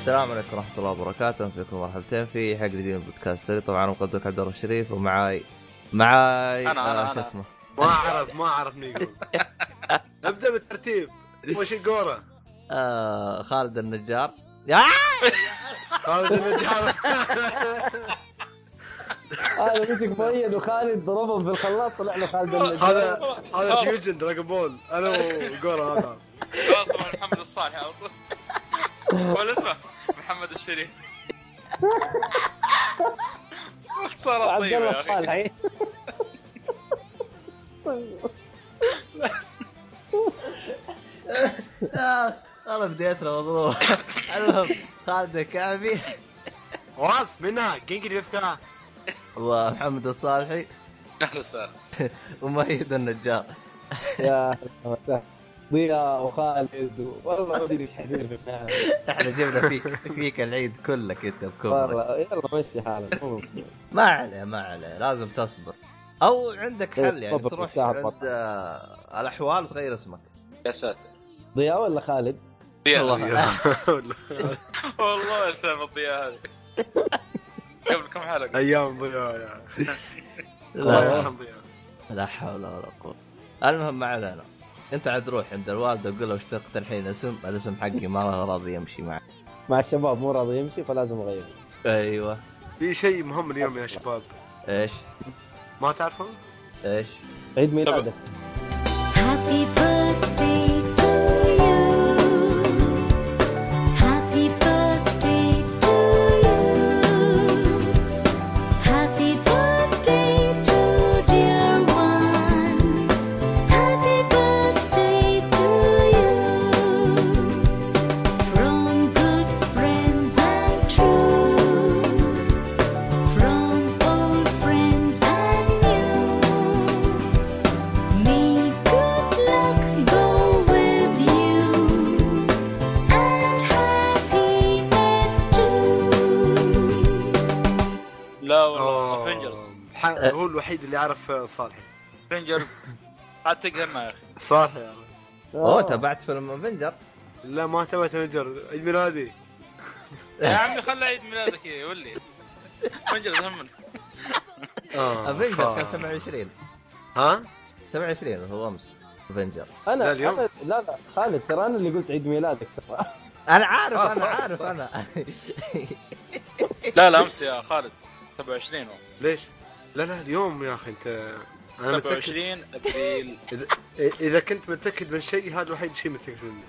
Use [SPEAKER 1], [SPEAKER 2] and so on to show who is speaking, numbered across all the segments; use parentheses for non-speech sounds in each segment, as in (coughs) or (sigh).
[SPEAKER 1] السلام عليكم ورحمة الله وبركاته، فيكم مرحبتين في حلقة جديدة من بودكاست سري. طبعا مقدمك عبد الله الشريف ومعاي معاي
[SPEAKER 2] أنا- أنا-
[SPEAKER 1] آه، شو
[SPEAKER 2] أنا.
[SPEAKER 1] اسمه
[SPEAKER 3] ما اعرف ما اعرف (laughs) نيجو نبدا بالترتيب وش القوره؟
[SPEAKER 1] آه خالد النجار آه!
[SPEAKER 3] خالد النجار
[SPEAKER 4] هذا مسك مؤيد وخالد ضربهم في الخلاط طلع له خالد
[SPEAKER 3] آه،
[SPEAKER 4] النجار
[SPEAKER 3] هذا (laughs) هذا فيوجن دراجون بول انا وقوره هذا
[SPEAKER 2] خلاص محمد الصالح على طول. ولا اسمه محمد الشريف خسارة
[SPEAKER 4] عبد
[SPEAKER 3] أيوة،
[SPEAKER 2] طيبة
[SPEAKER 4] الله
[SPEAKER 2] يا اخي
[SPEAKER 4] الصالحي
[SPEAKER 1] آه، والله بديتنا مضروبة (laughs) المهم خالد الكعبي
[SPEAKER 3] خلاص منها جينجي (laughs) يذكرها
[SPEAKER 1] ومحمد الصالحي
[SPEAKER 2] اهلا وسهلا
[SPEAKER 1] ومؤيد النجار
[SPEAKER 4] يا أهلا وسهلا. ضياء وخالد و- والله ما ادري ايش حيصير في النهايه
[SPEAKER 1] احنا جبنا فيك فيك العيد كلك انت بكبرك
[SPEAKER 4] والله يلا مشي حالك مو مشكلة.
[SPEAKER 1] ما عليه ما عليه لازم تصبر او عندك حل يعني
[SPEAKER 4] تصبر
[SPEAKER 1] تروح
[SPEAKER 4] وتساعد
[SPEAKER 1] عند
[SPEAKER 4] بطل.
[SPEAKER 1] آه، الاحوال وتغير اسمك
[SPEAKER 2] يا ساتر
[SPEAKER 4] ضياء ولا خالد؟
[SPEAKER 1] والله
[SPEAKER 2] والله يا سالفة الضياء (laughs) هذه قبل كم حلقة
[SPEAKER 3] ايام ضياء يا الله
[SPEAKER 1] لا
[SPEAKER 3] يرحم ضياء
[SPEAKER 1] لا حول ولا قوه المهم ما علينا انت عاد روح عند الوالده وقول له اشتقت الحين اسم الاسم حقي ما هو راضي يمشي معك
[SPEAKER 4] مع الشباب مو راضي يمشي فلازم اغيره
[SPEAKER 3] أيوة.
[SPEAKER 1] ايوه
[SPEAKER 3] في شيء مهم اليوم يا شباب
[SPEAKER 1] ايش
[SPEAKER 3] ما تعرفون؟
[SPEAKER 1] ايش
[SPEAKER 4] عيد ميلادك
[SPEAKER 5] Happy birthday to you. Happy birthday to you. Happy birthday to dear one. Happy birthday to you. From good friends and true. From old friends and new. May good luck go with you and happiness too.
[SPEAKER 2] لا
[SPEAKER 3] أوه.
[SPEAKER 2] والله افنجرز
[SPEAKER 3] ح- هو الوحيد اللي يعرف صالحي
[SPEAKER 2] افنجرز عاد تقهرنا يا اخي
[SPEAKER 3] صالحي يعني. يا رجل.
[SPEAKER 4] آه.
[SPEAKER 1] اوه تابعت فيلم افنجر
[SPEAKER 3] لا ما تبعت نجر عيد ميلادي
[SPEAKER 2] (laughs) يا عمي خلى عيد ميلادك يولي افنجرز همنا (laughs)
[SPEAKER 3] آه،
[SPEAKER 1] افنجر كان
[SPEAKER 3] ف-
[SPEAKER 1] 27
[SPEAKER 3] ها؟
[SPEAKER 1] 27 هو امس افنجر
[SPEAKER 4] انا
[SPEAKER 3] لا اليوم.
[SPEAKER 4] أنا- لا لا خالد ترى انا اللي قلت عيد ميلادك (laughs) ترى
[SPEAKER 1] انا عارف
[SPEAKER 3] آه،
[SPEAKER 1] انا
[SPEAKER 3] صح،
[SPEAKER 1] عارف
[SPEAKER 3] صح.
[SPEAKER 1] انا
[SPEAKER 3] (laughs)
[SPEAKER 2] لا لا امس يا خالد 27 هو.
[SPEAKER 3] ليش؟ لا لا اليوم يا اخي انت انا متاكد
[SPEAKER 2] 27 ابريل
[SPEAKER 3] اذا اذا كنت متاكد من شيء هذا الوحيد شيء متاكد منه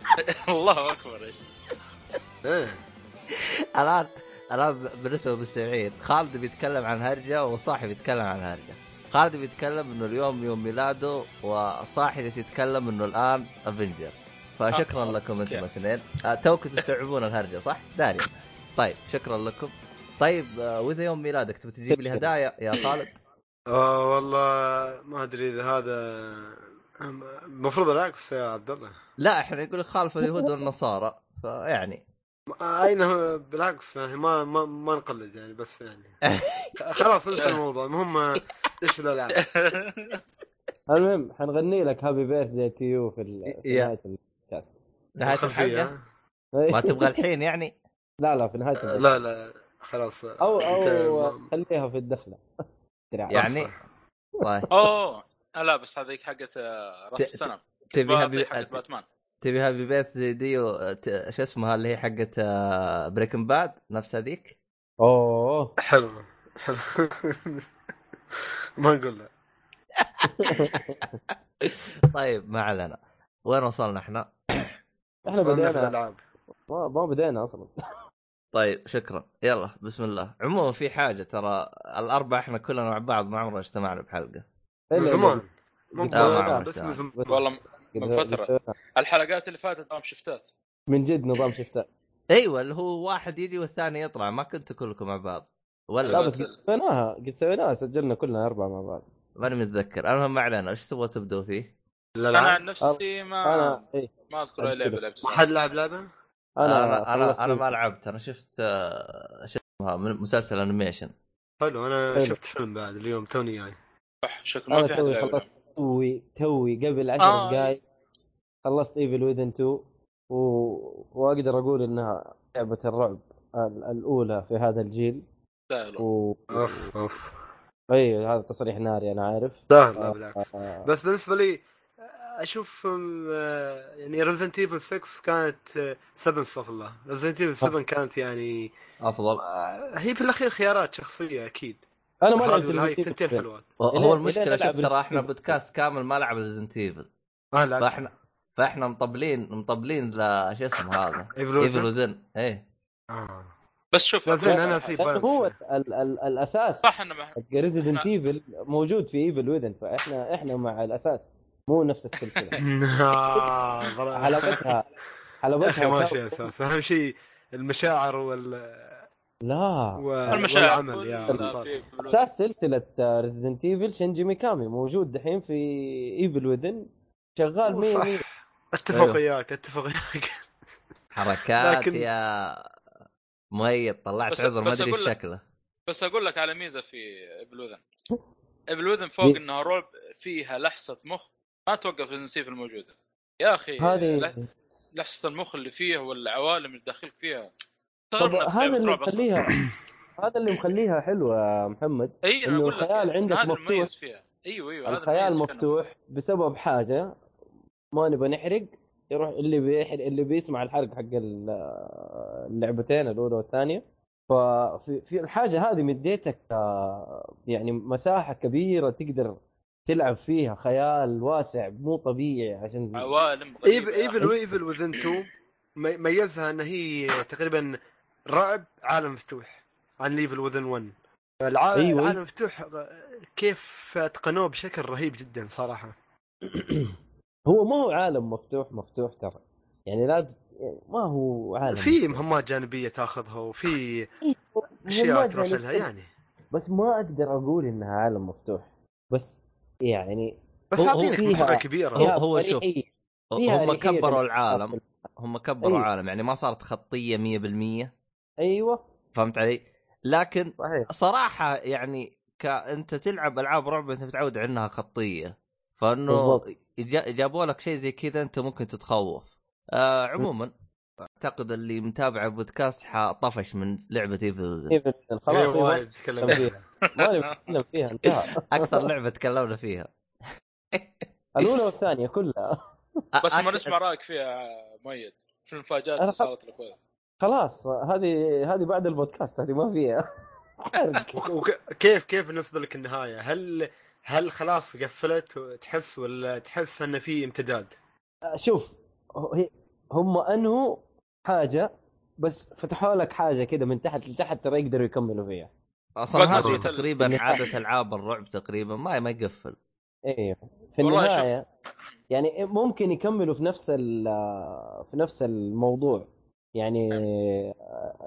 [SPEAKER 2] (laughs) الله اكبر يا شيخ.
[SPEAKER 3] ايه
[SPEAKER 1] الان الان بالنسبه للمستمعين خالد بيتكلم عن هرجه وصاحي بيتكلم عن هرجه خالد بيتكلم انه اليوم يوم ميلاده وصاحي جالس يتكلم انه الان افنجر فشكرا
[SPEAKER 2] آه،
[SPEAKER 1] لكم انتم
[SPEAKER 2] أوكي.
[SPEAKER 1] الاثنين آه، توكم تستوعبون الهرجه صح؟ داري طيب شكرا لكم طيب آه، واذا يوم ميلادك تبي تجيب لي هدايا يا خالد
[SPEAKER 3] آه والله ما ادري اذا هذا المفروض العكس يا عبد الله
[SPEAKER 1] لا احنا يقول لك خالف اليهود والنصارى فيعني
[SPEAKER 3] آه، اين هو بالعكس يعني ما ما, ما نقلد يعني بس يعني خلاص انسى الموضوع المهم آه، ايش الالعاب
[SPEAKER 4] المهم حنغني لك هابي بيرث داي تو يو في ال- في
[SPEAKER 1] يا.
[SPEAKER 4] نهايه البودكاست
[SPEAKER 1] نهايه
[SPEAKER 3] خلفية،
[SPEAKER 1] الحلقه ما تبغى الحين
[SPEAKER 2] (laughs)
[SPEAKER 1] يعني
[SPEAKER 4] (laughs) لا لا في نهايه
[SPEAKER 3] آه،
[SPEAKER 4] البودكاست
[SPEAKER 3] لا لا خلاص آه،
[SPEAKER 4] او
[SPEAKER 3] أنت
[SPEAKER 4] او
[SPEAKER 3] ما-
[SPEAKER 4] خليها في الدخله درع.
[SPEAKER 1] يعني
[SPEAKER 3] صح.
[SPEAKER 1] طيب
[SPEAKER 2] اوه آه، لا بس هذيك حقت آه، راس
[SPEAKER 1] ت-
[SPEAKER 2] السنه
[SPEAKER 1] تبيها
[SPEAKER 2] تبي
[SPEAKER 1] بي-
[SPEAKER 2] حقت باتمان
[SPEAKER 1] تبي هابي بيرث ديو ت- شو اسمها اللي هي حقت بريكن باد نفس هذيك
[SPEAKER 4] اوه
[SPEAKER 3] حلو حلو (laughs) ما نقول لا
[SPEAKER 1] طيب ما علينا وين وصلنا احنا؟
[SPEAKER 4] احنا
[SPEAKER 3] صرنا في
[SPEAKER 4] بدينا
[SPEAKER 3] الالعاب
[SPEAKER 4] ما ما بدينا اصلا
[SPEAKER 1] طيب شكرا يلا بسم الله عموما في حاجه ترى الاربعه احنا كلنا مع بعض ما عمرنا اجتمعنا بحلقه
[SPEAKER 3] من
[SPEAKER 4] إلا إذا
[SPEAKER 3] زمان مو
[SPEAKER 4] آه، ما
[SPEAKER 3] بزمان،
[SPEAKER 1] أعرف
[SPEAKER 3] بس من
[SPEAKER 1] يعني.
[SPEAKER 3] زمان
[SPEAKER 2] والله
[SPEAKER 4] قد-
[SPEAKER 2] من
[SPEAKER 4] قد
[SPEAKER 2] فترة.
[SPEAKER 4] سوينا.
[SPEAKER 2] الحلقات اللي فاتت نظام شفتات
[SPEAKER 4] من جد نظام شفتات
[SPEAKER 1] ايوه اللي هو واحد يجي والثاني يطلع ما كنتوا كلكم مع بعض
[SPEAKER 4] لا
[SPEAKER 1] ولا
[SPEAKER 4] بس قد سويناها قد سويناها سجلنا كلنا اربعه مع بعض
[SPEAKER 1] ماني متذكر المهم ما علينا ايش تبغى تبدوا فيه؟
[SPEAKER 2] انا
[SPEAKER 3] الالعاب
[SPEAKER 2] عن نفسي ما
[SPEAKER 4] انا إيه
[SPEAKER 2] ما اذكر اي لعبه لعبت
[SPEAKER 3] ما حد لعب لعبه؟
[SPEAKER 1] انا
[SPEAKER 4] خلصت
[SPEAKER 1] انا, أنا ما لعبت انا شفت آه، شو اسمها من- مسلسل انيميشن
[SPEAKER 3] حلو انا
[SPEAKER 4] حلو.
[SPEAKER 3] شفت فيلم بعد اليوم توني جاي
[SPEAKER 2] شكل ما
[SPEAKER 4] انا
[SPEAKER 2] في احد
[SPEAKER 4] توي
[SPEAKER 2] لعبة.
[SPEAKER 4] خلصت توي توي قبل 10
[SPEAKER 2] آه.
[SPEAKER 4] دقائق خلصت ايفل ويذن 2 و... واقدر اقول انها لعبه الرعب ال- الاولى في هذا الجيل
[SPEAKER 2] سهلوا
[SPEAKER 4] و...
[SPEAKER 3] اوف اوف
[SPEAKER 4] اي هذا تصريح ناري انا عارف
[SPEAKER 3] سهل لا بالعكس
[SPEAKER 4] آه،
[SPEAKER 3] بس بالنسبه لي اشوف أم، آه، يعني ريزنت ايفل 6 كانت آه، 7 استغفر الله ريزنت ايفل
[SPEAKER 4] آه.
[SPEAKER 3] 7 كانت يعني
[SPEAKER 1] افضل
[SPEAKER 3] آه، هي في الاخير خيارات شخصيه اكيد
[SPEAKER 4] انا ما
[SPEAKER 3] هذه
[SPEAKER 4] لعبت
[SPEAKER 3] الهاي تنتين
[SPEAKER 4] Resident Evil.
[SPEAKER 3] حلوات
[SPEAKER 1] هو
[SPEAKER 4] إلين-
[SPEAKER 1] المشكله
[SPEAKER 4] إلين
[SPEAKER 1] شوف
[SPEAKER 4] ألعب
[SPEAKER 1] ترى
[SPEAKER 4] Resident
[SPEAKER 1] احنا
[SPEAKER 4] Evil.
[SPEAKER 1] بودكاست كامل ما لعب ريزنت ايفل
[SPEAKER 3] اه لا
[SPEAKER 1] فاحنا فاحنا مطبلين مطبلين ل شو اسمه
[SPEAKER 3] (laughs)
[SPEAKER 1] هذا
[SPEAKER 3] Evil Within.
[SPEAKER 1] ايفل وذن ايه
[SPEAKER 3] آه.
[SPEAKER 2] بس شوف
[SPEAKER 3] لا زين انا في
[SPEAKER 4] لأنه هو
[SPEAKER 3] بارنس
[SPEAKER 4] ال- ال- الاساس
[SPEAKER 2] صح انه ما
[SPEAKER 4] ريزدنت ايفل موجود في ايفل وذن فاحنا احنا مع الاساس مو نفس
[SPEAKER 3] (laughs)
[SPEAKER 4] السلسله
[SPEAKER 3] آه، ظل-
[SPEAKER 4] حلاوتها
[SPEAKER 3] يا
[SPEAKER 4] حلاوتها
[SPEAKER 3] اخي ماشي
[SPEAKER 4] كان-
[SPEAKER 3] اساس اهم شيء المشاعر وال...
[SPEAKER 4] آه. لا
[SPEAKER 3] و...
[SPEAKER 2] المشاعر
[SPEAKER 3] والعمل يا
[SPEAKER 2] كلها
[SPEAKER 3] أنصار.
[SPEAKER 2] في بلوت.
[SPEAKER 4] اساس سلسله ريزدنت ايفل شينجي ميكامي موجود دحين في ايفل وذن شغال مية
[SPEAKER 3] صح.
[SPEAKER 4] مية
[SPEAKER 3] اتفق
[SPEAKER 1] أيوه.
[SPEAKER 3] وياك اتفق وياك
[SPEAKER 1] حركات
[SPEAKER 3] لكن-
[SPEAKER 1] يا مؤيد طلعت
[SPEAKER 2] بس-
[SPEAKER 1] عذر ما
[SPEAKER 2] بس
[SPEAKER 1] ادري
[SPEAKER 2] أقول
[SPEAKER 1] إيش
[SPEAKER 2] لك-
[SPEAKER 1] شكله
[SPEAKER 2] بس اقول لك على ميزه في ابلوذن ابلوذن فوق انها رعب فيها لحسه مخ ما توقف النسيف الموجوده يا اخي
[SPEAKER 4] هذه
[SPEAKER 2] لحسه المخ اللي فيها والعوالم اللي داخلك فيها استغرب
[SPEAKER 4] طب
[SPEAKER 2] إنها
[SPEAKER 4] هذا اللي
[SPEAKER 2] رعب أصلاً.
[SPEAKER 4] مخليها هذا اللي مخليها حلوه يا محمد
[SPEAKER 2] اي انا
[SPEAKER 4] إنه
[SPEAKER 2] اقول لك
[SPEAKER 4] الخيال
[SPEAKER 2] يعني
[SPEAKER 4] عندك
[SPEAKER 2] هذا
[SPEAKER 4] مفتوح.
[SPEAKER 2] المميز فيها ايوه ايوه هذا
[SPEAKER 4] الخيال
[SPEAKER 2] المميز فيها.
[SPEAKER 4] مفتوح بسبب حاجه ما نبغى نحرق يروح اللي بيحرق اللي بيسمع الحرق حق ال- اللعبتين الاولى والثانيه ففي في الحاجه هذه مديتك آه، يعني مساحه كبيره تقدر تلعب فيها خيال واسع مو طبيعي عشان
[SPEAKER 1] أيوة.
[SPEAKER 2] عوالم
[SPEAKER 3] ايفل
[SPEAKER 2] غريبه
[SPEAKER 3] ايفل وايفل طيب، وذن 2 مي- ميزها ان هي تقريبا رعب عالم مفتوح عن ايفل وذن 1 العالم
[SPEAKER 4] أيوة.
[SPEAKER 3] أيوة. العالم مفتوح كيف اتقنوه بشكل رهيب جدا صراحه
[SPEAKER 4] هو ما هو عالم مفتوح مفتوح ترى يعني لا ت- يعني ما هو عالم
[SPEAKER 3] في مهمات جانبيه تاخذها وفي اشياء
[SPEAKER 4] مهمات
[SPEAKER 3] تروح
[SPEAKER 4] جانبية.
[SPEAKER 3] لها يعني
[SPEAKER 4] بس ما اقدر اقول انها عالم مفتوح بس يعني
[SPEAKER 3] بس
[SPEAKER 1] هو- هو
[SPEAKER 3] عارفينك
[SPEAKER 4] فيها-
[SPEAKER 3] مساحه كبيره
[SPEAKER 1] هو- هو شوف.
[SPEAKER 4] فريحية. فيها
[SPEAKER 1] هم
[SPEAKER 4] أريحية
[SPEAKER 1] كبروا
[SPEAKER 4] لل-
[SPEAKER 1] العالم هم كبروا
[SPEAKER 4] أيوه.
[SPEAKER 1] العالم يعني ما صارت خطيه 100%
[SPEAKER 4] ايوه
[SPEAKER 1] فهمت علي؟ لكن
[SPEAKER 4] صحيح
[SPEAKER 1] صراحه يعني ك... انت تلعب العاب رعب انت متعود عنها خطيه فانه
[SPEAKER 4] بالضبط.
[SPEAKER 1] جا... جابوا لك شيء زي كذا انت ممكن تتخوف آه عموما اعتقد اللي متابع البودكاست حطفش من لعبه
[SPEAKER 4] (laughs)
[SPEAKER 1] ايفل
[SPEAKER 4] إيفل وذن.
[SPEAKER 3] إيه،
[SPEAKER 4] خلاص إيوه.
[SPEAKER 3] وايد تكلم فيها
[SPEAKER 4] ما نبي نتكلم فيها انتهى
[SPEAKER 1] اكثر لعبه تكلمنا فيها
[SPEAKER 4] الاولى والثانيه كلها
[SPEAKER 2] بس ما
[SPEAKER 1] أك-
[SPEAKER 2] نسمع رايك فيها مؤيد في المفاجات
[SPEAKER 4] أنا
[SPEAKER 2] اللي
[SPEAKER 4] خ-
[SPEAKER 2] صارت لك وهذا.
[SPEAKER 4] خلاص هذه هذه بعد البودكاست هذه ما فيها (laughs) حرق.
[SPEAKER 3] وكيف كيف بالنسبه لك النهايه؟ هل هل خلاص قفلت تحس ولا تحس انه في امتداد؟
[SPEAKER 4] شوف هي- هم انهوا حاجه بس فتحوا لك حاجه كذا من تحت لتحت ترى يقدروا يكملوا فيها
[SPEAKER 2] بعد ما
[SPEAKER 1] اصلا هذا
[SPEAKER 2] جيت ال-
[SPEAKER 1] تقريبا عاده العاب الرعب تقريبا ما ما يقفل
[SPEAKER 4] ايوه في
[SPEAKER 2] والله شوف.
[SPEAKER 4] النهايه يعني ممكن يكملوا في نفس ال- في نفس الموضوع يعني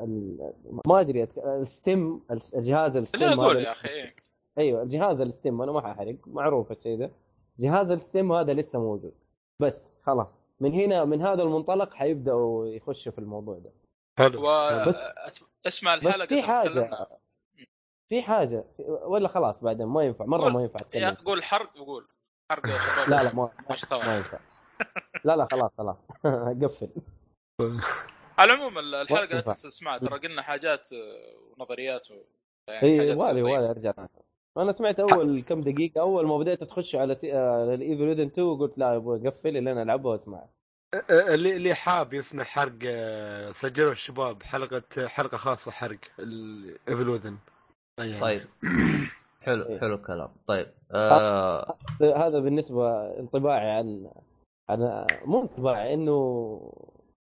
[SPEAKER 4] ال- ما ادري أتك- الستيم الجهاز
[SPEAKER 2] خليني
[SPEAKER 4] الستيم
[SPEAKER 2] اقول
[SPEAKER 4] هذا
[SPEAKER 2] يا اخي إيه.
[SPEAKER 4] ايوه جهاز الستيم انا ما ححرق معروف الشيء ذا جهاز الستيم هذا لسه موجود بس خلاص من هنا من هذا المنطلق حيبداوا يخشوا في الموضوع ده
[SPEAKER 3] حلو
[SPEAKER 2] و...
[SPEAKER 4] بس-
[SPEAKER 2] أس- اسمع الحلقه
[SPEAKER 4] بس في
[SPEAKER 2] اللي تكلمنا.
[SPEAKER 4] حاجه في حاجه ولا خلاص بعدين ما ينفع مره
[SPEAKER 2] قول.
[SPEAKER 4] ما ينفع
[SPEAKER 2] يا
[SPEAKER 4] اتكلم
[SPEAKER 2] قول حرق وقول حرق يا شباب (laughs)
[SPEAKER 4] لا لا ما
[SPEAKER 2] مش ثواب.
[SPEAKER 4] ما ينفع لا لا خلاص خلاص (laughs) قفل
[SPEAKER 2] على العموم ال- الحلقه لا
[SPEAKER 4] ينفع.
[SPEAKER 2] تنسى تسمعها ترى قلنا حاجات آه، ونظريات و... يعني
[SPEAKER 4] اي
[SPEAKER 2] حاجات
[SPEAKER 4] والي
[SPEAKER 2] خطيرة.
[SPEAKER 4] والي ارجع انا سمعت اول كم دقيقه اول ما بديت تخش على سي... آه، على الايفل وذن 2 قلت لا ابغى اقفل اللي انا العبها واسمعها
[SPEAKER 3] اللي اللي حاب يسمع حرق آه، سجلوا الشباب حلقه حلقه خاصه حرق ايفل وذن يعني.
[SPEAKER 1] طيب حلو حلو الكلام طيب
[SPEAKER 4] آه،
[SPEAKER 1] آه...
[SPEAKER 4] هذا بالنسبه انطباعي عن عن مو انطباعي انه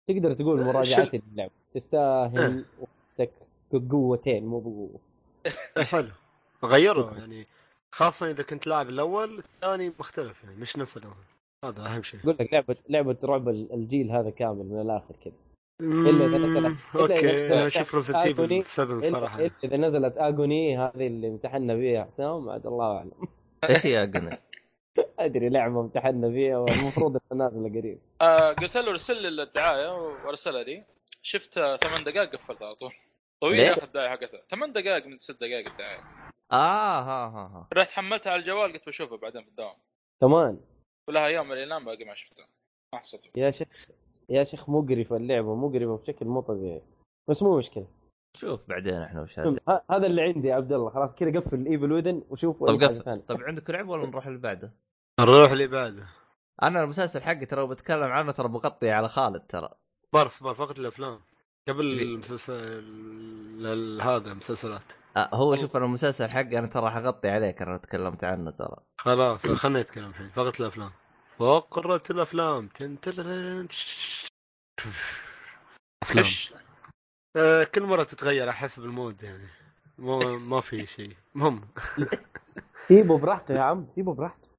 [SPEAKER 4] تقدر تقول مراجعتي للعبه تستاهل وقتك بقوتين مو بقوه
[SPEAKER 3] (coughs) حلو غيروا
[SPEAKER 4] طيب.
[SPEAKER 3] يعني خاصه اذا كنت لاعب الاول الثاني مختلف يعني مش نفس الاول هذا اهم شيء
[SPEAKER 4] اقول لك لعبه لعبه رعب الجيل هذا كامل من الاخر كذا إلا إذا
[SPEAKER 3] مم، (laughs)
[SPEAKER 4] نزلت- إلا طيب، إذا
[SPEAKER 3] اوكي
[SPEAKER 4] نزلت
[SPEAKER 3] شوف ريزنت
[SPEAKER 4] آيكوني.
[SPEAKER 3] ايفل 7
[SPEAKER 4] إلا-
[SPEAKER 3] صراحه
[SPEAKER 4] إلا اذا نزلت اغوني هذه اللي امتحنا فيها حسام عاد الله (laughs) اعلم
[SPEAKER 1] ايش هي اقنع؟
[SPEAKER 4] ادري لعبه امتحنا فيها والمفروض انها نازله قريب
[SPEAKER 2] آه، قلت له ارسل لي الدعايه وارسلها لي شفت آه، ثمان دقائق قفلت على طول طويل
[SPEAKER 1] ليه؟
[SPEAKER 2] يا اخي الدعايه حقتها ثمان دقائق من ست دقائق الدعايه
[SPEAKER 1] اه ها ها ها
[SPEAKER 2] رحت حملتها على الجوال قلت بشوفها بعدين في الدوام
[SPEAKER 4] كمان
[SPEAKER 2] ولها يوم من الايام باقي ما شفتها ما حصلت
[SPEAKER 4] يا شيخ يا شيخ مقرفه اللعبه مقرفه بشكل مو طبيعي بس مو مشكله
[SPEAKER 1] شوف بعدين احنا وش هذا.
[SPEAKER 4] ه- هذا اللي عندي يا عبد الله خلاص كذا قفل ايفل ويدن وشوف
[SPEAKER 1] آه. طب
[SPEAKER 4] اي حاجه ثانيه
[SPEAKER 1] قفل طب طيب، عندك لعبه ولا نروح اللي بعده؟
[SPEAKER 3] نروح اللي بعده
[SPEAKER 1] انا المسلسل حقي ترى بتكلم عنه ترى بغطي على خالد ترى
[SPEAKER 3] صبر صبر فقط الافلام قبل
[SPEAKER 1] ليه؟
[SPEAKER 3] المسلسل ال- هذا مسلسلات
[SPEAKER 1] آه، هو شوف انا المسلسل حقي انا ترى حغطي عليك انا تكلمت عنه ترى
[SPEAKER 3] خلاص خلنا نتكلم الحين فقط الافلام فقرة الافلام تن- تلرن- تش- افلام
[SPEAKER 2] ايش
[SPEAKER 3] آه، كل مرة تتغير على حسب المود يعني مو ما في شيء المهم
[SPEAKER 4] سيبه براحته يا عم سيبه براحته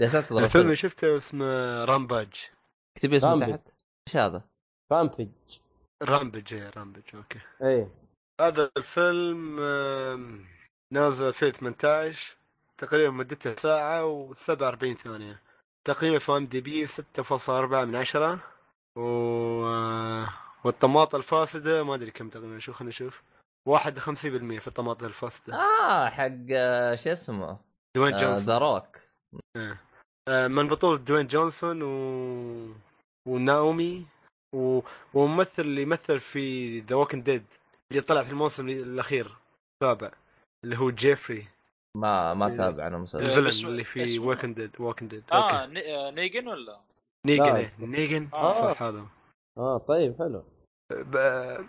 [SPEAKER 1] يا ساتر
[SPEAKER 3] الفيلم
[SPEAKER 1] الفيلم
[SPEAKER 3] اللي شفته اسمه رامباج
[SPEAKER 1] اكتب اسمه
[SPEAKER 4] رامبل.
[SPEAKER 1] تحت ايش هذا؟
[SPEAKER 4] رامبج
[SPEAKER 3] رامبج إيه، رامبج اوكي
[SPEAKER 4] ايه
[SPEAKER 3] هذا الفيلم آم، نازل 2018 تقريبا مدته ساعة و47 ثانية تقييمه في ام دي بي 6.4 من عشرة و... آه، والطماطة الفاسدة ما ادري كم تقريبا شو خلينا نشوف 51% في الطماطة الفاسدة
[SPEAKER 1] اه حق آه، شو اسمه؟
[SPEAKER 3] دوين
[SPEAKER 1] آه،
[SPEAKER 3] جونسون
[SPEAKER 1] ذا روك
[SPEAKER 3] آه، من بطولة دوين جونسون و... وناومي و... وممثل اللي يمثل في ذا ووكن ديد اللي طلع في الموسم الأخير السابع اللي هو جيفري
[SPEAKER 1] ما ما
[SPEAKER 3] إيه.
[SPEAKER 1] تابع انا مسلسل
[SPEAKER 3] الفيلم
[SPEAKER 2] اسمه-
[SPEAKER 3] اللي في
[SPEAKER 2] اسمه-
[SPEAKER 3] ووكن ديد ووكن ديد
[SPEAKER 2] اه ني- آه، نيجن ولا
[SPEAKER 3] نيجن
[SPEAKER 4] لا.
[SPEAKER 3] إيه، نيجن
[SPEAKER 2] آه.
[SPEAKER 3] صح هذا
[SPEAKER 4] اه طيب حلو
[SPEAKER 3] ب-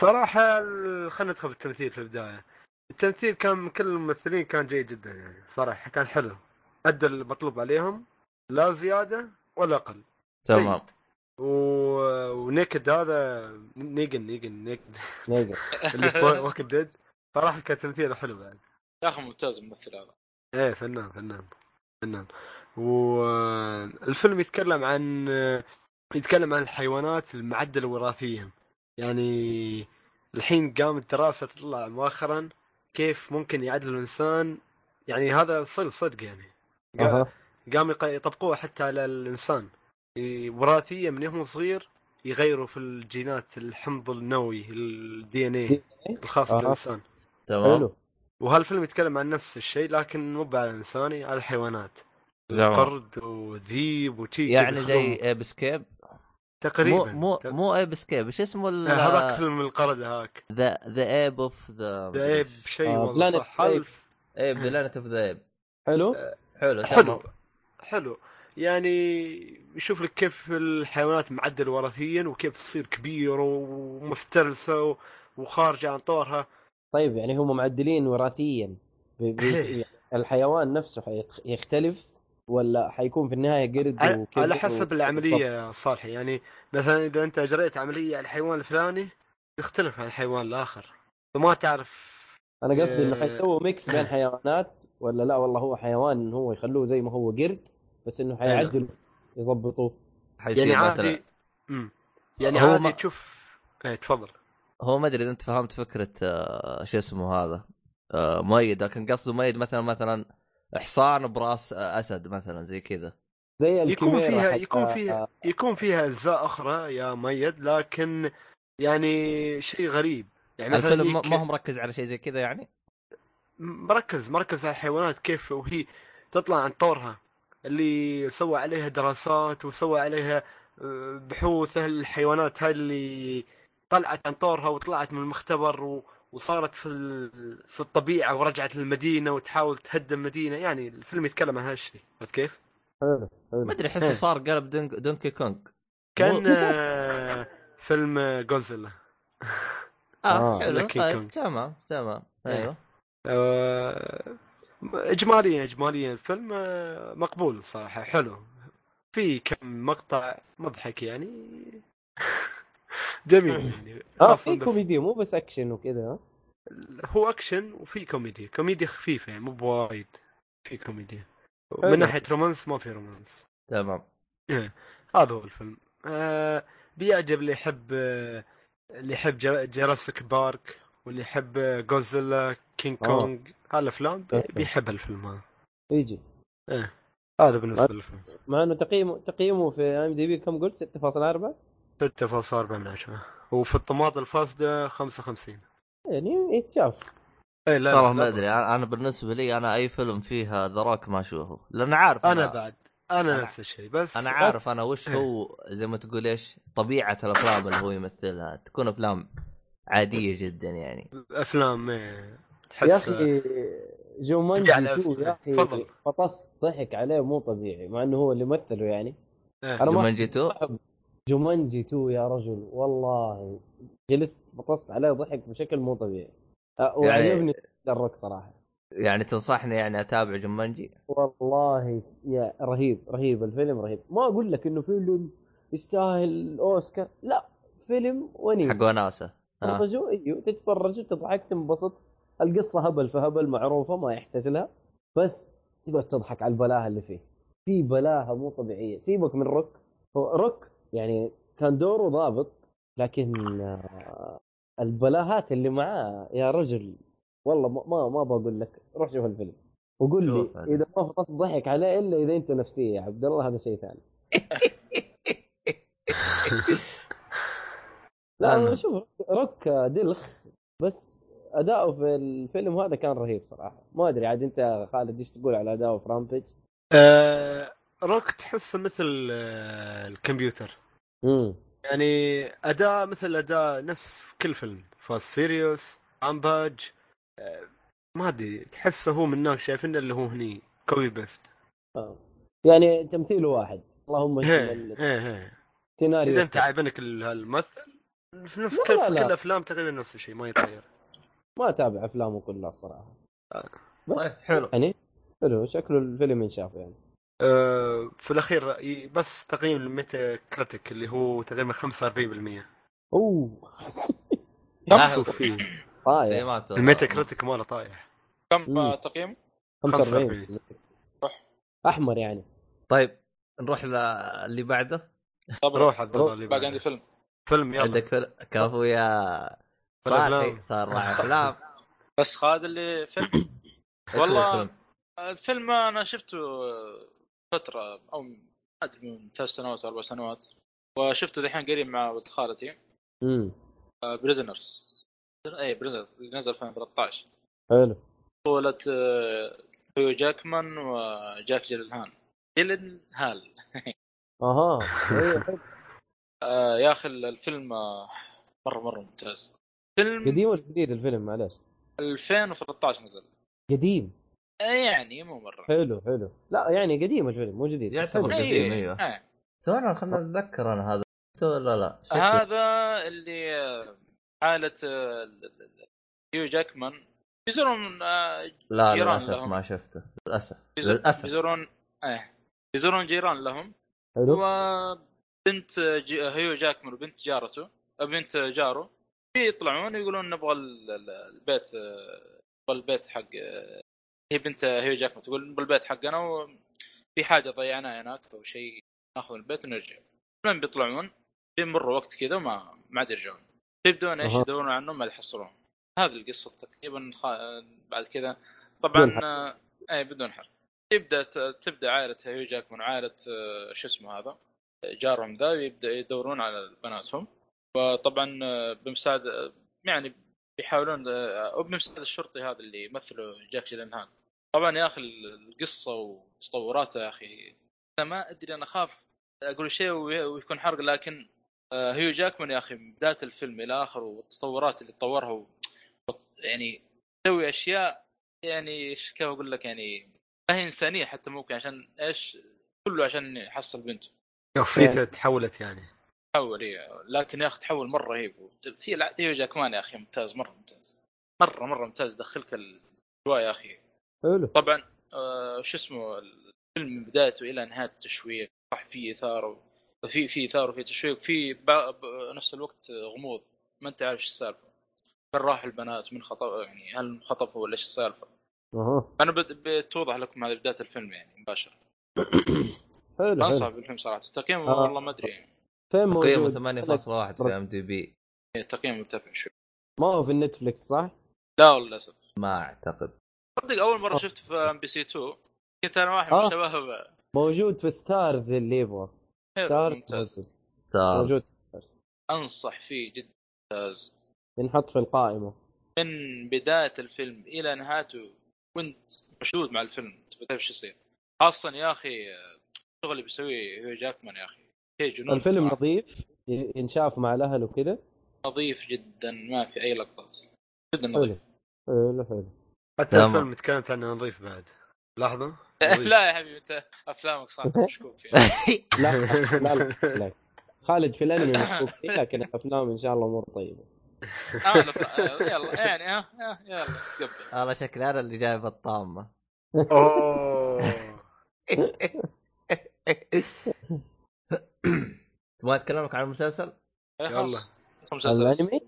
[SPEAKER 3] صراحة ال- خلينا ندخل في التمثيل في البداية التمثيل كان من كل الممثلين كان جيد جدا يعني صراحة كان حلو أدى المطلوب عليهم لا زيادة ولا أقل
[SPEAKER 1] تمام
[SPEAKER 3] طيب. و... ونيكد هذا نيجن نيجن نيكد
[SPEAKER 4] نيجا
[SPEAKER 3] اللي (laughs) في ووكن ديد صراحه كان تمثيله حلو يعني. بعد
[SPEAKER 2] يا اخي ممتاز الممثل هذا
[SPEAKER 3] ايه فنان فنان فنان والفيلم يتكلم عن يتكلم عن الحيوانات المعدله وراثيا يعني الحين قامت دراسه تطلع مؤخرا كيف ممكن يعدل الانسان يعني هذا صدق صدق يعني
[SPEAKER 1] آه،
[SPEAKER 4] أها.
[SPEAKER 3] قاموا يق- يطبقوها حتى على الانسان ي- وراثيا من يوم صغير يغيروا في الجينات الحمض النووي الدي ان اي الخاص
[SPEAKER 4] آه.
[SPEAKER 3] بالانسان
[SPEAKER 1] تمام
[SPEAKER 4] حلو
[SPEAKER 3] وهالفيلم يتكلم عن نفس الشيء لكن مو على الانساني على الحيوانات
[SPEAKER 1] تمام.
[SPEAKER 3] قرد وذيب وشي
[SPEAKER 1] يعني
[SPEAKER 3] كذا
[SPEAKER 1] زي
[SPEAKER 3] خلهم.
[SPEAKER 1] ايبسكيب مو
[SPEAKER 3] تقريبا
[SPEAKER 1] مو
[SPEAKER 3] تق- آه،
[SPEAKER 1] مو ايبسكيب ايش اسمه ال-
[SPEAKER 3] إيه، هذاك فيلم القرد هاك
[SPEAKER 1] ذا ذا ايب اوف ذا
[SPEAKER 3] ذيب شيء
[SPEAKER 4] آه،
[SPEAKER 3] والله
[SPEAKER 4] Planet
[SPEAKER 3] صح هذا
[SPEAKER 4] Ape.
[SPEAKER 3] الف-
[SPEAKER 1] ايب بلانت اوف ذا ايب
[SPEAKER 4] حلو
[SPEAKER 1] حلو تمام
[SPEAKER 3] حلو حلو يعني يشوف لك كيف الحيوانات معدله وراثيا وكيف تصير كبيره ومفترسه و- وخارجه عن طورها
[SPEAKER 4] طيب يعني هم معدلين وراثيا بي- بي- يعني الحيوان نفسه حيتخ- يختلف ولا حيكون في النهايه قرد
[SPEAKER 3] على,
[SPEAKER 4] وكبد
[SPEAKER 3] على
[SPEAKER 4] و-
[SPEAKER 3] حسب العمليه يا صالحي يعني مثلا اذا انت اجريت عمليه على الحيوان الفلاني تختلف عن الحيوان الاخر فما تعرف
[SPEAKER 4] انا قصدي انه
[SPEAKER 3] آه.
[SPEAKER 4] حيسووا ميكس بين حيوانات ولا لا والله هو حيوان هو يخلوه زي ما هو قرد بس انه حيعدلوا يظبطوه
[SPEAKER 1] حيصير
[SPEAKER 3] يعني
[SPEAKER 1] مثلا
[SPEAKER 3] عادي امم يعني
[SPEAKER 1] هو
[SPEAKER 3] عادي
[SPEAKER 1] ما-
[SPEAKER 3] تشوف ايه تفضل
[SPEAKER 1] هو ما ادري اذا انت فهمت فكره آه، شو اسمه هذا آه، مؤيد لكن قصده مؤيد مثلا مثلا حصان براس آه، اسد مثلا زي كذا
[SPEAKER 4] زي
[SPEAKER 3] يكون
[SPEAKER 4] الكيميرا
[SPEAKER 3] فيها
[SPEAKER 4] حتى-
[SPEAKER 3] يكون
[SPEAKER 1] آه.
[SPEAKER 3] فيها يكون فيها اجزاء اخرى يا ميد لكن يعني شيء غريب يعني مثلا
[SPEAKER 1] الفيلم ما-
[SPEAKER 3] يك-
[SPEAKER 1] ما هو مركز على شيء زي كذا يعني
[SPEAKER 3] مركز مركز على الحيوانات كيف وهي تطلع عن طورها اللي سوى عليها دراسات وسوى عليها آه، بحوث هل الحيوانات هاي اللي طلعت عن طورها وطلعت من المختبر و- وصارت في ال- في الطبيعة ورجعت للمدينة وتحاول تهدم مدينة يعني الفيلم يتكلم عن هالشيء عرفت كيف؟
[SPEAKER 4] حلو
[SPEAKER 1] ما
[SPEAKER 4] حلو
[SPEAKER 1] ادري احسه
[SPEAKER 3] إيه.
[SPEAKER 1] صار قلب دونك- دونكي كونغ
[SPEAKER 3] كان
[SPEAKER 1] مو-
[SPEAKER 3] آه، فيلم جونزيلا
[SPEAKER 1] اه
[SPEAKER 4] آه،
[SPEAKER 1] حلو
[SPEAKER 3] دونكي
[SPEAKER 1] طيب
[SPEAKER 3] كونغ.
[SPEAKER 1] تمام تمام
[SPEAKER 3] إيه.
[SPEAKER 1] ايوه
[SPEAKER 3] آه، اجماليا اجماليا الفيلم آه، مقبول صراحه حلو في كم مقطع مضحك يعني (laughs) جميل يعني
[SPEAKER 4] اه
[SPEAKER 3] خاصة
[SPEAKER 4] في
[SPEAKER 3] بس
[SPEAKER 4] كوميديا مو بس اكشن وكذا ها؟
[SPEAKER 3] هو اكشن وفي كوميديا كوميديا خفيفه يعني مو بوايد في كوميديا
[SPEAKER 4] حلو.
[SPEAKER 3] من ناحيه رومانس ما في رومانس
[SPEAKER 1] تمام
[SPEAKER 3] هذا هو الفيلم آه بيعجب اللي يحب آه، اللي يحب جراسيك بارك واللي يحب آه، جوزيلا كينج
[SPEAKER 4] آه.
[SPEAKER 3] كونج هالافلام بي-
[SPEAKER 4] أوكي.
[SPEAKER 3] بيحب هالفيلم هذا
[SPEAKER 4] يجي
[SPEAKER 3] هذا
[SPEAKER 4] آه.
[SPEAKER 3] بالنسبه للفيلم
[SPEAKER 4] مع انه تقييمه تقييمه في ام دي بي كم قلت 6.4
[SPEAKER 3] 6.4 من عشرة وفي الطماطم الفاسدة 55
[SPEAKER 4] يعني يتشاف
[SPEAKER 3] اي إيه، لا
[SPEAKER 1] والله
[SPEAKER 3] لا،
[SPEAKER 1] ما
[SPEAKER 3] لا
[SPEAKER 1] ادري انا أنا بالنسبه لي انا اي فيلم فيه ذراك ما اشوفه لان عارف
[SPEAKER 3] انا بعد انا
[SPEAKER 1] أنا-
[SPEAKER 3] نفس الشيء بس إيه.
[SPEAKER 1] انا عارف انا وش هو زي ما تقول ايش طبيعه الافلام اللي هو يمثلها تكون افلام عاديه جدا يعني
[SPEAKER 3] الافلام إيه، تحس
[SPEAKER 4] يا اخي
[SPEAKER 3] تجي
[SPEAKER 4] جومانجي
[SPEAKER 3] على
[SPEAKER 4] 2
[SPEAKER 3] اسمه.
[SPEAKER 4] يا اخي
[SPEAKER 3] تفضل.
[SPEAKER 4] فطست ضحك عليه مو طبيعي مع انه هو اللي مثله يعني
[SPEAKER 3] إيه.
[SPEAKER 4] أنا ما-
[SPEAKER 1] جومانجي 2
[SPEAKER 4] جومانجي 2 يا رجل والله جلست فطست عليه ضحك بشكل مو طبيعي أه،
[SPEAKER 1] يعني-
[SPEAKER 4] وعجبني الرك صراحه
[SPEAKER 1] يعني تنصحني يعني اتابع جومانجي
[SPEAKER 4] والله يا رهيب رهيب الفيلم رهيب ما اقول لك انه فيلم يستاهل اوسكار لا فيلم ونيس
[SPEAKER 1] حق وناسه ها.
[SPEAKER 4] تتفرجوا ايوه تتفرجوا تضحك تنبسط القصه هبل فهبل معروفه ما يحتاج لها بس تقعد تضحك على البلاهه اللي فيه في بلاهه مو طبيعيه سيبك من روك هو روك يعني كان دوره ضابط لكن آه، البلاهات اللي معاه يا رجل والله ما ما, ما بقول لك روح شوف الفيلم وقول لي
[SPEAKER 1] شوف هذا.
[SPEAKER 4] اذا ما فطست ضحك عليه الا اذا انت نفسيه يا عبد الله هذا شيء ثاني لا
[SPEAKER 1] أنا-
[SPEAKER 4] شوف روك دلخ بس اداؤه في الفيلم هذا كان رهيب صراحه ما ادري عاد انت خالد ايش تقول على اداؤه في رامبج
[SPEAKER 3] آه، روك تحسه مثل آه، الكمبيوتر
[SPEAKER 4] امم
[SPEAKER 3] يعني اداء مثل اداء نفس كل فيلم فاست فيريوس امباج ما ادري تحسه هو من ناس شايفينه اللي هو هني كوي بيست
[SPEAKER 4] يعني تمثيله واحد اللهم
[SPEAKER 3] إيه،
[SPEAKER 4] شكل
[SPEAKER 3] إيه، إيه.
[SPEAKER 4] السيناريو
[SPEAKER 1] أيوة،
[SPEAKER 3] اذا انت عاجبنك ال- الممثل في نفس
[SPEAKER 4] لا،
[SPEAKER 3] كل
[SPEAKER 4] لا،
[SPEAKER 3] في
[SPEAKER 4] لا.
[SPEAKER 3] كل الافلام تقريبا نفس الشيء ما طيب. يتغير
[SPEAKER 4] ما اتابع افلامه كلها صراحه
[SPEAKER 1] طيب حلو
[SPEAKER 4] يعني حلو شكله الفيلم ينشاف يعني
[SPEAKER 3] آه، في الاخير ي- بس تقييم الميتا كريتيك اللي هو تقريبا 45%
[SPEAKER 4] (laughs) اوه
[SPEAKER 2] كم
[SPEAKER 3] شوف فيه
[SPEAKER 4] طايح
[SPEAKER 1] تقييمات
[SPEAKER 3] الميتا كريتيك ماله طايح
[SPEAKER 2] كم آه،
[SPEAKER 4] مم.
[SPEAKER 2] تقييم؟
[SPEAKER 4] 45 احمر يعني
[SPEAKER 1] طيب نروح للي بعده
[SPEAKER 2] طب
[SPEAKER 3] روح عبد الله اللي
[SPEAKER 2] باقي عندي
[SPEAKER 3] بعده.
[SPEAKER 2] فيلم
[SPEAKER 3] فيلم يلا
[SPEAKER 1] عندك فيلم؟ كفو يا صالحي
[SPEAKER 3] أفلام.
[SPEAKER 1] صار مع افلام
[SPEAKER 2] بس خالد اللي
[SPEAKER 4] (coughs)
[SPEAKER 2] فيلم
[SPEAKER 1] إيش هو
[SPEAKER 2] والله-
[SPEAKER 1] الفيلم؟
[SPEAKER 2] الفيلم انا شفته فتره او ما ادري من ثلاث سنوات او اربع سنوات وشفته ذحين قريب مع ولد خالتي آه،
[SPEAKER 4] امم
[SPEAKER 2] بريزنرز اي بريزنرز نزل 2013
[SPEAKER 4] حلو
[SPEAKER 2] بطولة آه، هيو جاكمان وجاك جيلنهال جيلنهال
[SPEAKER 4] (laughs) اها إيه، حلو.
[SPEAKER 2] آه، يا اخي الفيلم آه، مره مره ممتاز فيلم
[SPEAKER 4] قديم ولا جديد الفيلم معلش
[SPEAKER 2] 2013 نزل
[SPEAKER 4] قديم
[SPEAKER 2] آه، يعني مو مره
[SPEAKER 4] حلو حلو لا يعني قديم الفيلم مو جديد بس
[SPEAKER 1] يعتبر
[SPEAKER 4] حلو.
[SPEAKER 1] قديم.
[SPEAKER 2] إيه،
[SPEAKER 1] أيوة.
[SPEAKER 2] آه.
[SPEAKER 1] ترى خلنا نتذكر انا هذا لا لا شكله.
[SPEAKER 2] هذا اللي آه، حالة آه، ال- ال- ال- هيو جاكمان يزورون آه،
[SPEAKER 1] لا
[SPEAKER 2] جيران
[SPEAKER 1] للاسف
[SPEAKER 2] لهم.
[SPEAKER 1] ما شفته للاسف
[SPEAKER 2] يزور-
[SPEAKER 1] للاسف
[SPEAKER 2] يزورون ايه يزورون جيران لهم
[SPEAKER 4] حلو
[SPEAKER 2] وبنت جي... هيو جاكمان وبنت جارته بنت جاره بيطلعون يقولون نبغى ال- ال- البيت آه، نبغى البيت حق آه، هي بنت هيو جاكمان تقول نبغى البيت حقنا وفي حاجه ضيعناها هناك او شيء ناخذ البيت ونرجع المهم بيطلعون بيمر وقت كذا وما ما عاد يرجعون يبدون ايش
[SPEAKER 4] أها.
[SPEAKER 2] يدورون عنهم ما يحصلون هذه القصه تقريبا خ... بعد كذا طبعا
[SPEAKER 4] بدون حرق.
[SPEAKER 2] آه، اي بدون حرق تبدا تبدا عائله هيو جاكمان وعائله آه، شو اسمه هذا جارهم ذا يبدا يدورون على بناتهم وطبعا آه، بمساعدة يعني بيحاولون آه، او بمساعدة الشرطي هذا اللي يمثله جاك جيلنهان طبعا يا اخي القصه وتطوراتها يا اخي انا ما ادري انا اخاف اقول شيء وي- ويكون حرق لكن آه، هيو جاكمان يا اخي من بدايه الفيلم الى اخره والتطورات اللي تطورها و- وت- يعني تسوي اشياء يعني إيش كيف اقول لك يعني ما هي انسانيه حتى ممكن عشان ايش كله عشان يحصل بنته
[SPEAKER 3] شخصيته تحولت يعني
[SPEAKER 2] تحول إيه. لكن يا اخي تحول مره رهيب في لا هيو جاكمان يا اخي ممتاز مره ممتاز مره مره ممتاز دخلك الاجواء يا اخي
[SPEAKER 4] حلو
[SPEAKER 2] طبعا آه شو اسمه الفيلم من بدايته الى نهايه التشويق صح في اثاره وفي في اثاره وفي تشويق في با- ب- نفس الوقت غموض ما انت عارف ايش السالفه من راح البنات من خطب يعني هل انخطبوا ولا ايش السالفه
[SPEAKER 4] اها
[SPEAKER 2] انا بت- بتوضح لكم هذه بدايه الفيلم يعني مباشره
[SPEAKER 4] حلو
[SPEAKER 2] انصح
[SPEAKER 4] حلو
[SPEAKER 2] بالفيلم صراحه تقييمه
[SPEAKER 4] آه.
[SPEAKER 2] والله ما يعني. ادري
[SPEAKER 4] فين
[SPEAKER 1] تقييمه
[SPEAKER 4] موجود
[SPEAKER 1] 8.1 في ام دي بي
[SPEAKER 2] تقييمه مرتفع شوي
[SPEAKER 4] ما هو في النتفلكس صح؟
[SPEAKER 2] لا للاسف
[SPEAKER 1] ما اعتقد
[SPEAKER 2] تصدق اول مره شفته في ام بي سي 2 كنت انا واحد من
[SPEAKER 4] آه.
[SPEAKER 2] الشباب
[SPEAKER 4] موجود في ستارز اللي يبغى
[SPEAKER 2] حلو
[SPEAKER 4] ستارز
[SPEAKER 2] ممتاز
[SPEAKER 4] موجود.
[SPEAKER 1] ستارز.
[SPEAKER 4] موجود
[SPEAKER 1] (laughs)
[SPEAKER 2] انصح فيه جدا ممتاز
[SPEAKER 4] ينحط في القائمه
[SPEAKER 2] من بدايه الفيلم الى نهايته كنت مشدود مع الفيلم تبي تعرف شو يصير خاصه يا اخي الشغل اللي بيسويه هيو جاكمان يا اخي شيء جنون
[SPEAKER 4] الفيلم
[SPEAKER 2] صراحة.
[SPEAKER 4] نظيف ي- ينشاف مع الاهل وكذا
[SPEAKER 2] نظيف جدا ما في اي لقطات جدا
[SPEAKER 4] حلو
[SPEAKER 2] نظيف
[SPEAKER 4] حلو حلو
[SPEAKER 3] حتى
[SPEAKER 1] تمام.
[SPEAKER 3] الفيلم تكلمت عنه نظيف بعد
[SPEAKER 1] (laughs)
[SPEAKER 3] لحظه
[SPEAKER 2] لا يا حبيبي انت افلامك صارت
[SPEAKER 4] (laughs)
[SPEAKER 2] مشكوك فيها
[SPEAKER 4] لا لا لا, لا. خالد في الانمي مشكوك فيه لكن الافلام ان شاء الله امور طيبه
[SPEAKER 2] آه، الأف- آه، يلا يعني ها آه، يلا تقبل
[SPEAKER 1] والله شكلي انا اللي جايب الطامه
[SPEAKER 3] اوه
[SPEAKER 1] (laughs) تبغى اتكلمك عن المسلسل؟
[SPEAKER 2] آه،
[SPEAKER 3] يلا.
[SPEAKER 2] خلاص. خمسة أسابيع.
[SPEAKER 4] الانمي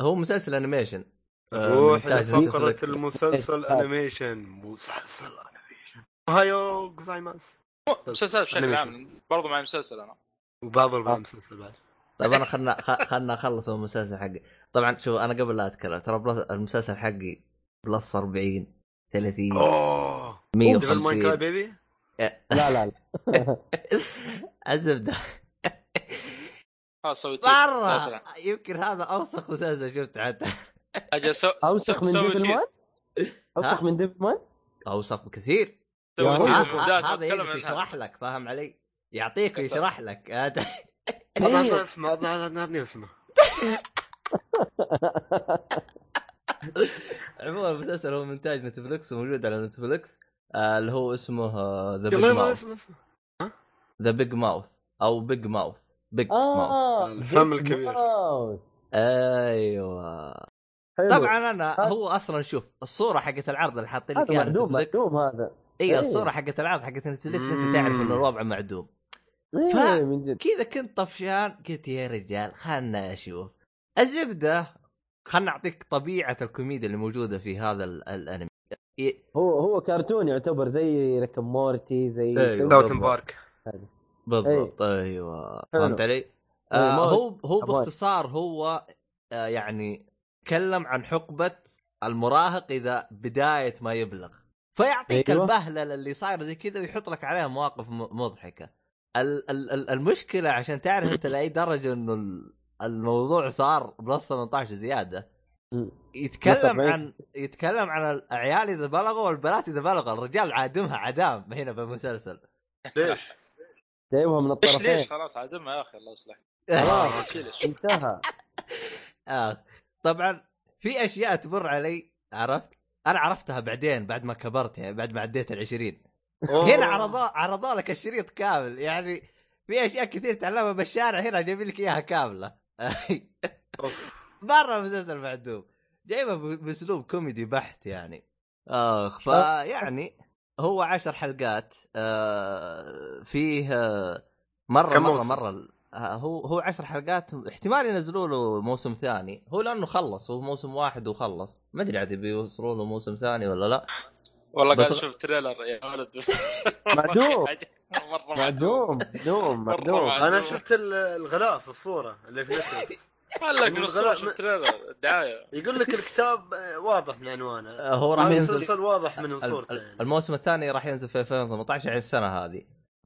[SPEAKER 1] هو مسلسل انيميشن آه،
[SPEAKER 3] روح
[SPEAKER 1] مونتاج
[SPEAKER 3] لفقرة
[SPEAKER 1] نتفليكس.
[SPEAKER 3] المسلسل انيميشن مسلسل انيميشن هايو جوزايماس
[SPEAKER 2] مسلسلات بشكل
[SPEAKER 3] أنيميشن.
[SPEAKER 2] عام برضو مع مسلسل انا
[SPEAKER 3] وبعض
[SPEAKER 4] آه.
[SPEAKER 3] المسلسل بعد
[SPEAKER 1] طيب انا خلنا خ- خلنا اخلص المسلسل حقي طبعا شوف انا قبل لا اتكلم ترى بلس- المسلسل حقي بلس 40 30
[SPEAKER 3] اوه ديفل ماين
[SPEAKER 1] 150
[SPEAKER 3] كراي بيبي
[SPEAKER 4] لا
[SPEAKER 2] (laughs)
[SPEAKER 4] لا لا
[SPEAKER 1] (laughs) الزبده
[SPEAKER 2] خلاص سوي تيت. لا
[SPEAKER 1] مره
[SPEAKER 2] تلعب.
[SPEAKER 1] يمكن هذا اوسخ مسلسل شفته حتى
[SPEAKER 2] اجل سو-
[SPEAKER 4] اوسخ
[SPEAKER 2] سو-
[SPEAKER 4] من
[SPEAKER 2] سوي
[SPEAKER 4] ديفل
[SPEAKER 2] تيت.
[SPEAKER 4] مان اوسخ من ديفل مان
[SPEAKER 1] اوسخ بكثير
[SPEAKER 2] سوي
[SPEAKER 4] يا
[SPEAKER 2] تيت.
[SPEAKER 1] ه-
[SPEAKER 4] رجل.
[SPEAKER 2] من بداية
[SPEAKER 1] ه-
[SPEAKER 2] ما
[SPEAKER 1] هذا يجلس
[SPEAKER 2] تتكلم عن هذا.
[SPEAKER 1] يشرح لك فاهم علي يعطيك
[SPEAKER 2] يا ساتر.
[SPEAKER 1] ويشرح لك هذا
[SPEAKER 4] إيه.
[SPEAKER 3] اظن اسمه اظن اظن اسمه
[SPEAKER 1] عموما المسلسل هو مونتاج نتفلكس وموجود على نتفلكس آه، اللي هو اسمه آه، ذا بيج
[SPEAKER 3] يلا يلا
[SPEAKER 1] ماوث
[SPEAKER 3] اسمه اسمه
[SPEAKER 1] ذا بيج ماوث او بيج ماوث بيج ماوث
[SPEAKER 4] اه
[SPEAKER 3] الفم الكبير.
[SPEAKER 4] واو.
[SPEAKER 1] ايوه
[SPEAKER 4] حلو.
[SPEAKER 1] طبعا انا
[SPEAKER 4] هذا-
[SPEAKER 1] هو اصلا شوف الصوره حقت العرض اللي حاطين لك
[SPEAKER 4] هذا
[SPEAKER 1] اياها
[SPEAKER 4] معدوم
[SPEAKER 1] نتفلكس
[SPEAKER 4] معدوم هذا
[SPEAKER 1] اي
[SPEAKER 4] إيه.
[SPEAKER 1] الصوره حقت العرض حقت نتفلكس
[SPEAKER 3] مم.
[SPEAKER 1] انت تعرف ان الوضع معدوم
[SPEAKER 4] ايه
[SPEAKER 1] ف-
[SPEAKER 4] من جد
[SPEAKER 1] كذا كنت طفشان قلت يا رجال خلنا اشوف الزبده خلنا اعطيك طبيعه الكوميديا اللي موجوده في هذا ال- الانمي إيه،
[SPEAKER 4] هو هو كرتون يعتبر زي ريك أند مورتي زي
[SPEAKER 1] إيه.
[SPEAKER 4] سيلفر.
[SPEAKER 1] بالضبط.
[SPEAKER 3] داوتن بارك
[SPEAKER 1] بالضبط ايوه
[SPEAKER 4] حلو.
[SPEAKER 1] فهمت علي؟
[SPEAKER 4] إيه،
[SPEAKER 1] آه
[SPEAKER 4] ما-
[SPEAKER 1] هو هو
[SPEAKER 4] أبغى.
[SPEAKER 1] باختصار هو آه يعني تكلم عن حقبه المراهق اذا بدايه ما يبلغ فيعطيك
[SPEAKER 4] أيوة.
[SPEAKER 1] البهلله اللي صاير زي كذا ويحط لك عليها مواقف م- مضحكه ال- ال- ال- المشكله عشان تعرف انت لاي درجه انه ال- الموضوع صار بلس 18 زياده
[SPEAKER 4] مم. بلس
[SPEAKER 1] يتكلم
[SPEAKER 4] 40.
[SPEAKER 1] عن يتكلم عن العيال اذا بلغوا والبنات اذا بلغوا الرجال عادمها عدام هنا بالمسلسل
[SPEAKER 3] ليش؟
[SPEAKER 4] جايبها من
[SPEAKER 2] ليش
[SPEAKER 4] الطرفين
[SPEAKER 2] ليش خلاص عزمها يا اخي الله يصلحك
[SPEAKER 4] خلاص.
[SPEAKER 2] شيلش
[SPEAKER 4] انتهى
[SPEAKER 1] آه. طبعا في اشياء تمر علي عرفت انا عرفتها بعدين بعد ما كبرت يعني بعد ما عديت العشرين
[SPEAKER 3] أوه.
[SPEAKER 1] (laughs) هنا عرضوا عرضوا لك الشريط كامل يعني في اشياء كثير تعلمها بالشارع هنا جايب لك اياها كامله
[SPEAKER 3] أوف.
[SPEAKER 1] مره مسلسل معدوم جايبه ب- باسلوب كوميدي بحت يعني اخ فيعني هو عشر حلقات آه فيه آه مره
[SPEAKER 3] كم
[SPEAKER 1] مره
[SPEAKER 3] موسم؟
[SPEAKER 1] مره ال- آه، هو هو عشر حلقات احتمال ينزلوا له موسم ثاني هو لانه خلص هو موسم واحد وخلص ما ادري عاد بيوصلوا له موسم ثاني ولا لا
[SPEAKER 2] والله
[SPEAKER 1] بس
[SPEAKER 2] قاعد
[SPEAKER 1] غ-
[SPEAKER 2] اشوف تريلر يا ولد (laughs) مره
[SPEAKER 4] معدوم. معدوم معدوم معدوم
[SPEAKER 2] مرة.
[SPEAKER 3] انا شفت ال- الغلاف الصوره اللي في نتفلكس
[SPEAKER 2] قال لك نص ساعة
[SPEAKER 3] الغلاء-
[SPEAKER 2] شفت تريلر دعايه
[SPEAKER 3] يقول لك الكتاب آه، واضح من عنوانه
[SPEAKER 1] آه، هو راح ينزل
[SPEAKER 3] المسلسل واضح من صورته
[SPEAKER 1] ال-
[SPEAKER 3] يعني.
[SPEAKER 1] الموسم الثاني راح ينزل في 2018 يعني السنه هذه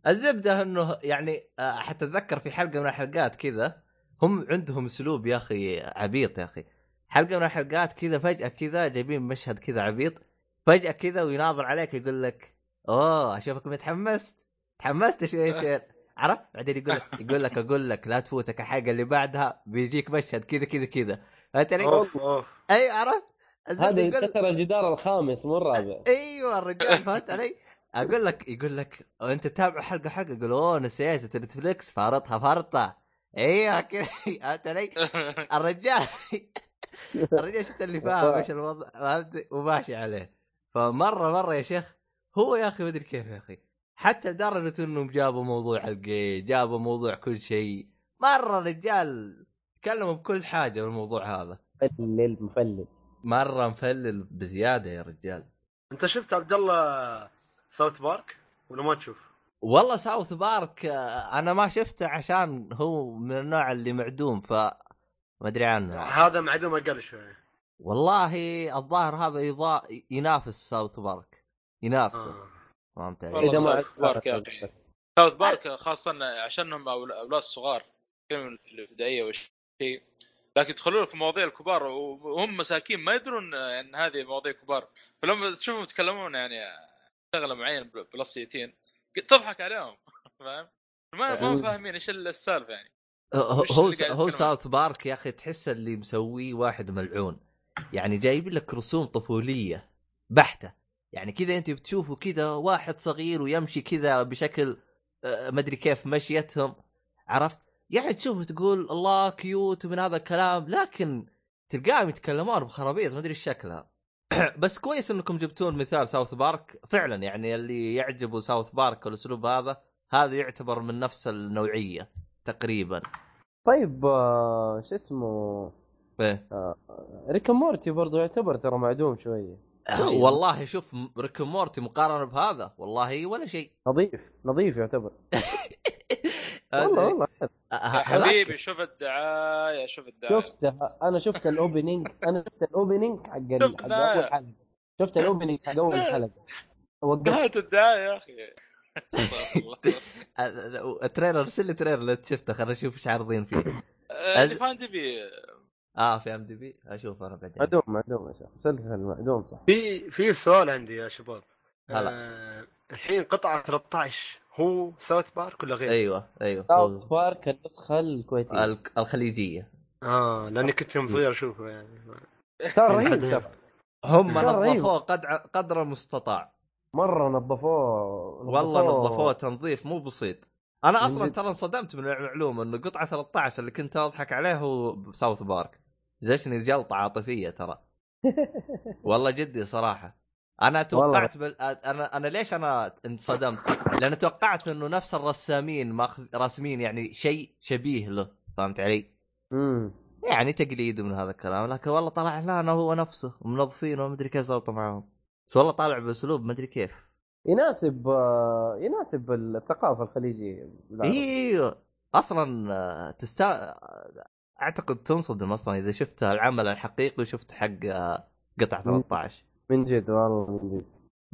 [SPEAKER 1] الزبده انه يعني آه، حتى اتذكر في حلقه من الحلقات كذا هم عندهم اسلوب يا اخي عبيط يا اخي حلقه من الحلقات كذا فجاه كذا جايبين مشهد كذا عبيط فجاه كذا ويناظر عليك يقول لك اوه اشوفكم تحمست تحمست شويتين (laughs) عرفت بعدين يقول لك يقول لك اقول لك لا تفوتك الحلقه اللي بعدها بيجيك مشهد كذا كذا كذا فهمت علي؟
[SPEAKER 3] اوف اوف
[SPEAKER 1] اي عرفت
[SPEAKER 4] هذا
[SPEAKER 1] الزبدة يقول-
[SPEAKER 4] ينكسر الجدار الخامس مو الرابع
[SPEAKER 1] ايوه الرجال فهمت علي؟ اقول لك يقول لك انت تتابع حلقه حلقه يقول اوه نسيت نتفلكس فارطها فرطه ايوه (laughs) كذا فهمت علي؟ الرجال (laughs) الرجال شفت اللي فاهم ايش الوضع فهمت وماشي عليه فمره مره يا شيخ هو يا اخي ما ادري كيف يا اخي حتى لدرجه انهم جابوا موضوع الجي جابوا موضوع كل شيء مره الرجال تكلموا بكل حاجه بالموضوع هذا
[SPEAKER 4] مفلل مفلل
[SPEAKER 1] مره مفلل بزياده يا رجال
[SPEAKER 3] انت شفت عبد الله ساوث بارك ولا ما تشوف؟
[SPEAKER 1] والله ساوث بارك آه، انا ما شفته عشان هو من النوع اللي معدوم ف ما ادري عنه
[SPEAKER 3] هذا معدوم اقل شوي
[SPEAKER 1] والله الظاهر هذا يضا... ينافس ساوث بارك ينافسه
[SPEAKER 3] آه.
[SPEAKER 1] فهمت علي؟
[SPEAKER 2] والله
[SPEAKER 4] إذا ما
[SPEAKER 2] ساوث
[SPEAKER 4] عجبك-
[SPEAKER 2] بارك يا أخي. ساوث بارك خاصه عشان هم أول- اولاد صغار كلهم في الابتدائيه وشيء لكن يدخلون لك في مواضيع الكبار وهم مساكين ما يدرون ان هذه مواضيع كبار فلما تشوفهم يتكلمون يعني شغله معينه بلس 18 تضحك عليهم (laughs) فاهم؟ ما ما هم فاهمين ايش السالفه يعني
[SPEAKER 1] هو
[SPEAKER 2] وش
[SPEAKER 1] هو
[SPEAKER 2] اللي
[SPEAKER 1] هو
[SPEAKER 2] قاعد يتكلم عنه؟
[SPEAKER 1] ساوث بارك يا اخي تحس اللي مسويه واحد ملعون يعني جايب لك رسوم طفوليه بحته يعني كذا انت بتشوفه كذا واحد صغير ويمشي كذا بشكل آه، مدري كيف مشيتهم عرفت يعني تشوفه تقول الله كيوت ومن هذا الكلام لكن تلقاهم يتكلمون بخرابيط مدري ايش شكلها (coughs) بس كويس انكم جبتون مثال ساوث بارك فعلا يعني اللي يعجبه ساوث بارك والاسلوب هذا هذا يعتبر من نفس النوعيه تقريبا
[SPEAKER 4] طيب آه، شو اسمه
[SPEAKER 1] ايه
[SPEAKER 4] ريكا مورتي برضو يعتبر ترى معدوم شويه أيوة.
[SPEAKER 1] والله شوف ريك مورتي مقارنه بهذا والله ولا شيء
[SPEAKER 4] نظيف نظيف يعتبر والله والله
[SPEAKER 1] أه،
[SPEAKER 2] يا
[SPEAKER 1] هذاك-
[SPEAKER 2] حبيبي شوف الدعايه شوف (laughs) الدعايه
[SPEAKER 4] شفتها انا شفت الاوبننج انا شفت الاوبننج حق ال- حق
[SPEAKER 2] شفنا.
[SPEAKER 4] اول حلقه شفت الاوبننج حق اول حلقه وقفت
[SPEAKER 2] نهايه الدعايه يا اخي استغفر الله.
[SPEAKER 1] أه، تريلر ارسل لي تريلر اللي شفته خلينا نشوف ايش عارضين
[SPEAKER 2] (laughs)
[SPEAKER 1] فيه
[SPEAKER 2] آه، اللي فان دي بي
[SPEAKER 1] اه في ام دي بي اشوف انا بعدين
[SPEAKER 4] معدوم معدوم يا شيخ مسلسل معدوم صح
[SPEAKER 3] في في سؤال عندي يا شباب
[SPEAKER 1] هلا.
[SPEAKER 3] آه الحين قطعه 13 هو ساوث بارك ولا غيره؟
[SPEAKER 1] ايوه ايوه
[SPEAKER 4] ساوث
[SPEAKER 1] هو
[SPEAKER 4] بارك النسخه الكويتيه
[SPEAKER 1] ال- الخليجيه
[SPEAKER 3] اه لاني كنت يوم صغير
[SPEAKER 1] (laughs)
[SPEAKER 3] اشوفه يعني
[SPEAKER 4] (laughs) ترى رهيب ترى
[SPEAKER 1] هم
[SPEAKER 2] أيوه.
[SPEAKER 4] مرة رهيب.
[SPEAKER 1] نظفوه قدر قدر المستطاع
[SPEAKER 4] مره نظفوه
[SPEAKER 1] والله نظفوه تنظيف مو بسيط انا اصلا
[SPEAKER 4] من جد.
[SPEAKER 1] ترى انصدمت من المعلومه انه قطعه 13 اللي كنت اضحك عليه هو ساوث بارك جتني جلطه عاطفيه
[SPEAKER 4] (laughs)
[SPEAKER 1] ترى والله جدي صراحه انا توقعت بال... انا انا ليش انا انصدمت؟ لان توقعت انه نفس الرسامين ماخذ راسمين يعني شيء شبيه له فهمت علي؟
[SPEAKER 4] امم
[SPEAKER 1] يعني تقليد من هذا الكلام لكن والله طلع لا انا هو نفسه منظفينه ومدري كيف زلطه معاهم بس والله طالع باسلوب مدري كيف
[SPEAKER 4] يناسب آه، يناسب الثقافه الخليجيه بالعربي.
[SPEAKER 1] ايوه اصلا آه، تستا اعتقد تنصدم اصلا اذا شفت العمل الحقيقي وشفت حق آه، قطع 13
[SPEAKER 4] من جد والله من جد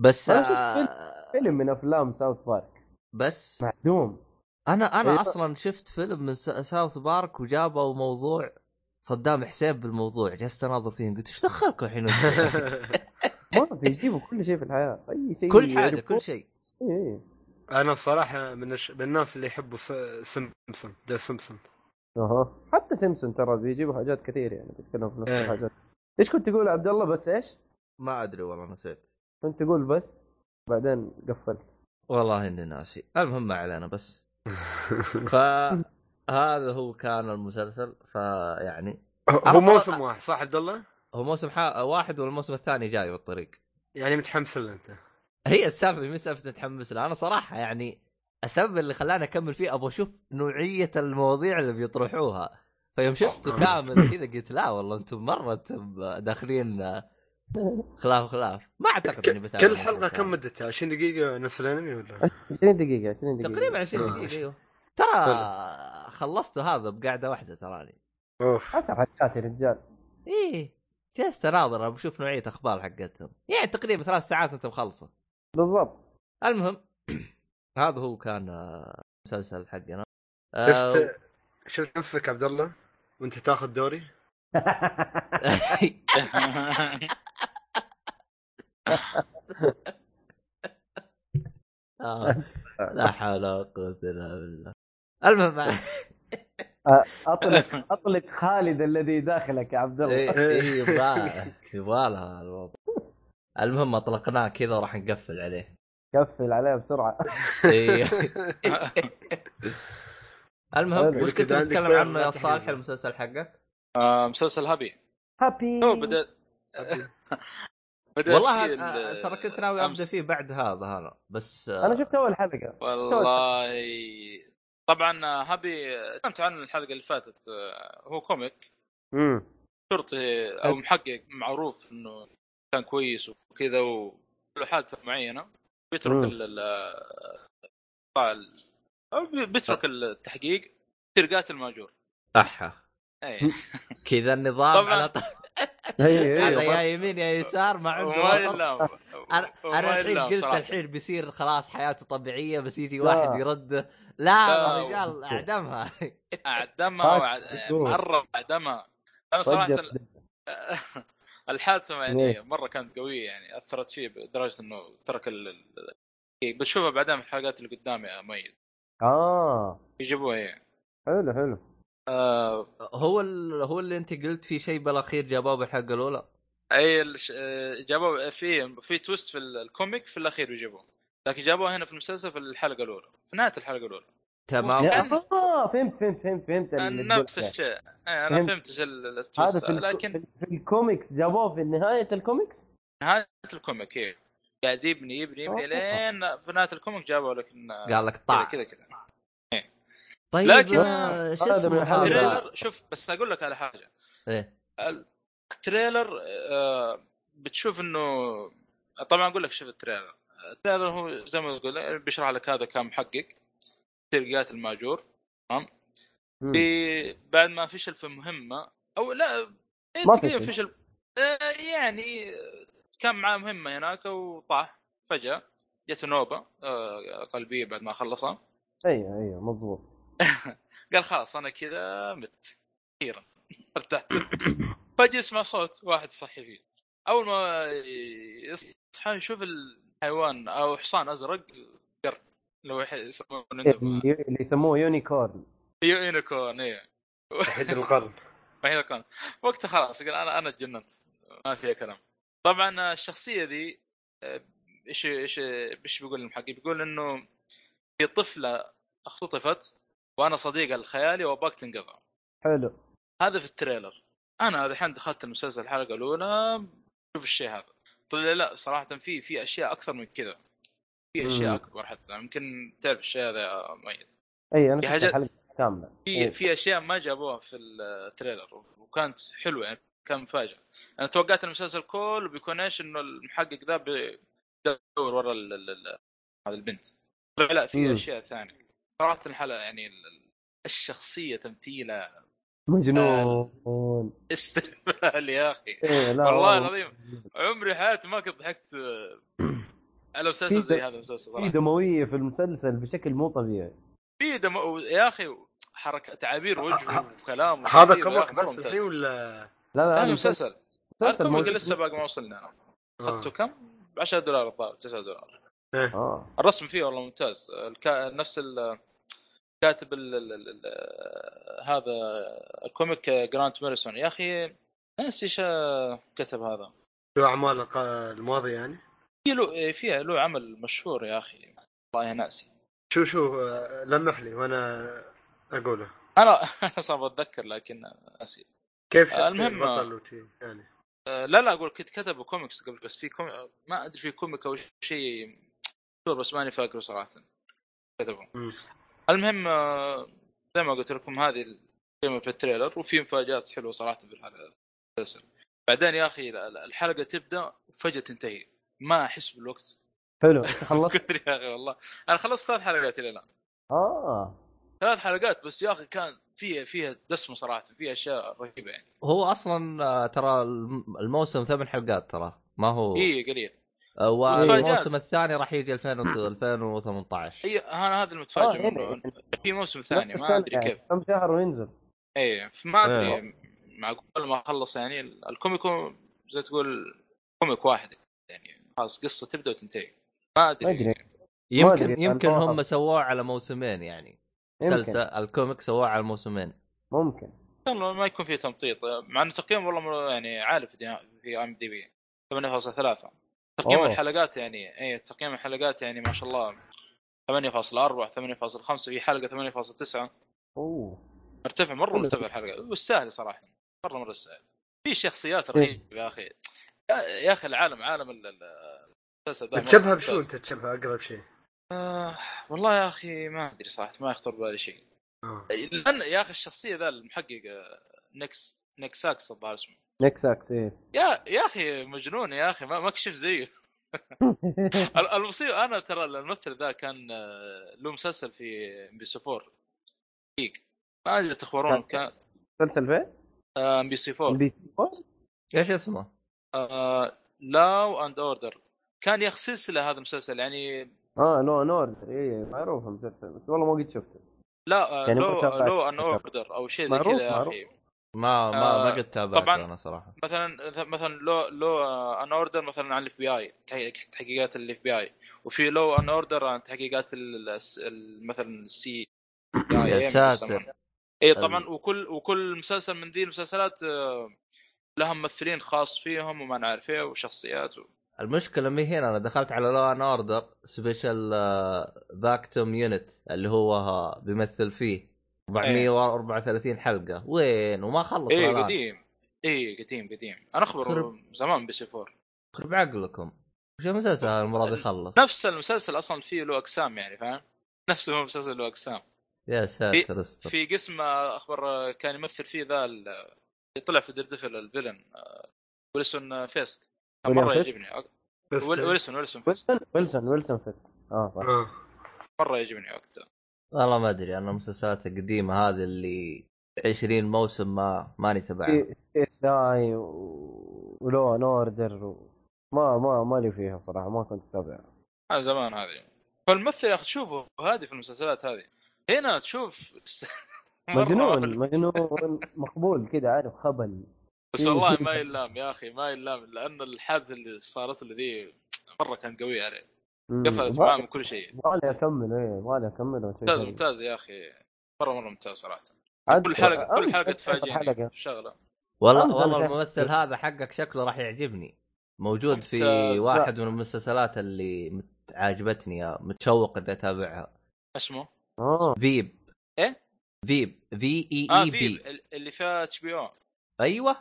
[SPEAKER 1] بس
[SPEAKER 4] أنا شفت
[SPEAKER 1] آه،
[SPEAKER 4] فيلم من افلام ساوث بارك
[SPEAKER 1] بس
[SPEAKER 4] معدوم
[SPEAKER 1] انا انا
[SPEAKER 4] أيوة.
[SPEAKER 1] اصلا شفت فيلم من سا- ساوث بارك وجابوا موضوع صدام حسين بالموضوع جلست اناظر فيهم قلت ايش دخلكم (laughs) الحين
[SPEAKER 4] ما في يجيبوا كل شيء في الحياه اي شيء إيه،
[SPEAKER 1] كل حاجه
[SPEAKER 4] يعرفوه.
[SPEAKER 1] كل شيء
[SPEAKER 4] إي إي.
[SPEAKER 3] انا الصراحه من الش... من الناس اللي يحبوا س... سمسم ذا سمسم
[SPEAKER 4] اها حتى سيمسون ترى بيجيبوا حاجات كثير يعني بيتكلموا في نفس
[SPEAKER 3] إيه.
[SPEAKER 4] الحاجات ايش كنت تقول عبد الله بس ايش؟
[SPEAKER 1] ما ادري والله نسيت
[SPEAKER 4] كنت تقول بس بعدين قفلت
[SPEAKER 1] والله اني ناسي المهم ما علينا بس (laughs) فهذا هو كان المسلسل فيعني
[SPEAKER 3] أه، هو موسم واحد صح عبد الله؟
[SPEAKER 1] هو موسم ح- واحد والموسم الثاني جاي بالطريق (laughs)
[SPEAKER 3] يعني متحمس له انت
[SPEAKER 1] هي السالفه مش سالفه متحمس لها انا صراحه يعني السبب اللي خلاني اكمل فيه ابغى اشوف نوعيه المواضيع اللي بيطرحوها فيوم شفته كامل كذا قلت لا والله انتم مره تب- داخلين خلاف خلاف ما اعتقد اني بتابع
[SPEAKER 3] كل حلقه
[SPEAKER 1] المسلسل.
[SPEAKER 3] كم مدتها 20 دقيقه نفس الانمي ولا
[SPEAKER 4] 20 دقيقة 20 دقيقة
[SPEAKER 1] تقريبا
[SPEAKER 3] آه.
[SPEAKER 1] 20 دقيقه ايوه ترى خلصت هذا بقعده واحده تراني
[SPEAKER 2] أه،
[SPEAKER 3] اوف
[SPEAKER 4] 10 حلقات يا رجال
[SPEAKER 1] ايه جلست اناظر بشوف نوعيه اخبار حقتهم يعني تقريبا ثلاث ساعات انت مخلصه
[SPEAKER 4] بالضبط
[SPEAKER 1] المهم (clears throat) هذا هو كان آه، مسلسل حقنا آه،
[SPEAKER 3] شفت شفت نفسك عبد الله وانت تاخذ دوري؟
[SPEAKER 1] آه، (laughs) لا حول ولا قوة الا بالله المهم
[SPEAKER 4] اطلق اطلق خالد الذي داخلك يا عبد الله
[SPEAKER 1] إيه، إيه، يبغى يبغى لها الموضوع المهم اطلقناه كذا وراح نقفل عليه
[SPEAKER 4] قفل عليها بسرعة
[SPEAKER 1] إيه. (laughs) المهم
[SPEAKER 4] حلو.
[SPEAKER 1] وش كنت
[SPEAKER 3] كده عندك
[SPEAKER 1] بتتكلم
[SPEAKER 3] بيض
[SPEAKER 1] عنه يا
[SPEAKER 3] ما
[SPEAKER 1] صالح
[SPEAKER 3] تحرزه.
[SPEAKER 1] المسلسل حقك؟
[SPEAKER 2] (laughs) آه، مسلسل هابي
[SPEAKER 4] هابي
[SPEAKER 2] تو بدأت (laughs) بدأت
[SPEAKER 1] والله
[SPEAKER 2] فيه ال-
[SPEAKER 1] أنا- ترى كنت ناوي ابدا
[SPEAKER 2] آه، أمس.
[SPEAKER 1] فيه بعد هذا انا بس آه،
[SPEAKER 4] انا شفت اول حلقة
[SPEAKER 2] والله طبعا هابي تكلمت عن الحلقه اللي فاتت آه، هو كوميك
[SPEAKER 4] امم
[SPEAKER 2] شرطي او محقق معروف انه كان كويس وكذا وله حادثه معينه بيترك
[SPEAKER 4] مم.
[SPEAKER 2] ال- ال- القطاع ال- أو بي-
[SPEAKER 1] أه.
[SPEAKER 2] بيترك التحقيق إيه. يصير قاتل ماجور
[SPEAKER 1] احا
[SPEAKER 2] اي
[SPEAKER 1] كذا النظام
[SPEAKER 2] طبعاً.
[SPEAKER 1] على طول
[SPEAKER 2] إيه،
[SPEAKER 4] اي
[SPEAKER 1] على يا
[SPEAKER 4] اي
[SPEAKER 1] يمين يا يسار (laughs) ما عنده
[SPEAKER 2] وما
[SPEAKER 1] وسط
[SPEAKER 2] يلام
[SPEAKER 1] انا انا
[SPEAKER 2] وما
[SPEAKER 1] الحين
[SPEAKER 2] يلام
[SPEAKER 1] قلت
[SPEAKER 2] صراحة.
[SPEAKER 1] الحين بيصير خلاص حياته طبيعيه بس يجي
[SPEAKER 4] لا.
[SPEAKER 1] واحد يرده لا
[SPEAKER 2] لا.
[SPEAKER 1] الرجال اعدمها
[SPEAKER 2] اعدمها
[SPEAKER 4] هاك
[SPEAKER 2] وأعد-
[SPEAKER 4] دكتور.
[SPEAKER 2] مره اعدمها انا صراحه الحادثه يعني
[SPEAKER 4] ليه؟
[SPEAKER 2] مره كانت قويه يعني اثرت إيه، فيه لدرجه انه ترك ال ال- بتشوفها بعدين في الحلقات اللي قدام يا ميت
[SPEAKER 4] اه
[SPEAKER 2] يجيبوها يعني
[SPEAKER 4] حلو حلو
[SPEAKER 2] آه
[SPEAKER 1] (laughs) هو ال... هو اللي انت قلت في شيء بالاخير جابوه بالحلقه الاولى
[SPEAKER 2] اي الش... آه، جابوه في في تويست في ال- الكوميك في الاخير يجيبوه لكن جابوها هنا في المسلسل في الحلقه الاولى في نهايه الحلقه الاولى
[SPEAKER 1] تمام
[SPEAKER 2] لا.
[SPEAKER 4] يا-
[SPEAKER 2] آه، كان-
[SPEAKER 4] اه فهمت فهمت فهمت فهمت ال-
[SPEAKER 2] نفس
[SPEAKER 4] الدرجة.
[SPEAKER 2] الشيء أي، انا
[SPEAKER 4] فهمت.
[SPEAKER 2] فهمت ايش ال- الاستوست
[SPEAKER 4] هذا في,
[SPEAKER 2] لكن
[SPEAKER 4] لكن... في الكوميكس جابوه في نهايه الكوميكس
[SPEAKER 2] نهايه الكوميك هي قاعد يبني يبني يبني
[SPEAKER 4] آه.
[SPEAKER 2] لين في نهايه الكوميك جابوا لك إنه
[SPEAKER 1] قال لك
[SPEAKER 2] كذا
[SPEAKER 1] طع
[SPEAKER 2] كذا كذا
[SPEAKER 1] طيب
[SPEAKER 2] لكن-
[SPEAKER 1] آه، شو
[SPEAKER 4] هذا من
[SPEAKER 1] اسمه هذا؟
[SPEAKER 4] الحلقة.
[SPEAKER 2] التريلر شوف بس اقول لك على حاجه
[SPEAKER 1] إيه.
[SPEAKER 2] التريلر آه، بتشوف انه طبعا اقول لك شوف التريلر التريلر هو زي ما تقول بيشرح لك هذا كان محقق تلقات الماجور إيه. في بعد ما فشل في مهمه او لا إيه،
[SPEAKER 4] ما
[SPEAKER 2] تقريبا
[SPEAKER 4] فشل.
[SPEAKER 2] فشل آه، يعني آه، كان معاه مهمه هناك وطاح فجاه جت نوبه آه، قلبيه بعد ما خلصها
[SPEAKER 4] ايوه ايوه مظبوط
[SPEAKER 2] قال خلاص انا كذا مت اخيرا ارتحت فجاه يسمع صوت واحد يصحي فيه اول ما يصحى يشوف الحيوان او حصان ازرق قرد اللي هو يح- يسمونه أيوه، عندهم
[SPEAKER 4] اللي إيه، اللي يسموه يونيكورن
[SPEAKER 2] يونيكورن اي (laughs)
[SPEAKER 3] وحيد القرن
[SPEAKER 2] وحيد القرن وقتها خلاص قال انا انا تجننت ما فيها كلام طبعا الشخصيه ذي آه، ايش ايش ايش بيقول المحقق بيقول انه في طفله اختطفت وانا صديقها الخيالي واباك تنقذها
[SPEAKER 4] حلو
[SPEAKER 2] هذا في التريلر انا الحين دخلت المسلسل الحلقه الاولى شوف الشيء هذا طلع لا صراحه في في اشياء اكثر من كذا في اشياء
[SPEAKER 4] مم.
[SPEAKER 2] اكبر حتى يمكن تعرف الشيء هذا مؤيد
[SPEAKER 4] اي انا
[SPEAKER 2] في
[SPEAKER 4] إيه، شفت
[SPEAKER 2] حاجات-
[SPEAKER 4] الحلقه كامله
[SPEAKER 2] في
[SPEAKER 4] إيه.
[SPEAKER 2] في اشياء ما جابوها في التريلر وكانت حلوه يعني كان مفاجاه انا توقعت المسلسل كله بيكون ايش انه المحقق ذا بيدور ورا ال- ال- ال- هذا البنت طلع لا في
[SPEAKER 4] مم.
[SPEAKER 2] اشياء ثانيه صراحه الحلقه يعني ال- ال- الشخصيه تمثيلها (laughs)
[SPEAKER 4] مجنون
[SPEAKER 2] استهبال يا اخي
[SPEAKER 4] إيه لا
[SPEAKER 2] والله العظيم عمري حياتي ما كنت ضحكت آه، على مسلسل زي هذا المسلسل
[SPEAKER 4] في
[SPEAKER 2] صراحه
[SPEAKER 4] دمويه في المسلسل بشكل مو طبيعي
[SPEAKER 2] في دم... يا اخي حركه تعابير وجهه وكلامه
[SPEAKER 3] هذا
[SPEAKER 2] تمثيله، يا أخي
[SPEAKER 3] كمان بس
[SPEAKER 2] ممتاز.
[SPEAKER 3] الحين ولا
[SPEAKER 4] لا لا
[SPEAKER 2] هذا
[SPEAKER 4] هذا
[SPEAKER 2] مسلسل
[SPEAKER 4] مسلسل
[SPEAKER 2] الكوميدي
[SPEAKER 4] موجود.
[SPEAKER 2] لسه باقي ما وصلنا انا اخذته
[SPEAKER 3] آه.
[SPEAKER 2] كم؟ 10 دولار الظاهر 9 دولار
[SPEAKER 4] اه
[SPEAKER 2] الرسم فيه والله ممتاز الك... نفس ال... كاتب ال... ال... ال... ال- هذا الكوميك جرانت ماريسون يا اخي ناسي ايش آه، كتب هذا
[SPEAKER 3] شو اعمال الق- الماضي يعني
[SPEAKER 2] في له في له عمل مشهور يا اخي والله ناسي
[SPEAKER 3] شو شو آه، لمح لي وانا اقوله
[SPEAKER 2] (laughs) انا انا صعب اتذكر لكن ناسي
[SPEAKER 3] كيف
[SPEAKER 2] آه،
[SPEAKER 3] شخصية
[SPEAKER 2] المهم، آه.
[SPEAKER 3] البطل وشي يعني
[SPEAKER 2] أه، لا لا اقول كنت كتبوا كوميكس قبل بس في كوميك ما ادري في كوميك او شيء مشهور بس ماني فاكره صراحه كتبوا
[SPEAKER 3] مم.
[SPEAKER 2] المهم آه، زي ما قلت لكم هذه القيمة في التريلر وفي مفاجات حلوه صراحه في الحلقه المسلسل بعدين يا اخي ال- ال- الحلقه تبدا وفجاه تنتهي ما احس بالوقت (laughs)
[SPEAKER 4] حلو أنت خلصت
[SPEAKER 2] كثر يا اخي والله انا خلصت ثلاث حلقات الى الان
[SPEAKER 4] اه
[SPEAKER 2] ثلاث حلقات بس يا اخي كان فيها فيها دسمه صراحه فيها اشياء رهيبه يعني
[SPEAKER 1] هو اصلا آه، ترى الم- الموسم ثمان حلقات ترى ما هو
[SPEAKER 2] اي قليل
[SPEAKER 1] آه،
[SPEAKER 2] متفاجآت.
[SPEAKER 1] والموسم الثاني راح يجي 2000 (coughs) و- 2018
[SPEAKER 2] اي انا إيه، هذا
[SPEAKER 4] آه،
[SPEAKER 2] المتفاجئ
[SPEAKER 4] يعني
[SPEAKER 2] منه في موسم ثاني ما
[SPEAKER 4] نفس
[SPEAKER 2] ادري
[SPEAKER 4] السنة
[SPEAKER 2] كيف
[SPEAKER 4] يعني. كم شهر وينزل
[SPEAKER 2] اي ما
[SPEAKER 1] إيه.
[SPEAKER 2] ادري معقول ما اخلص يعني الكوميك هو زي تقول كوميك واحد يعني خلاص قصه تبدا وتنتهي ما
[SPEAKER 4] ما
[SPEAKER 2] ادري
[SPEAKER 4] ادري ما أدري،
[SPEAKER 1] يمكن
[SPEAKER 4] أنا
[SPEAKER 1] يمكن
[SPEAKER 4] ما
[SPEAKER 1] هم
[SPEAKER 4] أعرف.
[SPEAKER 1] سووه على موسمين يعني مسلسل
[SPEAKER 4] يمكن
[SPEAKER 1] الكوميك سووه على موسمين
[SPEAKER 4] ممكن
[SPEAKER 2] يلا ما يكون في تمطيط مع انه تقييم والله مر- يعني عالي في في ام دي بي 8.3 تقييم
[SPEAKER 4] أوه.
[SPEAKER 2] الحلقات يعني اي تقييم الحلقات يعني ما شاء الله 8.4 8.5 في حلقه 8.9
[SPEAKER 4] اوه
[SPEAKER 2] مرتفع مره
[SPEAKER 4] حلو.
[SPEAKER 2] مرتفع الحلقه والسهل صراحه مره مره سهل في شخصيات رهيبه يا اخي يا- يا اخي العالم عالم ال- ال- المسلسل ده مرة
[SPEAKER 3] تشبهها
[SPEAKER 2] ممتاز.
[SPEAKER 3] بشو انت تشبهها اقرب شيء
[SPEAKER 2] آه والله يا اخي ما ادري صراحه ما يخطر بالي شيء
[SPEAKER 3] آه.
[SPEAKER 2] لان يا اخي الشخصيه ذا المحقق آه، نكس نكساكس الظاهر اسمه
[SPEAKER 4] نكس اكس ايه
[SPEAKER 2] يا يا اخي مجنون يا اخي ما ما كشف زيه ال- المصيبه انا ترى الممثل ذا كان آه، له مسلسل في ام بي سي 4 ما ادري تخبرون كان
[SPEAKER 4] (laughs)
[SPEAKER 2] آه،
[SPEAKER 4] مسلسل فين؟
[SPEAKER 2] ام بي سي 4
[SPEAKER 4] البي سي فور؟
[SPEAKER 1] ايش اسمه؟
[SPEAKER 2] لاو اند اوردر كان يا اخي سلسله هذا المسلسل يعني
[SPEAKER 4] اه نو نور اي معروف المسلسل بس والله ما قد شفته
[SPEAKER 2] لا آه،
[SPEAKER 4] يعني
[SPEAKER 2] لو
[SPEAKER 4] مرتفع.
[SPEAKER 2] لو ان اوردر او شيء زي
[SPEAKER 4] معروف،
[SPEAKER 2] كذا يا
[SPEAKER 4] معروف.
[SPEAKER 2] اخي
[SPEAKER 1] ما ما ما
[SPEAKER 2] آه،
[SPEAKER 1] قد تابعت
[SPEAKER 2] طبعاً.
[SPEAKER 1] انا صراحه
[SPEAKER 2] مثلا مثلا لو لو ان اوردر مثلا عن الاف بي اي تحقيقات الاف بي اي وفي لو ان اوردر عن تحقيقات ال- الس- ال- مثلا السي
[SPEAKER 1] يا ساتر
[SPEAKER 2] اي طبعا
[SPEAKER 1] ال-
[SPEAKER 2] إيه، وكل وكل مسلسل من ذي المسلسلات آه، لها ممثلين خاص فيهم وما نعرف ايه وشخصيات و...
[SPEAKER 1] المشكله مي هنا انا دخلت على لو ان اوردر سبيشال باك توم يونت آه، اللي هو آه، بيمثل فيه
[SPEAKER 2] إيه.
[SPEAKER 1] 434 حلقه وين وما خلص
[SPEAKER 2] اي
[SPEAKER 1] الآن.
[SPEAKER 2] إيه، قديم اي قديم قديم انا اخبر
[SPEAKER 1] خرب.
[SPEAKER 2] زمان بي سي 4
[SPEAKER 1] خرب عقلكم وش المسلسل المره دي خلص
[SPEAKER 2] نفس المسلسل اصلا فيه له اقسام يعني فاهم نفس المسلسل له اقسام
[SPEAKER 1] يا ساتر استر
[SPEAKER 2] في قسم آه، اخبر آه، كان يمثل فيه ذا ال- اللي طلع في ديردفل الفيلن آه، ويلسون آه، فيسك كان
[SPEAKER 4] ويليام
[SPEAKER 2] مره
[SPEAKER 4] فيسك؟
[SPEAKER 2] يعجبني أك-
[SPEAKER 3] بس
[SPEAKER 2] ويل- ويلسون ويلسون فيسك
[SPEAKER 4] ويلسون ويلسون ويلسون فيسك اه
[SPEAKER 2] (laughs)
[SPEAKER 4] صح
[SPEAKER 3] آه.
[SPEAKER 2] مره يعجبني وقتها
[SPEAKER 1] والله ما ادري انا المسلسلات القديمه هذه اللي 20 موسم ما ماني تبعها
[SPEAKER 4] في اس اي و- ولو ان اوردر و... ما ما مالي فيها صراحه ما كنت اتابع
[SPEAKER 2] انا زمان هذه فالممثل يا اخي تشوفه هذه في المسلسلات هذه هنا تشوف (laughs) مرة
[SPEAKER 4] مجنون
[SPEAKER 2] ولا-
[SPEAKER 4] مجنون مقبول كذا عارف خبل (laughs)
[SPEAKER 2] بس والله ما يلام يا اخي ما يلام لان الحادثه اللي صارت له ذي مره كان قوي عليه
[SPEAKER 4] مم.
[SPEAKER 2] قفلت معاه من كل شيء
[SPEAKER 4] يبغالي اكمل ايه يبغالي اكمل وأشوف
[SPEAKER 2] ممتاز
[SPEAKER 4] هذا.
[SPEAKER 2] ممتاز يا اخي مره مره ممتاز صراحه
[SPEAKER 4] عاد-
[SPEAKER 2] كل حلقه كل
[SPEAKER 4] أمس
[SPEAKER 2] حلقه
[SPEAKER 4] شفت
[SPEAKER 2] تفاجئني
[SPEAKER 4] حلقة.
[SPEAKER 2] شغله
[SPEAKER 1] والله
[SPEAKER 4] أمس أنا
[SPEAKER 1] والله
[SPEAKER 4] شايف-
[SPEAKER 1] الممثل هذا حقك شكله راح يعجبني موجود في
[SPEAKER 2] ممتاز.
[SPEAKER 1] واحد من المسلسلات اللي مت- عاجبتني متشوق اني اتابعها
[SPEAKER 2] اسمه
[SPEAKER 4] اه
[SPEAKER 1] فيب
[SPEAKER 2] إيه؟
[SPEAKER 1] فيب E في اي
[SPEAKER 2] اه
[SPEAKER 1] اي
[SPEAKER 2] في
[SPEAKER 1] بي
[SPEAKER 2] اللي فيها اتش بي او
[SPEAKER 1] ايوه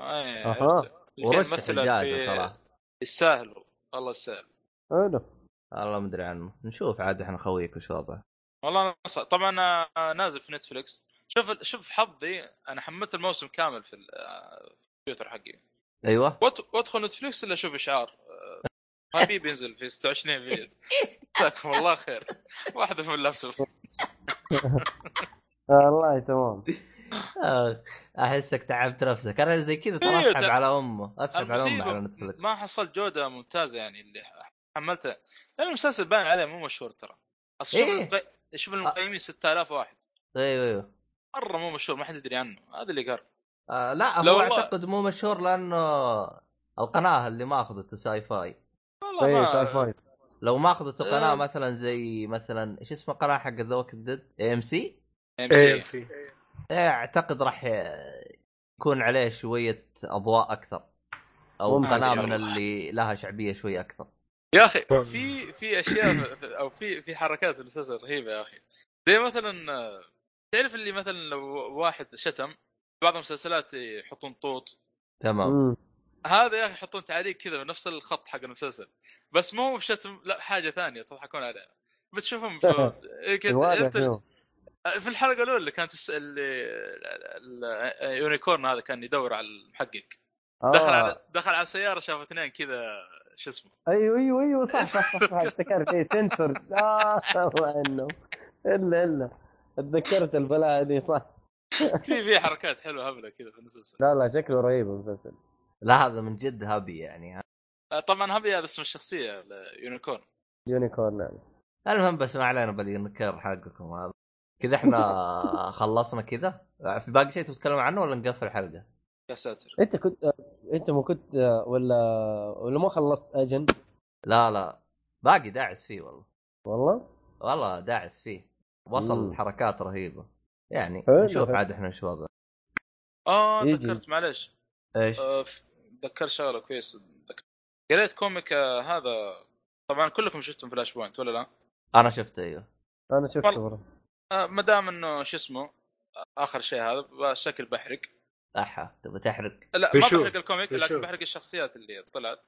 [SPEAKER 2] آه
[SPEAKER 4] أها.
[SPEAKER 2] عرفت. اللي كان
[SPEAKER 1] ورشح
[SPEAKER 2] مثلا
[SPEAKER 1] الجائزه
[SPEAKER 2] في
[SPEAKER 1] ترى
[SPEAKER 2] الساهل والله الساهل
[SPEAKER 4] حلو
[SPEAKER 1] والله ما ادري عنه نشوف عاد احنا خويك وش وضعه
[SPEAKER 2] والله أنا ص- طبعا آه، نازل في نتفلكس شوف ال- شوف حظي انا حملت الموسم كامل في ال- آه، في الكمبيوتر حقي
[SPEAKER 1] ايوه
[SPEAKER 2] وأت- وادخل نتفلكس الا اشوف اشعار آه، حبيبي ينزل في 26 ابريل جزاكم الله خير واحد من اللابتوب
[SPEAKER 4] والله تمام
[SPEAKER 1] آه، احسك تعبت نفسك انا زي كذا ترى
[SPEAKER 2] إيه،
[SPEAKER 1] اسحب
[SPEAKER 2] تع-
[SPEAKER 1] على امه اسحب على امه
[SPEAKER 2] المصيبة
[SPEAKER 1] على نتفلكس
[SPEAKER 2] ما حصلت جوده ممتازه يعني اللي حملتها لان المسلسل باين عليه مو مشهور ترى اصل شوف
[SPEAKER 1] إيه.
[SPEAKER 2] المقي- شوف المقيمين 6000 واحد
[SPEAKER 1] ايوه ايوه
[SPEAKER 2] مره مو مشهور ما حد يدري عنه هذا اللي قهر
[SPEAKER 1] آه لا
[SPEAKER 2] لا
[SPEAKER 1] هو
[SPEAKER 2] والله.
[SPEAKER 1] اعتقد مو مشهور لانه القناه اللي ما اخذته ساي فاي
[SPEAKER 2] والله
[SPEAKER 4] طيب
[SPEAKER 2] ما
[SPEAKER 4] ساي فاي
[SPEAKER 1] لو ما اخذته قناه
[SPEAKER 2] آه.
[SPEAKER 1] مثلا زي مثلا ايش اسم القناه حق ذا ووكينج ديد اي ام سي
[SPEAKER 3] اي
[SPEAKER 2] AMC.
[SPEAKER 3] سي
[SPEAKER 1] اعتقد راح ي- يكون عليه شويه اضواء اكثر او
[SPEAKER 4] ممكن.
[SPEAKER 1] قناه
[SPEAKER 2] ما
[SPEAKER 1] من
[SPEAKER 2] أدري
[SPEAKER 1] اللي لها شعبيه شوي اكثر
[SPEAKER 2] يا اخي في في اشياء او في في حركات في المسلسل رهيبه يا اخي زي مثلا آه، تعرف اللي مثلا لو واحد شتم بعض المسلسلات يحطون طوط آه.
[SPEAKER 1] تمام
[SPEAKER 4] مم.
[SPEAKER 2] هذا يا اخي يحطون تعليق كذا بنفس الخط حق المسلسل بس مو هو بشتم لا حاجه ثانيه تضحكون عليها بتشوفهم في إيه كده،
[SPEAKER 4] الوالد
[SPEAKER 2] عرفت-
[SPEAKER 4] شنو؟
[SPEAKER 2] في الحلقه الاولى اللي كانت تسال اللي- اليونيكورن هذا كان يدور على المحقق
[SPEAKER 4] آه.
[SPEAKER 2] دخل على دخل على سياره شاف اثنين كذا شو اسمه
[SPEAKER 4] ايوه ايوه ايوه صح صح صح, صح. افتكرت اي سنسور (laughs) اه الله انه الا الا تذكرت البلاء هذه صح
[SPEAKER 2] في في حركات حلوه هبله كذا في المسلسل
[SPEAKER 4] لا لا شكله رهيب المسلسل
[SPEAKER 1] لا هذا من جد هبي يعني
[SPEAKER 2] آه، طبعا هبي هذا اسم الشخصيه يونيكورن
[SPEAKER 4] يونيكورن يعني
[SPEAKER 1] المهم بس ما علينا باليونيكير حقكم هذا كذا احنا
[SPEAKER 4] (laughs)
[SPEAKER 1] خلصنا كذا في باقي شيء تتكلم عنه ولا نقفل الحلقه؟
[SPEAKER 2] يا ساتر
[SPEAKER 4] انت كنت انت ما كنت ولا ولا ما خلصت اجن
[SPEAKER 1] لا لا باقي داعس فيه والله
[SPEAKER 4] والله
[SPEAKER 1] والله داعس فيه وصل
[SPEAKER 4] مم.
[SPEAKER 1] حركات رهيبه يعني
[SPEAKER 4] حلو،
[SPEAKER 1] نشوف
[SPEAKER 4] حلو.
[SPEAKER 1] عاد احنا ايش وضع
[SPEAKER 2] اه
[SPEAKER 4] يجي.
[SPEAKER 2] تذكرت معلش
[SPEAKER 1] ايش
[SPEAKER 2] آه، ف- تذكر شغله كويس تذكر- قريت كوميك آه، هذا طبعا كلكم شفتم فلاش بوينت ولا لا؟
[SPEAKER 1] انا شفته ايوه
[SPEAKER 4] انا شفته
[SPEAKER 2] والله.
[SPEAKER 4] والله
[SPEAKER 2] آه، ما دام انه شو اسمه آه، اخر شيء هذا بشكل بحرق
[SPEAKER 1] احا تبغى تحرق
[SPEAKER 2] لا ما
[SPEAKER 3] بشوف.
[SPEAKER 2] بحرق الكوميك لكن
[SPEAKER 3] بشوف.
[SPEAKER 2] بحرق الشخصيات اللي طلعت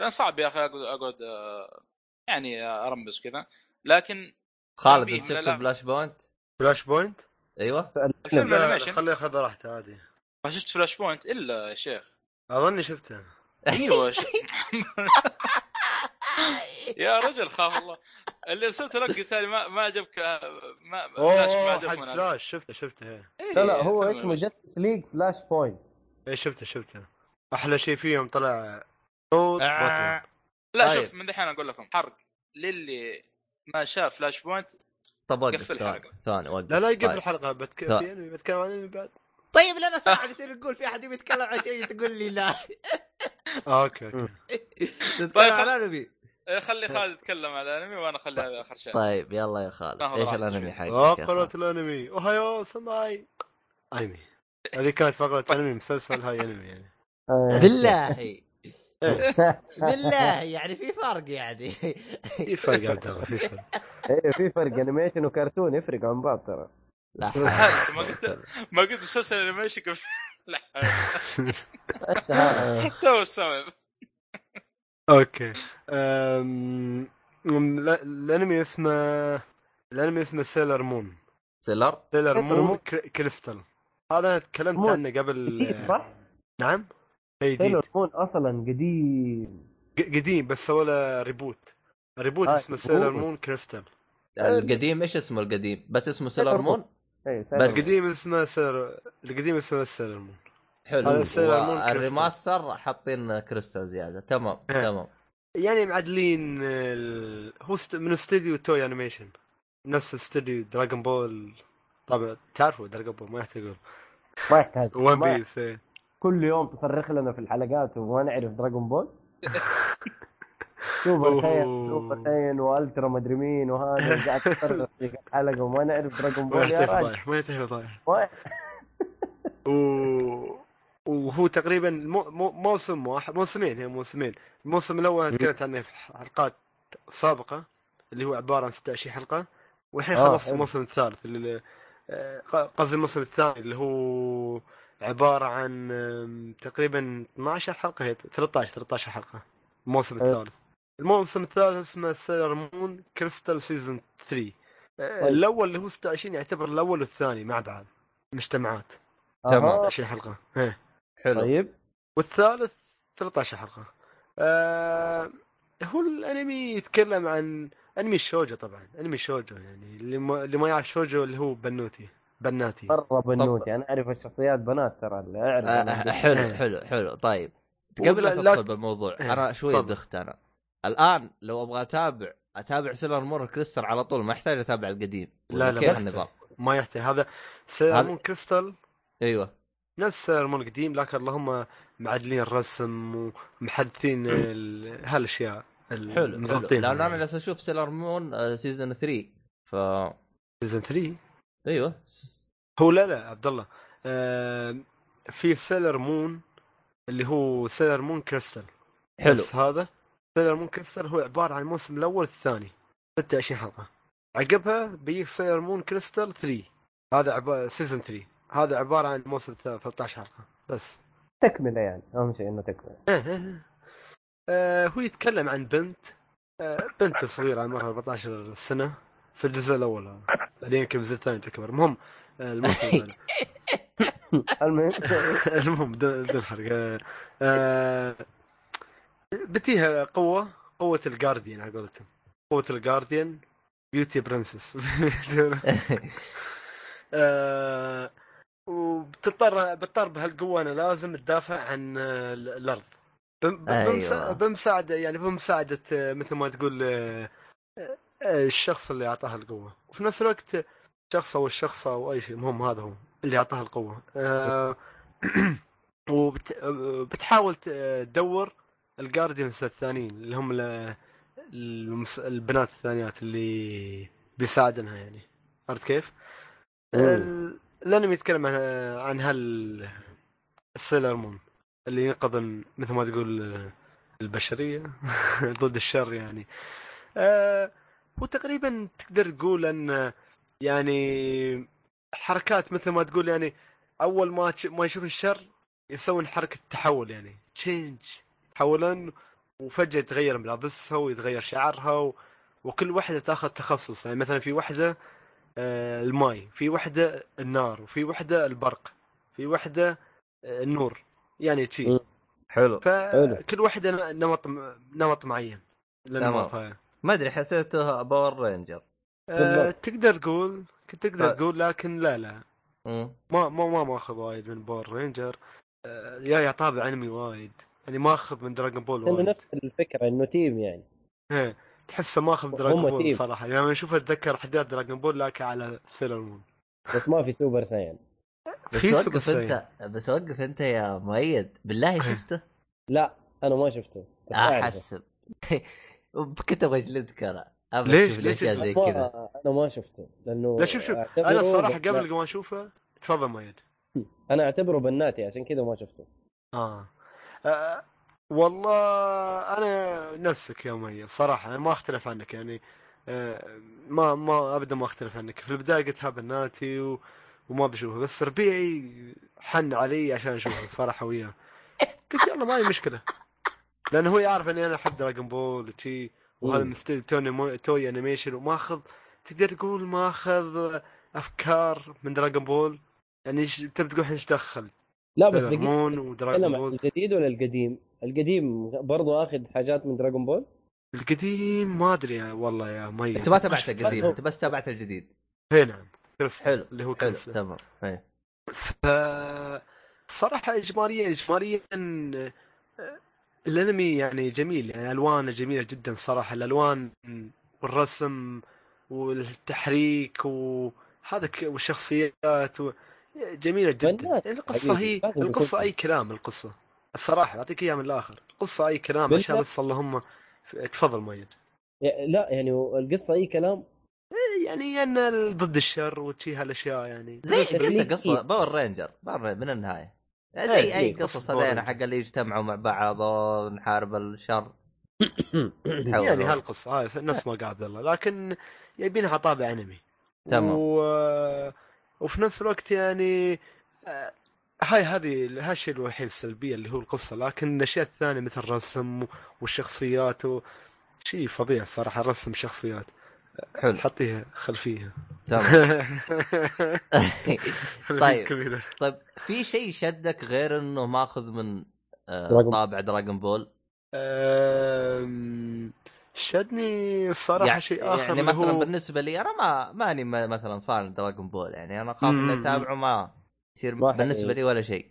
[SPEAKER 2] لان صعب يا اخي اقعد اقعد آه، يعني آه، ارمز كذا لكن
[SPEAKER 1] خالد
[SPEAKER 2] تنبيه
[SPEAKER 1] انت
[SPEAKER 2] من
[SPEAKER 1] شفت
[SPEAKER 2] الأعمى.
[SPEAKER 1] فلاش بوينت
[SPEAKER 3] فلاش بوينت
[SPEAKER 1] ايوه
[SPEAKER 2] الفيلم
[SPEAKER 3] لا، لا،
[SPEAKER 2] الانيميشن
[SPEAKER 3] خليه ياخذ راحته عادي
[SPEAKER 2] ما شفت فلاش بوينت الا يا شيخ
[SPEAKER 3] اظني شفته
[SPEAKER 2] ايوه ش- (laughs) يا رجل خاف الله اللي ارسلته لك قلت لي ما ما عجبك آه، ما فلاش ما
[SPEAKER 3] اوه
[SPEAKER 2] عجبك
[SPEAKER 3] حق
[SPEAKER 2] من
[SPEAKER 3] فلاش شفته شفته إيه.
[SPEAKER 2] إيه،
[SPEAKER 4] لا لا هو
[SPEAKER 2] فيلم
[SPEAKER 4] اسمه جاستس ليج فلاش بوينت
[SPEAKER 3] ايه شفته شفته احلى شيء فيهم طلع صوت باتمان
[SPEAKER 2] لا
[SPEAKER 1] طيب.
[SPEAKER 2] شوف من دحين اقول لكم حرق للي ما شاف فلاش بوينت
[SPEAKER 1] طب وقف
[SPEAKER 2] قفل
[SPEAKER 1] ثاني
[SPEAKER 2] الحلقة.
[SPEAKER 1] ثاني وقف
[SPEAKER 3] لا لا يقفل
[SPEAKER 1] طيب.
[SPEAKER 3] الحلقه بتك...
[SPEAKER 1] طيب.
[SPEAKER 3] في انمي بتكلم عن انمي بعد
[SPEAKER 1] طيب لنا ساعه نصير نقول في احد يبي يتكلم عن شيء تقول لي
[SPEAKER 2] (laughs)
[SPEAKER 1] لا
[SPEAKER 3] اوكي اوكي
[SPEAKER 2] طيب،
[SPEAKER 1] تتكلم عن انمي
[SPEAKER 2] إيه، خلي خالد يتكلم على الانمي وانا اخلي هذا اخر شيء
[SPEAKER 1] طيب يلا يا خالد
[SPEAKER 2] ناخذ
[SPEAKER 1] ايش
[SPEAKER 2] راحتك
[SPEAKER 1] الانمي
[SPEAKER 2] شوي.
[SPEAKER 1] حقك
[SPEAKER 3] آه،
[SPEAKER 1] يا
[SPEAKER 3] قناة
[SPEAKER 1] خالد؟
[SPEAKER 3] الانمي اوهايو سماي انمي هذه كانت فقرة انمي مسلسل هاي انمي يعني
[SPEAKER 4] آه.
[SPEAKER 3] (laughs)
[SPEAKER 1] بالله
[SPEAKER 3] إيه،
[SPEAKER 1] (laughs) بالله يعني في فرق يعني
[SPEAKER 3] في فرق يا عبد الله في فرق
[SPEAKER 4] ايه في فرق انيميشن وكرتون يفرق عن بعض ترى
[SPEAKER 1] لا حول.
[SPEAKER 2] هذا طيب، ما قلت ما قلت مسلسل انيميشن قبل لا (laughs) تو استوعب
[SPEAKER 3] اوكي أم... أم، لا- الانمي اسمه الانمي اسمه سيلر مون
[SPEAKER 1] سيلر
[SPEAKER 3] سيلر
[SPEAKER 4] سيلر
[SPEAKER 3] مون
[SPEAKER 4] مون.
[SPEAKER 3] كر- كريستال هذا أنا تكلمت
[SPEAKER 4] مون.
[SPEAKER 3] عنه قبل
[SPEAKER 4] إيه، صح؟
[SPEAKER 3] نعم اي جديد
[SPEAKER 4] سيلور مون اصلا قديم
[SPEAKER 3] ق- قديم بس سوى له ريبوت ريبوت
[SPEAKER 4] آه،
[SPEAKER 3] اسمه سيلر
[SPEAKER 4] ريبوت.
[SPEAKER 3] مون كريستال
[SPEAKER 1] القديم ايش اسمه القديم بس اسمه سيلر مون
[SPEAKER 4] اي
[SPEAKER 1] بس
[SPEAKER 4] بس
[SPEAKER 3] القديم اسمه سيلر القديم اسمه سيلر مون
[SPEAKER 1] حلو
[SPEAKER 3] هذا سيلر مون كريستال.
[SPEAKER 1] الريماستر حاطين كريستال زياده تمام
[SPEAKER 3] إيه.
[SPEAKER 1] تمام
[SPEAKER 3] يعني معدلين ال... هو است... من استديو توي انيميشن نفس استديو دراجون بول طبعا تعرفوا دراجون بول ما يحتاج اقول
[SPEAKER 4] ما يحتاج
[SPEAKER 3] ون
[SPEAKER 4] ما-
[SPEAKER 3] بيس إيه.
[SPEAKER 4] كل يوم تصرخ لنا في الحلقات وما نعرف دراجون بول سوبر
[SPEAKER 3] أوه.
[SPEAKER 4] ساين سوبر ساين والترا مدري مين وهذا قاعد تصرخ في الحلقه وما نعرف دراجون
[SPEAKER 3] ما
[SPEAKER 4] بول يا
[SPEAKER 3] يحتاج
[SPEAKER 4] راجل
[SPEAKER 3] طايح ما يحتاج طايح
[SPEAKER 4] ما-
[SPEAKER 3] و... وهو تقريبا مو... مو... موسم واحد موسمين هي موسمين الموسم الاول تكلمت عنه في حلقات سابقه اللي هو عباره عن 26 حلقه والحين
[SPEAKER 4] آه،
[SPEAKER 3] خلصت
[SPEAKER 4] حلو.
[SPEAKER 3] الموسم الثالث اللي آه، ق- قصدي الموسم الثاني اللي هو عباره عن آم، تقريبا 12 حلقه هي 13 13 حلقه الموسم
[SPEAKER 4] حلو.
[SPEAKER 3] الثالث الموسم الثالث اسمه سيلر مون كريستال سيزون 3 آه،
[SPEAKER 4] طيب.
[SPEAKER 3] الاول اللي هو 26 يعتبر الاول والثاني مع بعض مجتمعات
[SPEAKER 1] تمام.
[SPEAKER 4] أها.
[SPEAKER 3] 20 حلقه إيه.
[SPEAKER 1] حلو
[SPEAKER 4] طيب
[SPEAKER 3] والثالث 13 حلقه آه هو الانمي يتكلم عن انمي الشوجو طبعا انمي الشوجو يعني اللي ما, اللي ما يعرف شوجو اللي هو بنوتي بناتي
[SPEAKER 4] مره بنوتي انا اعرف يعني الشخصيات بنات ترى اللي اعرف
[SPEAKER 1] آه،
[SPEAKER 4] أنا.
[SPEAKER 1] حلو حلو حلو طيب
[SPEAKER 3] وب-
[SPEAKER 1] قبل لا
[SPEAKER 3] لا-
[SPEAKER 1] تدخل بالموضوع
[SPEAKER 3] إيه،
[SPEAKER 1] انا شوي
[SPEAKER 3] تفضل.
[SPEAKER 1] دخت انا الان لو ابغى اتابع اتابع سيلر مور كريستال على طول ما احتاج اتابع القديم ولا
[SPEAKER 3] لا، لا،
[SPEAKER 1] كيف
[SPEAKER 3] ما
[SPEAKER 1] النظام
[SPEAKER 3] ما يحتاج هذا
[SPEAKER 1] هذا-
[SPEAKER 3] سيرمون كريستال
[SPEAKER 1] ايوه
[SPEAKER 3] نفس سيرمون القديم لكن اللهم معدلين الرسم ومحدثين ال- هالاشياء
[SPEAKER 1] حلو حلو
[SPEAKER 3] مظبطين
[SPEAKER 1] لان انا جالس اشوف سيلر مون سيزون 3 آه، ف
[SPEAKER 3] سيزون 3
[SPEAKER 1] ايوه
[SPEAKER 3] هو لا لا عبد الله آه في سيلر مون اللي هو سيلر مون كريستال
[SPEAKER 1] حلو
[SPEAKER 3] بس هذا سيلر مون كريستال هو عباره عن الموسم الاول الثاني 26 حلقه عقبها بيجيك سيلر مون كريستال 3 هذا عباره سيزون 3 هذا عباره عن الموسم الثاني 13 حلقه بس (laughs)
[SPEAKER 4] تكمله يعني اهم شيء انه تكمله (laughs)
[SPEAKER 3] آه هو يتكلم عن بنت آه بنت صغيرة عمرها 14 سنة في الجزء الأول بعدين يمكن الجزء الثاني تكبر المهم آه الموسم الأول. (laughs)
[SPEAKER 4] المهم
[SPEAKER 3] المهم بدون بدون حرق آه، آه، بتيها قوة قوة الجارديان على قولتهم قوة الجارديان بيوتي برنسس (laughs) آه، وبتضطر بضطر بهالقوة انا لازم اتدافع عن آه، ال- الارض بم-
[SPEAKER 1] أيوة.
[SPEAKER 3] بمسا- بمساعدة يعني بمساعدة آه، مثل ما تقول آه، آه، الشخص اللي اعطاها القوة وفي نفس الوقت شخص او الشخص او اي شيء المهم هذا هو اللي اعطاها القوه آه (clears throat) وبتحاول تدور الجارديانز الثانيين اللي هم ال- المس- البنات الثانيات اللي بيساعدنها يعني عرفت كيف؟ ال- الانمي يتكلم عن عن هال السيلر مون اللي ينقذ ال- مثل ما تقول البشريه (laughs) ضد الشر يعني آه وتقريبا تقدر تقول ان يعني حركات مثل ما تقول يعني اول ما تش- ما يشوف الشر يسوون حركه تحول يعني تشينج يتحولون وفجاه يتغير ملابسها ويتغير شعرها و... وكل واحده تاخذ تخصص يعني مثلا في واحده آه، الماي في واحده النار وفي واحده البرق في واحده آه، النور يعني تشي
[SPEAKER 4] مم.
[SPEAKER 1] حلو
[SPEAKER 3] فكل واحده ن- نمط نمط معين
[SPEAKER 1] تمام.
[SPEAKER 3] للنمط هذا
[SPEAKER 1] ما ادري حسيته باور رينجر
[SPEAKER 3] آه، تقدر تقول تقدر
[SPEAKER 1] طيب.
[SPEAKER 3] تقول لكن لا لا
[SPEAKER 1] مم.
[SPEAKER 3] ما ما ما ماخذ وايد من باور رينجر آه، يا يا طابع انمي وايد يعني ماخذ من دراجون
[SPEAKER 4] (laughs)
[SPEAKER 3] بول
[SPEAKER 4] لانه
[SPEAKER 3] وايد
[SPEAKER 4] نفس الفكره انه تيم يعني
[SPEAKER 3] إيه، تحسه ماخذ من
[SPEAKER 4] هم
[SPEAKER 3] دراجون بول
[SPEAKER 4] تيم.
[SPEAKER 3] صراحه يعني لما اشوف اتذكر احداث دراجون بول لكن على سيلر مون
[SPEAKER 4] بس ما في سوبر ساين
[SPEAKER 1] بس
[SPEAKER 3] في
[SPEAKER 1] وقف
[SPEAKER 3] سوبر
[SPEAKER 1] انت بس وقف انت يا مؤيد
[SPEAKER 3] إيه،
[SPEAKER 1] بالله شفته
[SPEAKER 4] لا انا ما شفته بس اعرفه
[SPEAKER 1] (laughs) احسب كنت ابغى اجلدك انا ابغى
[SPEAKER 3] ليش-
[SPEAKER 1] اشوف
[SPEAKER 3] ليش
[SPEAKER 1] الاشياء زي
[SPEAKER 4] ما-
[SPEAKER 1] كذا
[SPEAKER 4] انا ما شفته لانه
[SPEAKER 3] لا شوف شوف
[SPEAKER 4] أعتبره
[SPEAKER 3] انا الصراحه
[SPEAKER 4] بنات.
[SPEAKER 3] قبل ما اشوفه تفضل مؤيد
[SPEAKER 4] انا اعتبره بناتي عشان كذا ما شفته
[SPEAKER 3] آه. آه والله انا نفسك يا مي صراحه أنا ما اختلف عنك يعني آه ما ما ابدا ما اختلف عنك في البدايه قلت ها بناتي و... وما بشوفه بس ربيعي حن علي عشان اشوفه صراحه وياه قلت يلا ما هي مشكله لانه هو يعرف اني انا احب دراجون بول وشي وهذا
[SPEAKER 4] مم.
[SPEAKER 3] من ستيل توني مو... توي انيميشن وماخذ تقدر تقول ماخذ افكار من دراجون بول يعني إيش- تبي تقول الحين ايش دخل؟
[SPEAKER 4] لا بس دقيقه
[SPEAKER 3] دراجون ودراجون
[SPEAKER 4] تتكلم
[SPEAKER 3] بول
[SPEAKER 4] عن الجديد ولا القديم؟ القديم برضو اخذ حاجات من دراغون بول؟
[SPEAKER 3] القديم ما ادري يا- والله يا مي
[SPEAKER 1] انت ما تابعت القديم
[SPEAKER 4] شفته.
[SPEAKER 1] انت بس تابعت الجديد
[SPEAKER 3] اي نعم كريس
[SPEAKER 1] حلو،
[SPEAKER 3] اللي
[SPEAKER 1] حلو
[SPEAKER 3] هو كريس
[SPEAKER 1] تمام إيه.
[SPEAKER 3] ف صراحه اجماليا اجماليا آه، الانمي يعني جميل يعني الوانه جميله جدا صراحه الالوان والرسم والتحريك وهذا ك- والشخصيات و... جميله جدا
[SPEAKER 4] بنات
[SPEAKER 3] يعني القصه هي
[SPEAKER 4] حقيقي، لازم تكون
[SPEAKER 3] القصه
[SPEAKER 4] فنان.
[SPEAKER 3] اي كلام القصه الصراحه اعطيك اياها من الاخر القصه اي كلام
[SPEAKER 4] بالله.
[SPEAKER 3] عشان بس اللهم تفضل مؤيد
[SPEAKER 4] يع- لا يعني القصه اي كلام
[SPEAKER 3] يعني ان ال- ضد الشر وشي هالاشياء يعني
[SPEAKER 1] زي
[SPEAKER 4] بس
[SPEAKER 1] قلت
[SPEAKER 4] في-
[SPEAKER 1] قصه باور رينجر باور رينجر من النهايه
[SPEAKER 4] إيه،
[SPEAKER 1] زي
[SPEAKER 4] زي
[SPEAKER 1] اي
[SPEAKER 4] قصة
[SPEAKER 1] قصص
[SPEAKER 3] باور
[SPEAKER 1] هذين
[SPEAKER 3] رينجر.
[SPEAKER 1] حق اللي يجتمعوا مع بعض ونحارب الشر حول
[SPEAKER 3] يعني
[SPEAKER 1] الله.
[SPEAKER 3] هالقصه هاي نفس ما قال عبد الله لكن يبينها طابع انمي
[SPEAKER 1] تمام.
[SPEAKER 3] و... وفي نفس الوقت يعني آه، هاي هذه هالشيء الوحيد السلبيه اللي هو القصه لكن الاشياء الثانيه مثل الرسم والشخصيات و... شيء فظيع الصراحه رسم شخصيات
[SPEAKER 1] حلو
[SPEAKER 3] حطيها خلفيها (laughs)
[SPEAKER 1] تمام طيب.
[SPEAKER 3] الكمبيوتر.
[SPEAKER 1] طيب في شيء شدك غير انه ماخذ من آه،
[SPEAKER 4] دراغون-
[SPEAKER 1] طابع دراغون بول
[SPEAKER 3] أم، شدني الصراحه
[SPEAKER 1] يعني-
[SPEAKER 3] شيء اخر
[SPEAKER 1] يعني
[SPEAKER 3] اللي
[SPEAKER 1] مثلا
[SPEAKER 3] هو...
[SPEAKER 1] بالنسبه لي انا ما ماني ما- مثلا فان دراغون بول يعني انا اخاف اني
[SPEAKER 3] مم.
[SPEAKER 1] اتابعه ما يصير
[SPEAKER 4] ما
[SPEAKER 1] بالنسبه
[SPEAKER 4] حقيقي.
[SPEAKER 1] لي ولا شيء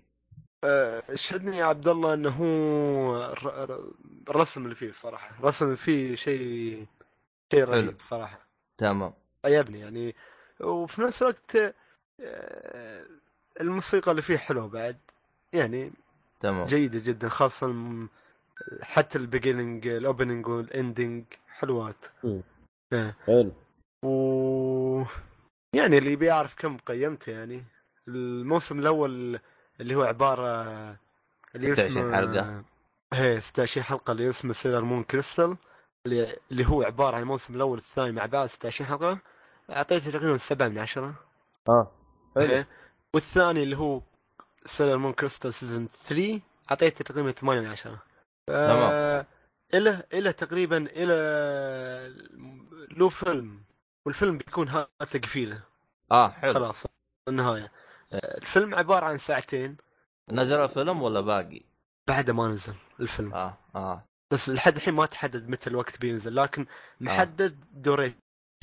[SPEAKER 3] شدني يا عبد الله انه هو الر- الر- الرسم اللي فيه صراحه الرسم اللي فيه شيء شيء
[SPEAKER 1] حلو.
[SPEAKER 3] رهيب صراحه
[SPEAKER 1] تمام
[SPEAKER 3] عجبني يعني وفي نفس الوقت آه، الموسيقى اللي فيه حلوه بعد يعني
[SPEAKER 1] تمام
[SPEAKER 3] جيده جدا خاصه الم- حتى البيجننج الاوبننج والاندنج حلوات
[SPEAKER 4] حلو
[SPEAKER 3] و يعني اللي بيعرف كم قيمته يعني الموسم الاول اللي هو عباره اللي
[SPEAKER 1] 26
[SPEAKER 3] اسمه-
[SPEAKER 1] حلقة.
[SPEAKER 3] ايه 26 حلقه اللي اسمه سيلر مون كريستال اللي اللي هو عباره عن الموسم الاول والثاني مع بعض 16 حلقه اعطيته تقريبا 7 من 10
[SPEAKER 4] اه حلو
[SPEAKER 3] إيه. والثاني اللي هو سيلر مون كريستال سيزون 3 اعطيته تقريبا 8 من 10 آه،
[SPEAKER 1] تمام.
[SPEAKER 3] الى الى تقريبا الى له فيلم والفيلم بيكون هذا تقفيله
[SPEAKER 1] اه حلو
[SPEAKER 3] خلاص النهايه آه، الفيلم عباره عن ساعتين
[SPEAKER 1] نزل الفيلم ولا باقي؟
[SPEAKER 3] بعده ما نزل الفيلم
[SPEAKER 1] اه اه
[SPEAKER 3] بس لحد الحين ما تحدد متى الوقت بينزل
[SPEAKER 1] آه.
[SPEAKER 3] لكن محدد دوريشن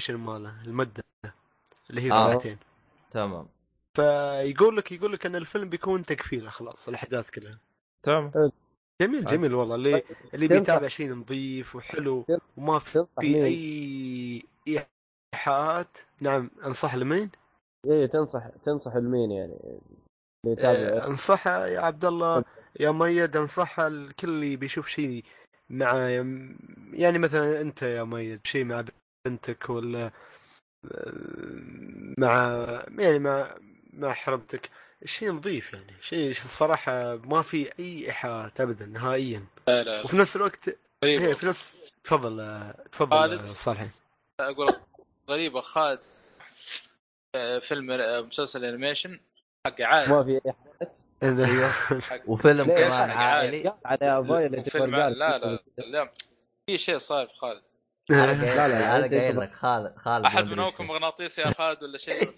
[SPEAKER 3] ماله المده اللي هي
[SPEAKER 1] آه.
[SPEAKER 3] ساعتين
[SPEAKER 1] تمام
[SPEAKER 3] فيقول لك يقول لك ان الفيلم بيكون تكفيله خلاص الاحداث كلها
[SPEAKER 2] تمام
[SPEAKER 3] جميل
[SPEAKER 4] آه.
[SPEAKER 3] جميل والله اللي اللي
[SPEAKER 4] تنصح-
[SPEAKER 3] بيتابع شيء نظيف وحلو
[SPEAKER 4] تن-
[SPEAKER 3] وما في
[SPEAKER 4] تنصح مين؟
[SPEAKER 3] اي ايحاءات نعم انصح لمين؟
[SPEAKER 4] ايه تنصح تنصح لمين يعني اللي
[SPEAKER 3] آه،
[SPEAKER 4] يتابع
[SPEAKER 3] انصح يا عبد الله يا ميد انصح الكل اللي بيشوف شيء مع يعني مثلا انت يا ميد شيء مع بنتك ولا آه، مع يعني مع مع حرمتك شيء نظيف يعني شيء الصراحه ما في اي ايحاءات ابدا نهائيا
[SPEAKER 2] لا لا
[SPEAKER 3] وفي نفس الوقت
[SPEAKER 2] غريبة
[SPEAKER 3] ايه في نفس تفضل آه، تفضل
[SPEAKER 2] خالد.
[SPEAKER 3] آه، صالح
[SPEAKER 2] اقول غريبة خالد آه، فيلم آه، مسلسل انيميشن حق عائلة
[SPEAKER 4] ما في اي حاجة.
[SPEAKER 2] حق
[SPEAKER 1] وفيلم
[SPEAKER 4] ليه؟
[SPEAKER 1] كمان
[SPEAKER 2] عشان
[SPEAKER 1] عائلي
[SPEAKER 4] قاعد على فايلت
[SPEAKER 2] فيلم عائلة. لا لا لا في شيء صاير خالد
[SPEAKER 1] انا قايل-
[SPEAKER 4] لا، لا،
[SPEAKER 1] انا
[SPEAKER 4] أنت-
[SPEAKER 1] قايل لك خالد خالد
[SPEAKER 2] احد
[SPEAKER 1] ما أدري
[SPEAKER 2] منكم
[SPEAKER 1] إيش.
[SPEAKER 2] مغناطيسي يا خالد ولا شيء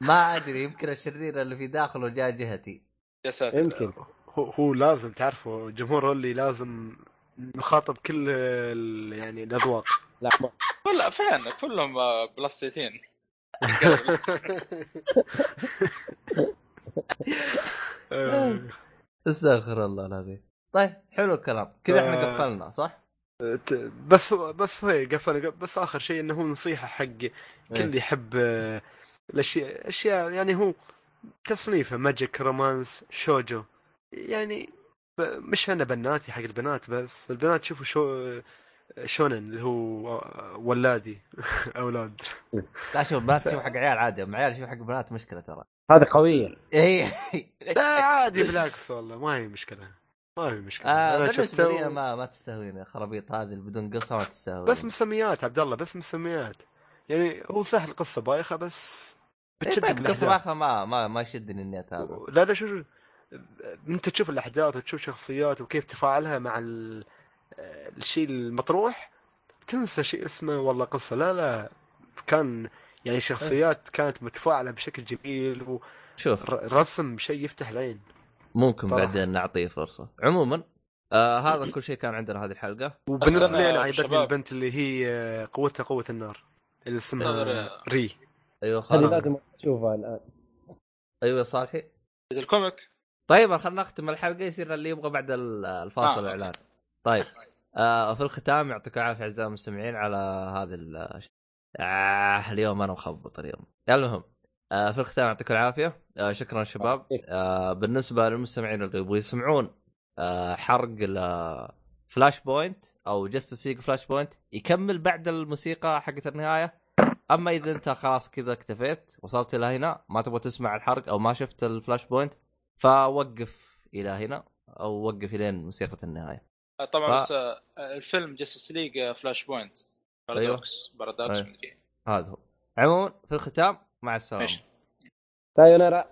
[SPEAKER 1] ما ادري يمكن الشرير اللي في داخله جاء جهتي
[SPEAKER 2] يا ساتر
[SPEAKER 4] يمكن
[SPEAKER 3] هو هو لازم تعرفه الجمهور هو اللي لازم نخاطب كل ال- يعني (laughs) الاذواق
[SPEAKER 4] لا ما
[SPEAKER 2] كل فين كلهم آه، بلاستيتين
[SPEAKER 3] آه،
[SPEAKER 1] استغفر الله العظيم طيب حلو الكلام كذا احنا
[SPEAKER 3] آه.
[SPEAKER 1] قفلنا صح؟
[SPEAKER 3] ت- بس هو- بس هو قفل قفل- بس اخر شيء انه هو نصيحه حق كل
[SPEAKER 1] إيه.
[SPEAKER 3] اللي يحب آه، الاشياء اشياء يعني هو تصنيفه ماجيك رومانس شوجو يعني ب- مش انا بناتي حق البنات بس البنات شوفوا شو آه، شونن اللي هو آه، ولادي (laughs) اولاد
[SPEAKER 1] لا شوف بنات شوف حق عيال عادي اما عيال شوف حق بنات مشكله ترى إيه. آه،
[SPEAKER 4] هذه
[SPEAKER 1] (laughs)
[SPEAKER 4] قويه
[SPEAKER 1] اي
[SPEAKER 3] لا عادي بالعكس والله ما هي مشكله ما هي مشكله
[SPEAKER 1] آه بالنسبه
[SPEAKER 3] شفته
[SPEAKER 1] لي ما ما تستهويني الخرابيط هذه اللي بدون قصه ما تستهويني
[SPEAKER 3] بس مسميات عبد الله بس مسميات يعني هو سهل قصه بايخه بس
[SPEAKER 1] إيه
[SPEAKER 3] بتشدك
[SPEAKER 1] طيب قصه
[SPEAKER 3] الاحداث
[SPEAKER 1] باخه ما ما ما يشدني النت هذا
[SPEAKER 3] لا لا شوف انت تشوف الاحداث وتشوف شخصيات وكيف تفاعلها مع ال... الشيء المطروح تنسى شيء اسمه والله قصه لا لا كان يعني شخصيات كانت متفاعله بشكل جميل
[SPEAKER 1] شوف
[SPEAKER 3] ورسم شيء يفتح العين
[SPEAKER 1] ممكن
[SPEAKER 3] صراحة.
[SPEAKER 1] بعدين نعطيه فرصه عموما آه هذا كل شيء كان عندنا هذه الحلقه
[SPEAKER 2] بس
[SPEAKER 3] وبالنسبه
[SPEAKER 2] أنا
[SPEAKER 3] لي انا عجبتني
[SPEAKER 2] آه، شباب.
[SPEAKER 3] البنت اللي هي قوتها قوه النار اللي اسمها
[SPEAKER 2] نظر-
[SPEAKER 3] ري
[SPEAKER 1] ايوه
[SPEAKER 2] آه.
[SPEAKER 4] هذه
[SPEAKER 1] خلاص
[SPEAKER 4] لازم اشوفها الان
[SPEAKER 1] ايوه يا صالحي
[SPEAKER 2] الكوميك
[SPEAKER 1] طيب خلينا نختم الحلقه يصير اللي يبغى بعد ال- الفاصل
[SPEAKER 2] آه،
[SPEAKER 1] الاعلان طيب آه في الختام يعطيكم العافيه اعزائي المستمعين على هذا ال آه اليوم انا مخبط اليوم المهم آه في الختام يعطيكم العافيه آه شكرا شباب آه بالنسبه للمستمعين اللي يبغوا يسمعون آه حرق ل- فلاش بوينت او جست سيج فلاش بوينت يكمل بعد الموسيقى حقت النهايه اما اذا انت خلاص كذا اكتفيت وصلت الى هنا ما تبغى تسمع الحرق او ما شفت الفلاش بوينت فوقف الى هنا او وقف الين موسيقى النهايه
[SPEAKER 2] آه، طبعا
[SPEAKER 1] ف-
[SPEAKER 2] بس آه، الفيلم آه، جاستس ليج فلاش بوينت بارادوكس بارادوكس
[SPEAKER 1] أيوه.
[SPEAKER 2] مدري إيه.
[SPEAKER 1] هذا هو عموما في الختام مع السلامه
[SPEAKER 2] ماشي
[SPEAKER 4] سايونارا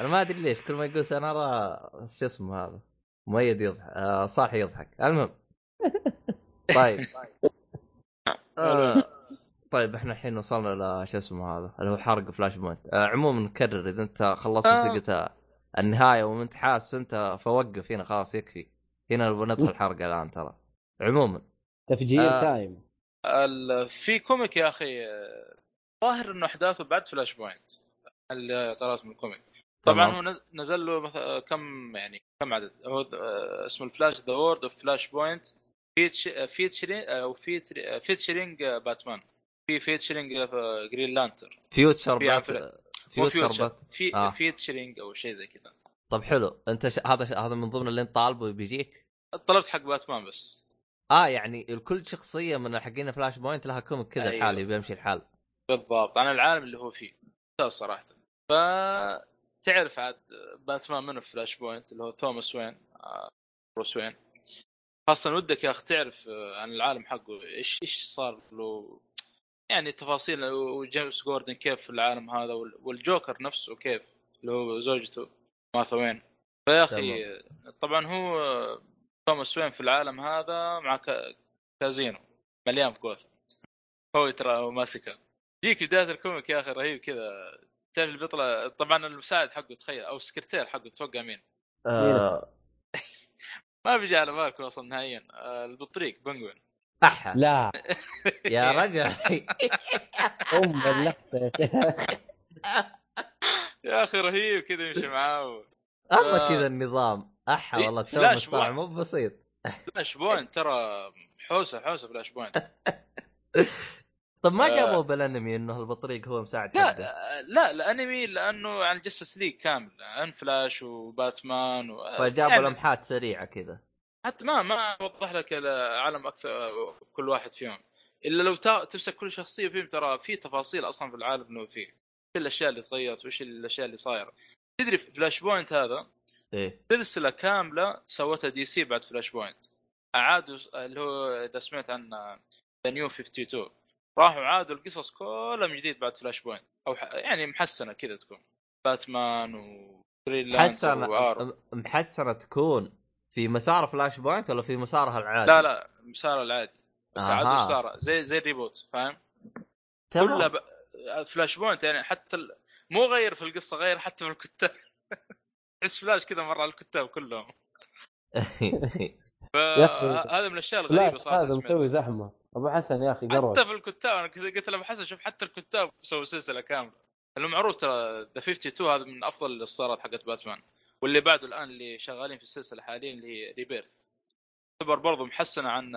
[SPEAKER 1] انا ما ادري ليش كل ما يقول سنرى شو اسمه هذا مؤيد يضحك آه صاحي يضحك
[SPEAKER 2] (laughs)
[SPEAKER 1] المهم طيب آه طيب احنا الحين وصلنا ل شو اسمه هذا اللي هو حرق فلاش بوينت آه عموما نكرر اذا انت خلصت
[SPEAKER 2] آه.
[SPEAKER 1] موسيقى النهايه وانت حاسس انت فوقف هنا خلاص يكفي هنا نبغى
[SPEAKER 2] (laughs)
[SPEAKER 1] ندخل حرق الان ترى عموما
[SPEAKER 4] تفجير
[SPEAKER 1] آه.
[SPEAKER 4] تايم
[SPEAKER 2] ال- في كوميك يا اخي آه، ظاهر انه احداثه بعد فلاش بوينت اللي قرات من الكوميك طبعا
[SPEAKER 1] تمام.
[SPEAKER 2] هو نز- نزل له مث- آه، كم يعني كم عدد هو آه، اسمه الفلاش ذا وورد اوف فلاش بوينت آه، فيتشرينج او آه، فيتشرينج باتمان في آه، فيتشرينج جرين لانتر
[SPEAKER 1] فيوتشر
[SPEAKER 2] في
[SPEAKER 1] بات
[SPEAKER 2] عفرة.
[SPEAKER 1] فيوتشر بات طيب،
[SPEAKER 2] في
[SPEAKER 1] آه.
[SPEAKER 2] فيتشرينج او شيء زي كذا
[SPEAKER 1] طب حلو انت ش... هذا ش... هذا من ضمن اللي انت طالبه بيجيك
[SPEAKER 2] طلبت حق باتمان بس
[SPEAKER 1] اه يعني كل شخصيه من حقين فلاش بوينت لها كوميك كذا
[SPEAKER 2] أيوه.
[SPEAKER 1] أيوه. لحاله بيمشي الحال
[SPEAKER 2] بالضبط عن العالم اللي هو فيه ممتاز صراحه ف تعرف عاد باتمان منه في فلاش بوينت اللي هو توماس وين آه، بروس وين خاصة ودك يا اخي تعرف آه، عن العالم حقه ايش ايش صار له يعني تفاصيل وجيمس جوردن كيف في العالم هذا وال- والجوكر نفسه كيف اللي هو زوجته مارثا وين فيا اخي آه، طبعا هو آه، توماس وين في العالم هذا مع كا- كازينو مليان كوث هو ترى ماسكه جيك بدايه الكوميك يا اخي رهيب كذا تعرف البطله طبعا المساعد حقه تخيل او السكرتير حقه توقع مين
[SPEAKER 4] آه،
[SPEAKER 2] ما بيجي على بالك اصلا نهائيا آه، البطريق بنجوين
[SPEAKER 1] احا
[SPEAKER 4] لا
[SPEAKER 1] يا
[SPEAKER 2] (laughs)
[SPEAKER 1] رجل
[SPEAKER 4] ام اللقطه يا شيخ.
[SPEAKER 2] يا اخي رهيب كذا يمشي (laughs) معاه
[SPEAKER 1] اما
[SPEAKER 2] آه.
[SPEAKER 1] كذا النظام احا
[SPEAKER 2] إيه، (laughs)
[SPEAKER 1] والله
[SPEAKER 2] فلاش
[SPEAKER 1] التومس طالع
[SPEAKER 2] بوينت.
[SPEAKER 1] مو بسيط
[SPEAKER 2] فلاش بوينت ترى حوسه حوسه فلاش بوينت
[SPEAKER 1] طب ما
[SPEAKER 2] آه.
[SPEAKER 1] جابوا بالانمي انه البطريق هو مساعد حقه
[SPEAKER 2] لا لا الانمي لانه عن جسس ليج كامل عن فلاش وباتمان و...
[SPEAKER 1] فجابوا
[SPEAKER 2] يعني
[SPEAKER 1] لمحات سريعه كذا
[SPEAKER 2] حتى ما ما وضح لك العالم اكثر كل واحد فيهم الا لو تا- تمسك كل شخصيه فيهم ترى في تفاصيل اصلا في العالم انه فيه ايش الاشياء اللي تغيرت وايش الاشياء اللي صايره تدري في فلاش بوينت هذا
[SPEAKER 1] ايه
[SPEAKER 2] سلسله كامله سوتها دي سي بعد فلاش بوينت اعادوا اللي هو اذا سمعت عن ذا نيو 52 راحوا عادوا القصص كلها من جديد بعد فلاش بوينت او ح- يعني محسنه كذا تكون باتمان و
[SPEAKER 1] محسنه
[SPEAKER 2] وارو
[SPEAKER 1] م- محسنه تكون في مسار فلاش بوينت ولا في مسارها العادي؟
[SPEAKER 2] لا لا مسار العادي بس
[SPEAKER 1] أها.
[SPEAKER 2] عاد مسار زي زي الريبوت فاهم؟
[SPEAKER 1] تمام.
[SPEAKER 2] كلها ب... فلاش بوينت يعني حتى ال... مو غير في القصه غير حتى في الكتاب (laughs) تحس فلاش كذا مر على الكتاب كلهم
[SPEAKER 1] (laughs)
[SPEAKER 2] آه،
[SPEAKER 4] يا أخي.
[SPEAKER 2] فهذا من الاشياء الغريبه
[SPEAKER 4] لا
[SPEAKER 2] صراحه
[SPEAKER 4] هذا
[SPEAKER 2] سمعتها.
[SPEAKER 4] مسوي زحمه ابو حسن يا اخي قرب
[SPEAKER 2] حتى في الكتاب انا كذا قلت لابو حسن شوف حتى الكتاب سووا سلسله كامله لانه معروف ترى ذا 52 هذا من افضل الاصدارات حقت باتمان واللي بعده الان اللي شغالين في السلسله حاليا اللي هي ريبيرث تعتبر برضه محسنه عن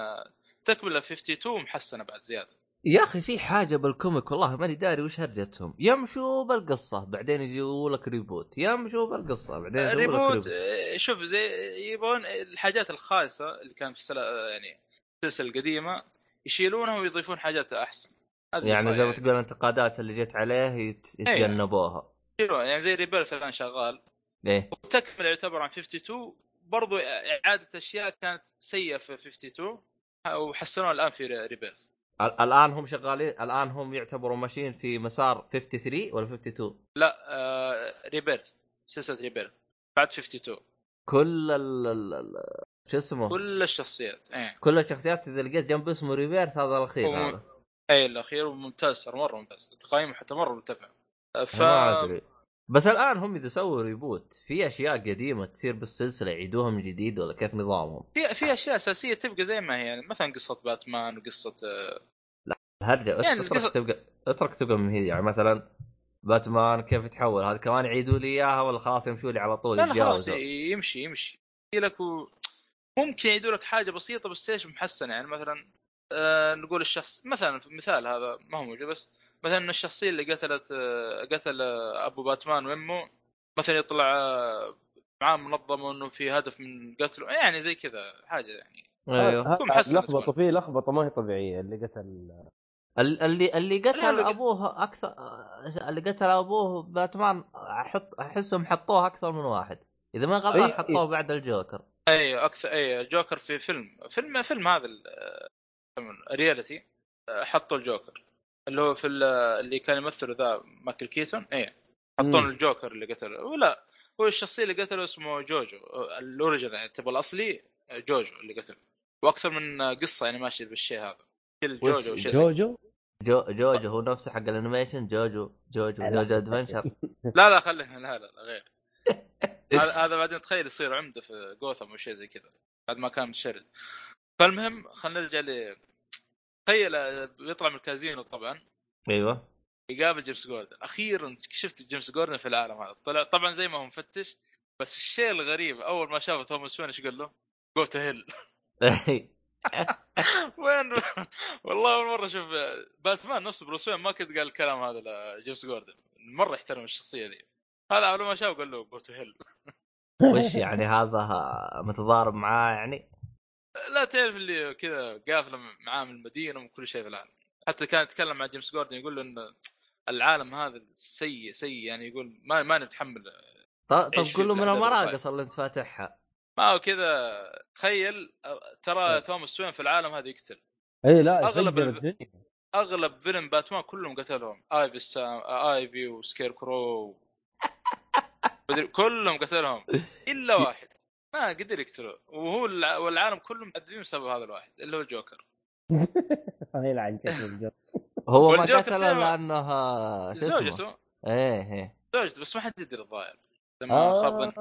[SPEAKER 2] تكمله 52 محسنه بعد زياده
[SPEAKER 1] يا اخي في حاجه بالكوميك والله ماني داري وش هرجتهم يمشوا بالقصه بعدين يجيبوا لك ريبوت يمشوا بالقصه بعدين يجيبوا لك ريبوت
[SPEAKER 2] ريبوت آه، شوف زي يبغون الحاجات الخايسه اللي كان في السل... آه، يعني السلسله القديمه يشيلونها ويضيفون حاجات احسن هذا
[SPEAKER 1] يعني
[SPEAKER 2] النصائح
[SPEAKER 1] زي ما تقول الانتقادات اللي جت عليه يت- يتجنبوها
[SPEAKER 2] يشيلون. يعني زي ريبيرث الان شغال
[SPEAKER 1] ايه
[SPEAKER 2] وتكمله يعتبر عن 52 برضو اعاده اشياء كانت سيئه في 52 وحسنوها الان في ريبيرث
[SPEAKER 1] ال- الان هم شغالين الان هم يعتبروا ماشيين في مسار 53 ولا 52
[SPEAKER 2] لا آه ريبيرث سلسله ريبيرث بعد 52
[SPEAKER 1] كل ال ال- ال- شو اسمه كل,
[SPEAKER 2] كل الشخصيات ايه
[SPEAKER 1] كل الشخصيات اذا لقيت جنب اسمه ريفيرث هذا الاخير
[SPEAKER 2] هو-
[SPEAKER 1] هذا
[SPEAKER 2] اي الاخير وممتاز ترى مره ممتاز تقييمه حتى مره مرتفع آه، ف
[SPEAKER 1] ما ادري بس الان هم اذا سووا ريبوت في اشياء قديمه تصير بالسلسله يعيدوها من جديد ولا كيف نظامهم؟
[SPEAKER 2] في في اشياء اساسيه تبقى زي ما هي يعني مثلا قصه باتمان وقصه آه،
[SPEAKER 1] الهرجه
[SPEAKER 2] يعني
[SPEAKER 1] اترك
[SPEAKER 2] القصة-
[SPEAKER 1] تبقى اترك تبقى من هي يعني مثلا باتمان كيف يتحول هذا كمان يعيدوا لي اياها ولا خلاص يمشوا لي على طول
[SPEAKER 2] لا لا خلاص
[SPEAKER 1] يتجاوزوا؟
[SPEAKER 2] ي- يمشي يمشي لك و... ممكن يعيدوا لك حاجه بسيطه بس ايش محسنه يعني مثلا آه نقول الشخص مثلا مثال هذا ما هو موجود بس مثلا الشخصيه اللي قتلت آه قتل آه ابو باتمان وامه مثلا يطلع آه معاه منظمه انه في هدف من قتله يعني زي كذا حاجه يعني
[SPEAKER 1] ايوه
[SPEAKER 4] ها-
[SPEAKER 2] تكون
[SPEAKER 4] ها-
[SPEAKER 2] محسنة
[SPEAKER 4] لخبطه
[SPEAKER 2] تكون.
[SPEAKER 4] في لخبطه ما هي طبيعيه اللي قتل
[SPEAKER 1] ال- اللي اللي
[SPEAKER 2] لا،
[SPEAKER 1] قتل
[SPEAKER 2] لا،
[SPEAKER 1] ابوه اكثر اللي قتل ابوه باتمان احط احسهم حطوه اكثر من واحد اذا ما غلطان
[SPEAKER 4] إيه،
[SPEAKER 1] حطوه بعد الجوكر
[SPEAKER 2] اي اكثر اي جوكر في فيلم فيلم فيلم هذا ال- آه، يسمونه رياليتي آه، حطوا الجوكر اللي هو في ال- اللي كان يمثله ذا مايكل كيتون اي حطون
[SPEAKER 4] مم.
[SPEAKER 2] الجوكر اللي قتله ولا هو الشخصيه اللي قتله اسمه جوجو آه، الاوريجن يعني تبغى الاصلي آه، جوجو اللي قتله واكثر من آه، قصه يعني ماشيه بالشيء هذا كل
[SPEAKER 4] وش-
[SPEAKER 2] جوجو شيء
[SPEAKER 4] جوجو
[SPEAKER 1] جو جوجو هو نفسه حق الانيميشن جوجو جوجو
[SPEAKER 4] لا،
[SPEAKER 1] جوجو
[SPEAKER 4] لا، بس-
[SPEAKER 1] ادفنشر
[SPEAKER 2] لا لا خلينا لا لا لا، غير هذا هذا بعدين تخيل يصير عمده في جوثم او شيء زي كذا بعد ما كان متشرد فالمهم خلينا نرجع ل تخيل آه، بيطلع من الكازينو طبعا
[SPEAKER 1] (laughs) ايوه
[SPEAKER 2] يقابل جيمس جوردن اخيرا شفت جيمس جوردن في العالم هذا طلع طبعا زي ما هو مفتش بس الشيء الغريب اول ما شافه توماس وين ايش قال له؟ جو تو هيل (laughs) وين والله اول مره اشوف آه، باتمان نفسه بروس وين ما كنت قال الكلام هذا لجيمس جوردن مره يحترم الشخصيه ذي هذا اول ما شافه قال له جو تو هيل
[SPEAKER 1] وش يعني هذا متضارب معاه يعني
[SPEAKER 2] لا تعرف اللي كذا قافله معاه من المدينه وكل شيء في العالم حتى كان يتكلم مع جيمس جوردن يقول له ان العالم هذا سيء سيء يعني يقول ما ما نتحمل
[SPEAKER 1] طب طب
[SPEAKER 2] إيش
[SPEAKER 1] قول له من
[SPEAKER 2] الأهداف
[SPEAKER 1] المراقص اللي انت فاتحها
[SPEAKER 2] ما هو كذا تخيل أه، ترى توماس وين في العالم هذا يقتل
[SPEAKER 4] اي لا
[SPEAKER 2] أغلب
[SPEAKER 4] يفجر
[SPEAKER 2] ال-
[SPEAKER 4] الدنيا (laughs)
[SPEAKER 2] اغلب فيلم باتمان كلهم قتلهم ايفي السام ايفي وسكير كرو مدري- كلهم قتلهم الا واحد ما قدر يقتله وهو الع- والعالم كلهم متعذبين بسبب هذا الواحد اللي هو الجوكر
[SPEAKER 4] يلعن شكله الجو.
[SPEAKER 1] هو ما
[SPEAKER 2] والجوكر
[SPEAKER 1] قتله
[SPEAKER 2] فيها-
[SPEAKER 1] لانه شو اسمه
[SPEAKER 2] زوجته
[SPEAKER 1] ايه ايه
[SPEAKER 2] زوجته بس ما حد يدري الظاهر لما آه. خبن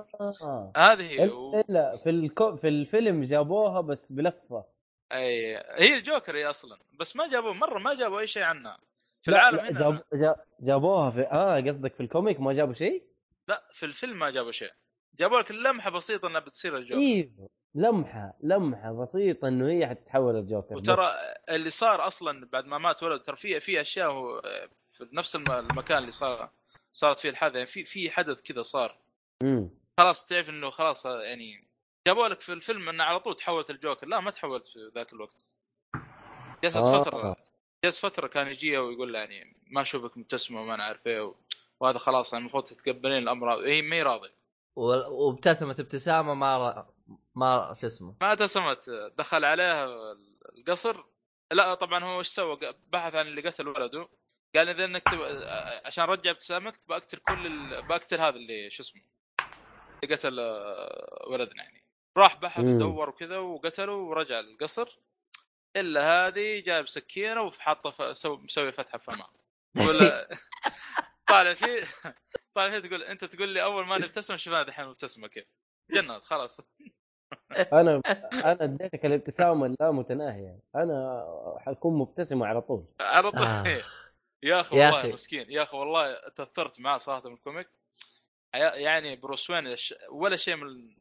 [SPEAKER 4] آه.
[SPEAKER 2] هذه هي
[SPEAKER 4] إلا-
[SPEAKER 2] و...
[SPEAKER 4] الا في الكو... في الفيلم جابوها بس بلفه
[SPEAKER 2] أي... هي الجوكر هي اصلا بس ما جابوا مره ما جابوا اي شيء عنها في
[SPEAKER 4] لا،
[SPEAKER 2] العالم
[SPEAKER 4] لا،
[SPEAKER 2] هنا
[SPEAKER 4] جاب... جا- جابوها في اه قصدك في الكوميك ما جابوا شيء؟
[SPEAKER 2] لا في الفيلم ما جابوا شيء جابوا لك لمحه بسيطه انها بتصير الجوكر
[SPEAKER 4] ايوه لمحه لمحه بسيطه انه هي حتتحول لجوكر
[SPEAKER 2] وترى اللي صار اصلا بعد ما مات ولد ترى في في اشياء هو- في نفس الم- المكان اللي صار صارت فيه الحادثه يعني في في حدث كذا صار (laughs)
[SPEAKER 4] امم
[SPEAKER 2] خلاص تعرف انه خلاص يعني جابوا لك في الفيلم انه على طول تحولت الجوكر لا ما تحولت في ذاك الوقت جلست
[SPEAKER 4] آه.
[SPEAKER 2] فتره جلس فتره كان يجي ويقول له يعني ما اشوفك مبتسمه وما انا عارف ايه و- وهذا خلاص يعني المفروض تتقبلين الامر هي ما هي راضيه
[SPEAKER 1] وال- وابتسمت ابتسامه ما ر... ما شو اسمه
[SPEAKER 2] ما ابتسمت دخل عليها القصر لا طبعا هو ايش سوى؟ بحث عن اللي قتل ولده قال اذا انك تب... عشان ارجع ابتسامتك بقتل كل ال... بقتل هذا اللي شو اسمه اللي قتل آه، ولدنا يعني راح بحث
[SPEAKER 4] مم.
[SPEAKER 2] ودور وكذا وقتله ورجع للقصر الا هذه جايب سكينه وحاطه ف... سو... مسوي فتحه في فمها
[SPEAKER 1] (laughs)
[SPEAKER 2] ولا طالع فيه طالع فيه تقول انت تقول لي اول ما نبتسم شوف انا دحين مبتسمه كيف جنات خلاص
[SPEAKER 4] انا انا اديتك الابتسامه اللا متناهيه انا حكون مبتسم على طول
[SPEAKER 2] على طول
[SPEAKER 1] آه.
[SPEAKER 2] إيه. (laughs) يا اخي
[SPEAKER 1] يا
[SPEAKER 2] والله
[SPEAKER 1] أخي.
[SPEAKER 2] مسكين يا اخي والله تاثرت معاه صراحه من الكوميك يا- يعني بروس وين الش- ولا شيء من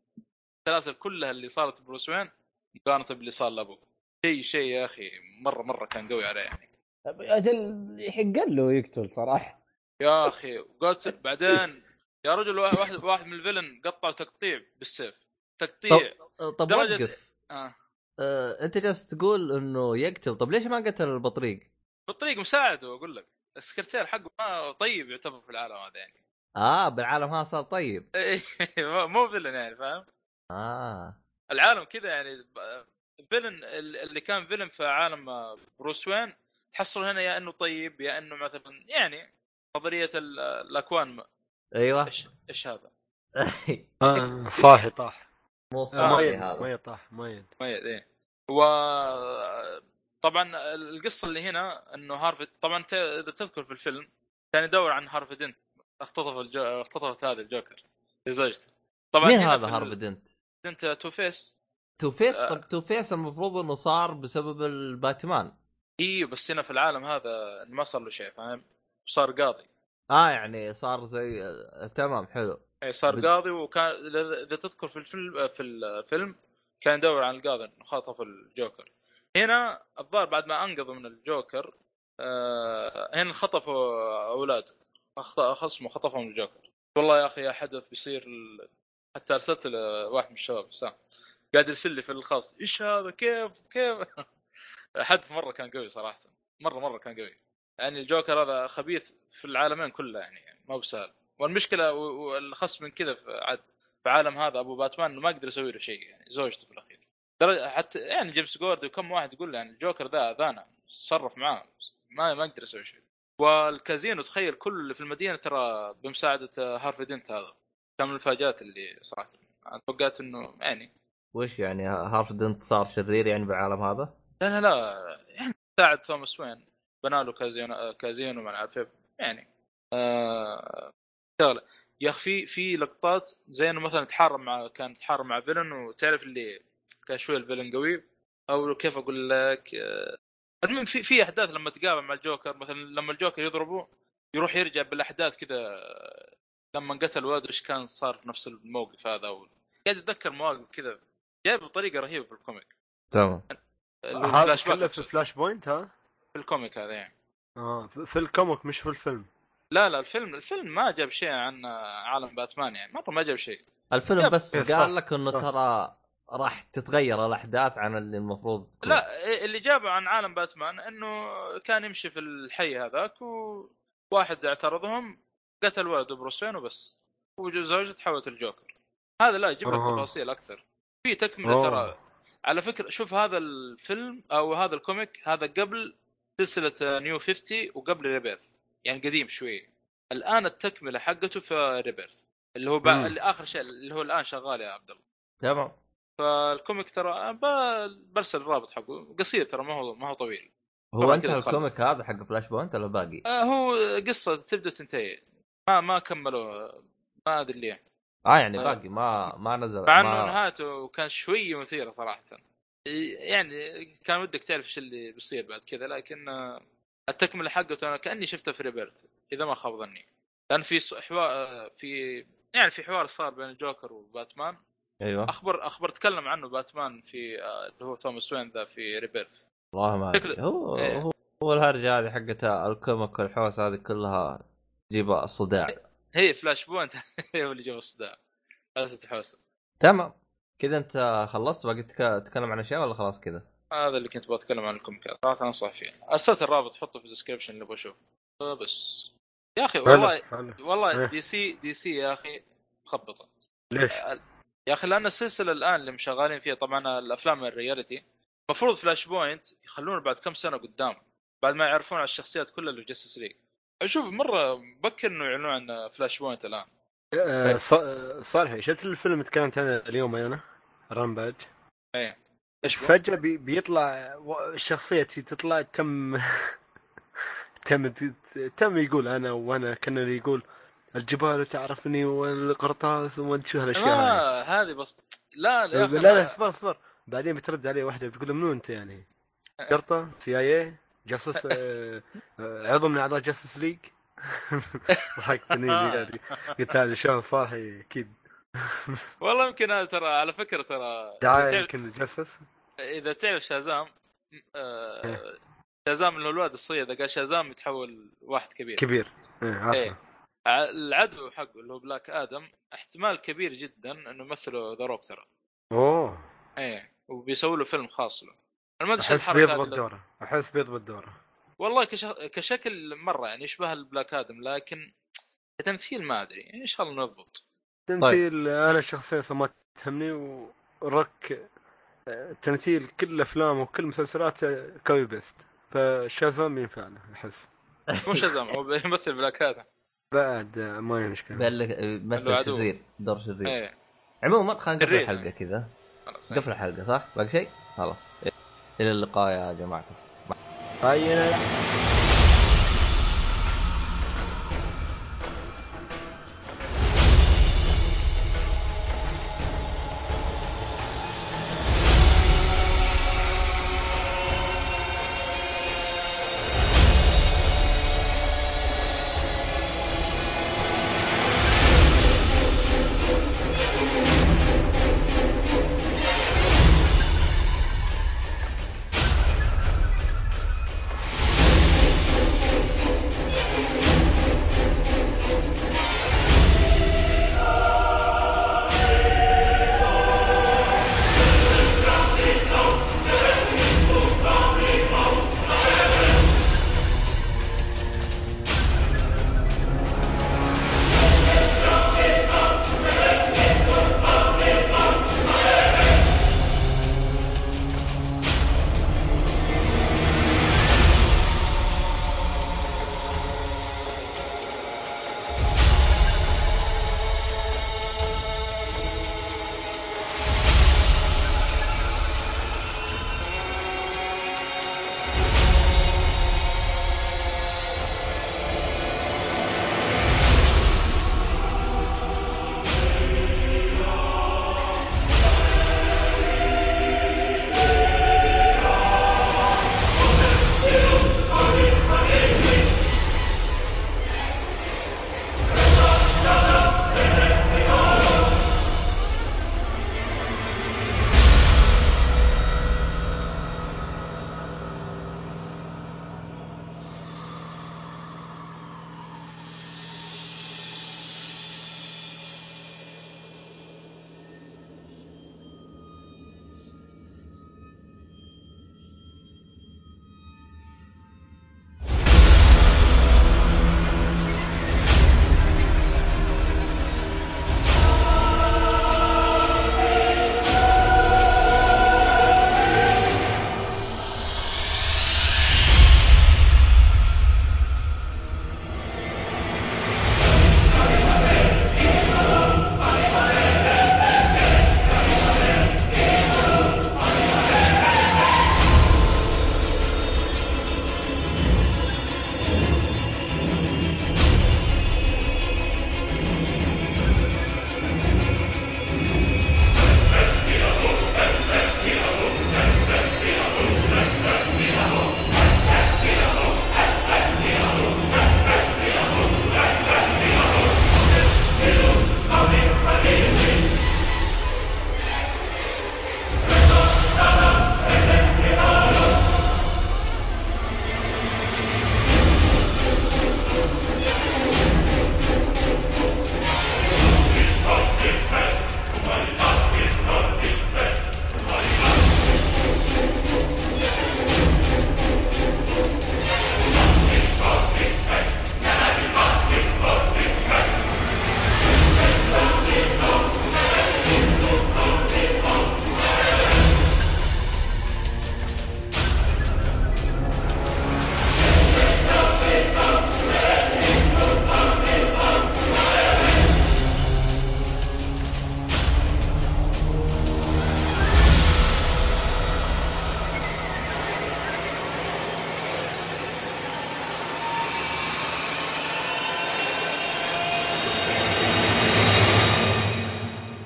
[SPEAKER 2] السلاسل كلها اللي صارت بروس وين مقارنه باللي صار لابوه شيء شيء يا اخي مره مره كان قوي عليه يعني
[SPEAKER 4] طب اجل يحق له يقتل صراحه
[SPEAKER 2] يا اخي وقلت بعدين يا رجل واحد واحد, واحد من الفيلن قطع تقطيع بالسيف تقطيع
[SPEAKER 1] طب
[SPEAKER 2] إيه. درجة-
[SPEAKER 1] وقف
[SPEAKER 2] آه.
[SPEAKER 1] آه، انت جالس تقول انه يقتل طب ليش ما قتل البطريق؟
[SPEAKER 2] بالطريق مساعده اقول لك السكرتير حقه ما طيب يعتبر في العالم هذا يعني (laughs)
[SPEAKER 1] اه بالعالم هذا صار طيب
[SPEAKER 2] إيه، مو فيلن يعني فاهم
[SPEAKER 1] اه
[SPEAKER 2] العالم كذا يعني ب- فيلن ال- اللي كان فيلن في عالم آه، بروس وين تحصل هنا يا انه طيب يا انه مثلا يعني نظريه ال- الاكوان ما-
[SPEAKER 1] ايوه
[SPEAKER 2] ايش ايش هذا؟
[SPEAKER 3] آه، صاحي طاح
[SPEAKER 1] (laughs) مو صاحي
[SPEAKER 3] مين
[SPEAKER 1] هذا
[SPEAKER 3] مين طاح مين
[SPEAKER 2] ما ي- ايه و طبعا القصه اللي هنا انه هارفي طبعا ت- اذا تذكر في الفيلم كان يدور عن هارفي دنت اختطف الجو... اختطفت هذه الجوكر زوجته طبعا
[SPEAKER 1] مين
[SPEAKER 2] هنا
[SPEAKER 1] هذا
[SPEAKER 2] في
[SPEAKER 1] هارفي
[SPEAKER 2] ال-
[SPEAKER 1] دنت؟
[SPEAKER 2] دنت تو فيس
[SPEAKER 1] تو فيس
[SPEAKER 2] آه.
[SPEAKER 1] طب تو فيس المفروض انه صار بسبب الباتمان
[SPEAKER 2] ايوه بس هنا في العالم هذا ما صار له شيء فاهم؟ صار قاضي
[SPEAKER 1] اه يعني صار زي آه، تمام حلو
[SPEAKER 2] اي إيه، صار
[SPEAKER 1] بد-
[SPEAKER 2] قاضي وكان اذا إذا تذكر في الفيلم في الفيلم كان يدور عن القاضي انه خاطف الجوكر هنا الظاهر بعد ما انقذوا من الجوكر آه، هنا خطفوا اولاده أخط- خصمه خطفهم الجوكر والله يا اخي يا حدث بيصير ال- حتى ارسلت لواحد من الشباب حسام قاعد يرسل لي في الخاص ايش هذا كيف كيف (laughs) حدث مره كان قوي صراحه مره مره كان قوي يعني الجوكر هذا خبيث في العالمين كله يعني, يعني ما هو بسهل والمشكله و- والخص من كذا في عاد في عالم هذا ابو باتمان انه ما قدر يسوي له شيء يعني زوجته في الاخير درجة حتى يعني جيمس جورد وكم واحد يقول له يعني الجوكر ذا اذانا تصرف معاه ما ما قدر يسوي شيء والكازينو تخيل كل اللي في المدينه ترى بمساعده آه، هارفي دنت هذا كان من الفاجات اللي صراحه أنا توقعت انه يعني
[SPEAKER 1] وش يعني هارفي دنت صار شرير يعني بالعالم هذا؟
[SPEAKER 2] لا لا لا يعني ساعد توماس وين بنى له كازينو آه، كازينو ما أنا عارف إيه. يعني آه، شغله يا اخي في في لقطات زي انه مثلا تحارب مع كان تحارب مع فيلن وتعرف اللي كان شوي الفيلن قوي او كيف اقول لك آه، المهم في في احداث لما تقابل مع الجوكر مثلا لما الجوكر يضربه يروح يرجع بالاحداث كذا آه، لما انقتل ولده ايش كان صار في نفس الموقف هذا أو قاعد اتذكر مواقف كذا جايب بطريقه رهيبه في الكوميك
[SPEAKER 1] تمام
[SPEAKER 2] اللي هو
[SPEAKER 3] هذا
[SPEAKER 2] فلاش باك
[SPEAKER 3] كله في
[SPEAKER 2] أقصد.
[SPEAKER 3] فلاش بوينت ها؟
[SPEAKER 2] في الكوميك هذا يعني
[SPEAKER 3] اه في في الكوميك مش في الفيلم
[SPEAKER 2] لا لا الفيلم الفيلم ما جاب شيء عن عالم باتمان يعني مره ما جاب شيء
[SPEAKER 1] الفيلم
[SPEAKER 2] يب.
[SPEAKER 1] بس
[SPEAKER 3] إيه، صح،
[SPEAKER 1] قال لك انه
[SPEAKER 3] صح.
[SPEAKER 1] ترى راح تتغير الاحداث عن اللي المفروض تكون.
[SPEAKER 2] لا إيه، اللي جابه عن عالم باتمان انه كان يمشي في الحي هذاك وواحد اعترضهم قتل ولده بروس وين وبس وزوجته تحولت الجوكر هذا لا يجيب لك
[SPEAKER 3] أها.
[SPEAKER 2] تفاصيل اكثر في تكمله
[SPEAKER 3] أوه.
[SPEAKER 2] ترى على فكره شوف هذا الفيلم او هذا الكوميك هذا قبل سلسله نيو 50 وقبل ريبيرث يعني قديم شوي الان التكمله حقته في ريبيرث اللي هو بع...
[SPEAKER 3] مم.
[SPEAKER 2] اللي اخر شيء اللي هو الان شغال يا عبد الله
[SPEAKER 1] تمام
[SPEAKER 2] فالكوميك ترى آه، ب- برسل الرابط حقه قصير ترى ما هو ما هو طويل
[SPEAKER 1] هو
[SPEAKER 2] طبعاً
[SPEAKER 1] انت
[SPEAKER 2] كده دخلنا.
[SPEAKER 1] الكوميك هذا حق فلاش بوينت ولا باقي؟
[SPEAKER 2] آه هو قصه تبدا تنتهي ما ما كملوا ما ادري ليه
[SPEAKER 1] اه يعني
[SPEAKER 2] آه.
[SPEAKER 1] باقي ما ما نزل
[SPEAKER 2] مع انه
[SPEAKER 1] ما...
[SPEAKER 2] نهايته كان شويه مثيره صراحه يعني كان ودك تعرف ايش اللي بيصير بعد كذا لكن آه، التكمله حقته انا كاني شفتها في ريبيرث اذا ما خاب ظني لان في ص- حوار آه، في يعني في حوار صار بين الجوكر وباتمان
[SPEAKER 1] ايوه
[SPEAKER 2] اخبر اخبر تكلم عنه باتمان في آه، اللي هو توماس وين ذا في ريبيرث
[SPEAKER 1] والله ما أدري.
[SPEAKER 2] شكله-
[SPEAKER 1] هو
[SPEAKER 2] إيه.
[SPEAKER 1] هو هو الهرجه هذه حقت الكوميك والحوس هذه كلها تجيب الصداع
[SPEAKER 2] هي فلاش بوينت (laughs) هي اللي جوا الصداع جلسة حوسه
[SPEAKER 1] تمام كذا انت خلصت باقي تك- تتكلم عن اشياء ولا خلاص كذا؟
[SPEAKER 2] هذا اللي كنت بتكلم عن الكوميكات صراحه انصح فيه ارسلت الرابط حطه في الديسكربشن اللي بشوفه بس يا اخي والله
[SPEAKER 3] حلو.
[SPEAKER 2] والله
[SPEAKER 3] إيه.
[SPEAKER 2] دي سي دي سي يا اخي مخبطه
[SPEAKER 3] ليش؟
[SPEAKER 2] يا اخي لان السلسله الان اللي مشغالين فيها طبعا الافلام الرياليتي المفروض فلاش بوينت يخلونه بعد كم سنه قدام بعد ما يعرفون على الشخصيات كلها اللي في جاستس ليج اشوف مره مبكر انه يعلنون عن فلاش بوينت الان
[SPEAKER 3] آه، ص- آه، صالح شفت الفيلم اللي تكلمت عنه اليوم انا رامباج
[SPEAKER 2] ايه ايش بو-
[SPEAKER 3] فجاه بي بيطلع و- الشخصيه تي- تطلع تم (laughs) تم ت- تم يقول انا وانا كان اللي يقول الجبال تعرفني والقرطاس وما أدري شو هالاشياء هاي.
[SPEAKER 2] ما هذه بس لا آه، يا
[SPEAKER 3] لا
[SPEAKER 2] اخي
[SPEAKER 3] لا اصبر اصبر بعدين بترد عليه واحده بتقول له منو انت يعني؟ شرطه سي اي اي جاسوس آه، آه، عضو من اعضاء جاستس ليج (laughs) ضحكتني زيادة. قلت هذا شلون صاحي اكيد
[SPEAKER 2] والله يمكن هذا ترى على فكره ترى
[SPEAKER 3] دعايه
[SPEAKER 2] تعرف-
[SPEAKER 3] يمكن لجاستس
[SPEAKER 2] اذا تعرف شازام آه، شازام اللي هو الواد الصغير اذا قال شازام يتحول واحد كبير
[SPEAKER 3] كبير ايه عارفه
[SPEAKER 2] ايه ع- العدو حقه اللي هو بلاك ادم احتمال كبير جدا انه يمثله ذا روك ترى
[SPEAKER 3] اوه
[SPEAKER 2] ايه وبيسووا له فيلم خاص له انا ما ادري إيش
[SPEAKER 3] احس
[SPEAKER 2] الحركه
[SPEAKER 3] بيضبط
[SPEAKER 2] هذه.
[SPEAKER 3] دوره احس بيضبط دوره
[SPEAKER 2] والله كش... كشكل مره يعني يشبه البلاك ادم لكن كتمثيل ما ادري يعني ان شاء الله نضبط
[SPEAKER 3] تمثيل انا شخصيا اصلا ما تهمني ورك آه، تمثيل كل افلامه وكل مسلسلاته كوي بيست فشازام ينفع له احس
[SPEAKER 2] مو شازام هو بيمثل بلاك ادم
[SPEAKER 3] بعد آه، ما هي مشكله
[SPEAKER 1] بل
[SPEAKER 2] اللي
[SPEAKER 1] مثل
[SPEAKER 2] عدو.
[SPEAKER 1] شرير دور شرير
[SPEAKER 2] ايه
[SPEAKER 1] عموما خلينا نقفل
[SPEAKER 2] شرير.
[SPEAKER 1] الحلقه كذا
[SPEAKER 2] خلاص
[SPEAKER 1] قفل الحلقه صح؟ باقي شيء؟ خلاص الى اللقاء يا جماعه
[SPEAKER 3] هاي أنا-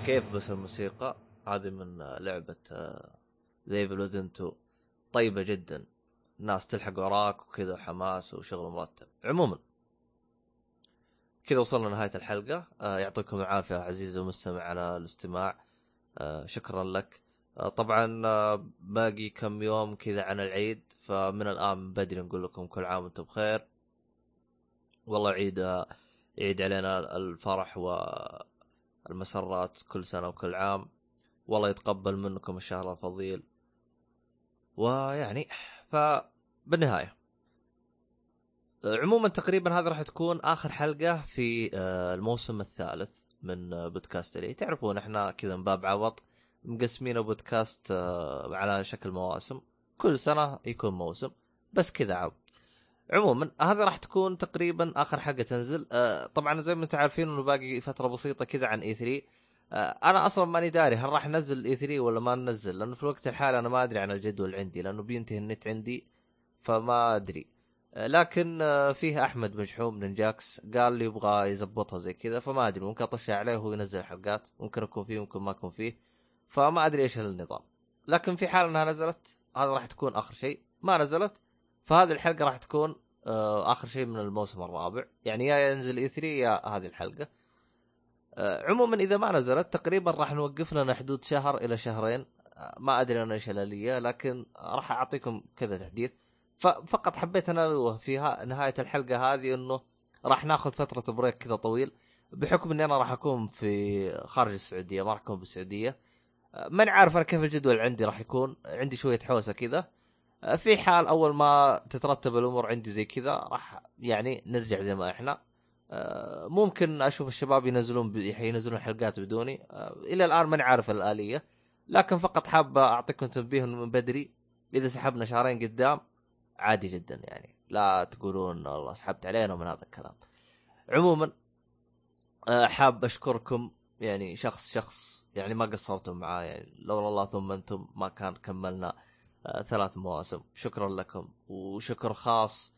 [SPEAKER 1] كيف بس الموسيقى هذه من آه، لعبه ليفل وذن 2 طيبه جدا الناس تلحق وراك وكذا وحماس وشغل مرتب عموما كذا وصلنا لنهايه الحلقه آه، يعطيكم العافيه عزيزي المستمع على الاستماع آه، شكرا لك آه، طبعا آه، باقي كم يوم كذا عن العيد فمن الان من بدري نقول لكم كل عام وانتم بخير والله عيد آه، يعيد علينا الفرح والمسرات كل سنه وكل عام والله يتقبل منكم الشهر الفضيل ويعني فبالنهايه آه، عموما تقريبا هذه راح تكون اخر حلقه في آه، الموسم الثالث من آه، بودكاست اللي تعرفون احنا كذا من باب عوض مقسمين بودكاست آه، على شكل مواسم كل سنه يكون موسم بس كذا عب عموما هذا راح تكون تقريبا اخر حلقه تنزل آه، طبعا زي ما انتم عارفين انه باقي فتره بسيطه كذا عن E اي 3 انا اصلا ماني داري هل راح انزل الاي 3 ولا ما ننزل لانه في الوقت الحالي انا ما ادري عن الجدول عندي لانه بينتهي النت عندي فما ادري آه، لكن آه، فيه احمد مجحوم من جاكس قال لي يبغى يزبطها زي كذا فما ادري ممكن اطشها عليه وهو ينزل حلقات ممكن اكون فيه ممكن ما اكون فيه فما ادري ايش النظام لكن في حال انها نزلت هذا راح تكون اخر شيء ما نزلت فهذه الحلقه راح تكون آه، اخر شيء من الموسم الرابع يعني يا ينزل اي 3 يا هذه الحلقه آه، عموما اذا ما نزلت تقريبا راح نوقف لنا حدود شهر الى شهرين آه، ما ادري انا ايش الاليه لكن راح اعطيكم كذا تحديث ففقط حبيت انوه في ها- نهايه الحلقه هذه انه راح ناخذ فتره بريك كذا طويل بحكم اني انا راح اكون في خارج السعوديه ما راح اكون بالسعوديه آه، ماني عارف انا كيف الجدول عندي راح يكون عندي شويه حوسه كذا آه، في حال اول ما تترتب الامور عندي زي كذا راح يعني نرجع زي ما احنا آه، ممكن اشوف الشباب ينزلون ب... ينزلون حلقات بدوني آه، الى الان ماني عارف الاليه لكن فقط حاب اعطيكم تنبيه إنه من بدري اذا سحبنا شهرين قدام عادي جدا يعني لا تقولون والله سحبت علينا من هذا الكلام عموما آه، حاب اشكركم يعني شخص شخص يعني ما قصرتم معاه يعني لولا الله ثم انتم ما كان كملنا آه، ثلاث مواسم شكرا لكم وشكر خاص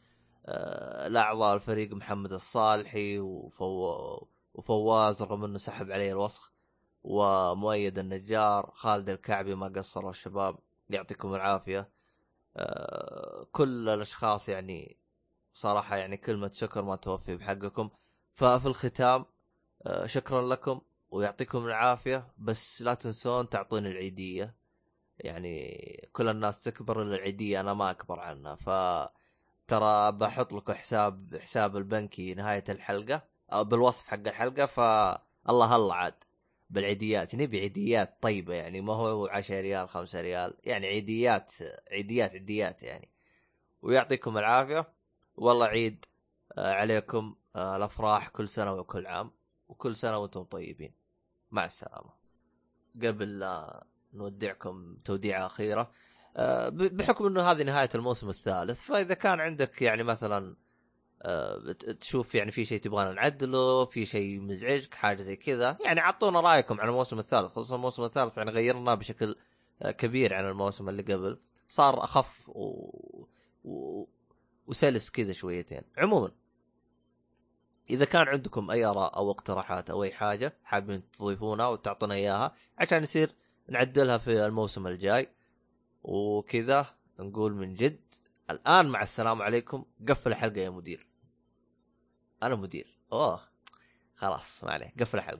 [SPEAKER 1] آه، لاعضاء الفريق محمد الصالحي وفو... وفواز رغم انه سحب عليه الوسخ ومؤيد النجار خالد الكعبي ما قصروا الشباب يعطيكم العافيه آه، كل الاشخاص يعني صراحه يعني كلمه شكر ما توفي بحقكم ففي الختام آه، شكرا لكم ويعطيكم العافيه بس لا تنسون تعطوني العيديه يعني كل الناس تكبر الا العيديه انا ما اكبر عنها ف ترى بحط لكم حساب حساب البنكي نهايه الحلقه أو بالوصف حق الحلقه فالله الله عاد بالعيديات نبي عيديات طيبه يعني ما هو 10 ريال 5 ريال يعني عيديات عيديات عيديات يعني ويعطيكم العافيه والله عيد آه، عليكم آه، الافراح كل سنه وكل عام وكل سنه وانتم طيبين مع السلامه قبل لا نودعكم توديعه اخيره آه، ب- بحكم انه هذه نهايه الموسم الثالث فاذا كان عندك يعني مثلا آه، ت- تشوف يعني في شيء تبغانا نعدله في شيء مزعجك حاجه زي كذا يعني اعطونا رايكم عن الموسم الثالث خصوصا الموسم الثالث يعني غيرناه بشكل آه، كبير عن الموسم اللي قبل صار اخف و... و... وسلس كذا شويتين عموما اذا كان عندكم اي اراء او اقتراحات او اي حاجه حابين تضيفونها وتعطونا اياها عشان يصير نعدلها في الموسم الجاي وكذا نقول من جد الان مع السلامه عليكم قفل الحلقه يا مدير انا مدير اوه خلاص ما عليه قفل الحلقه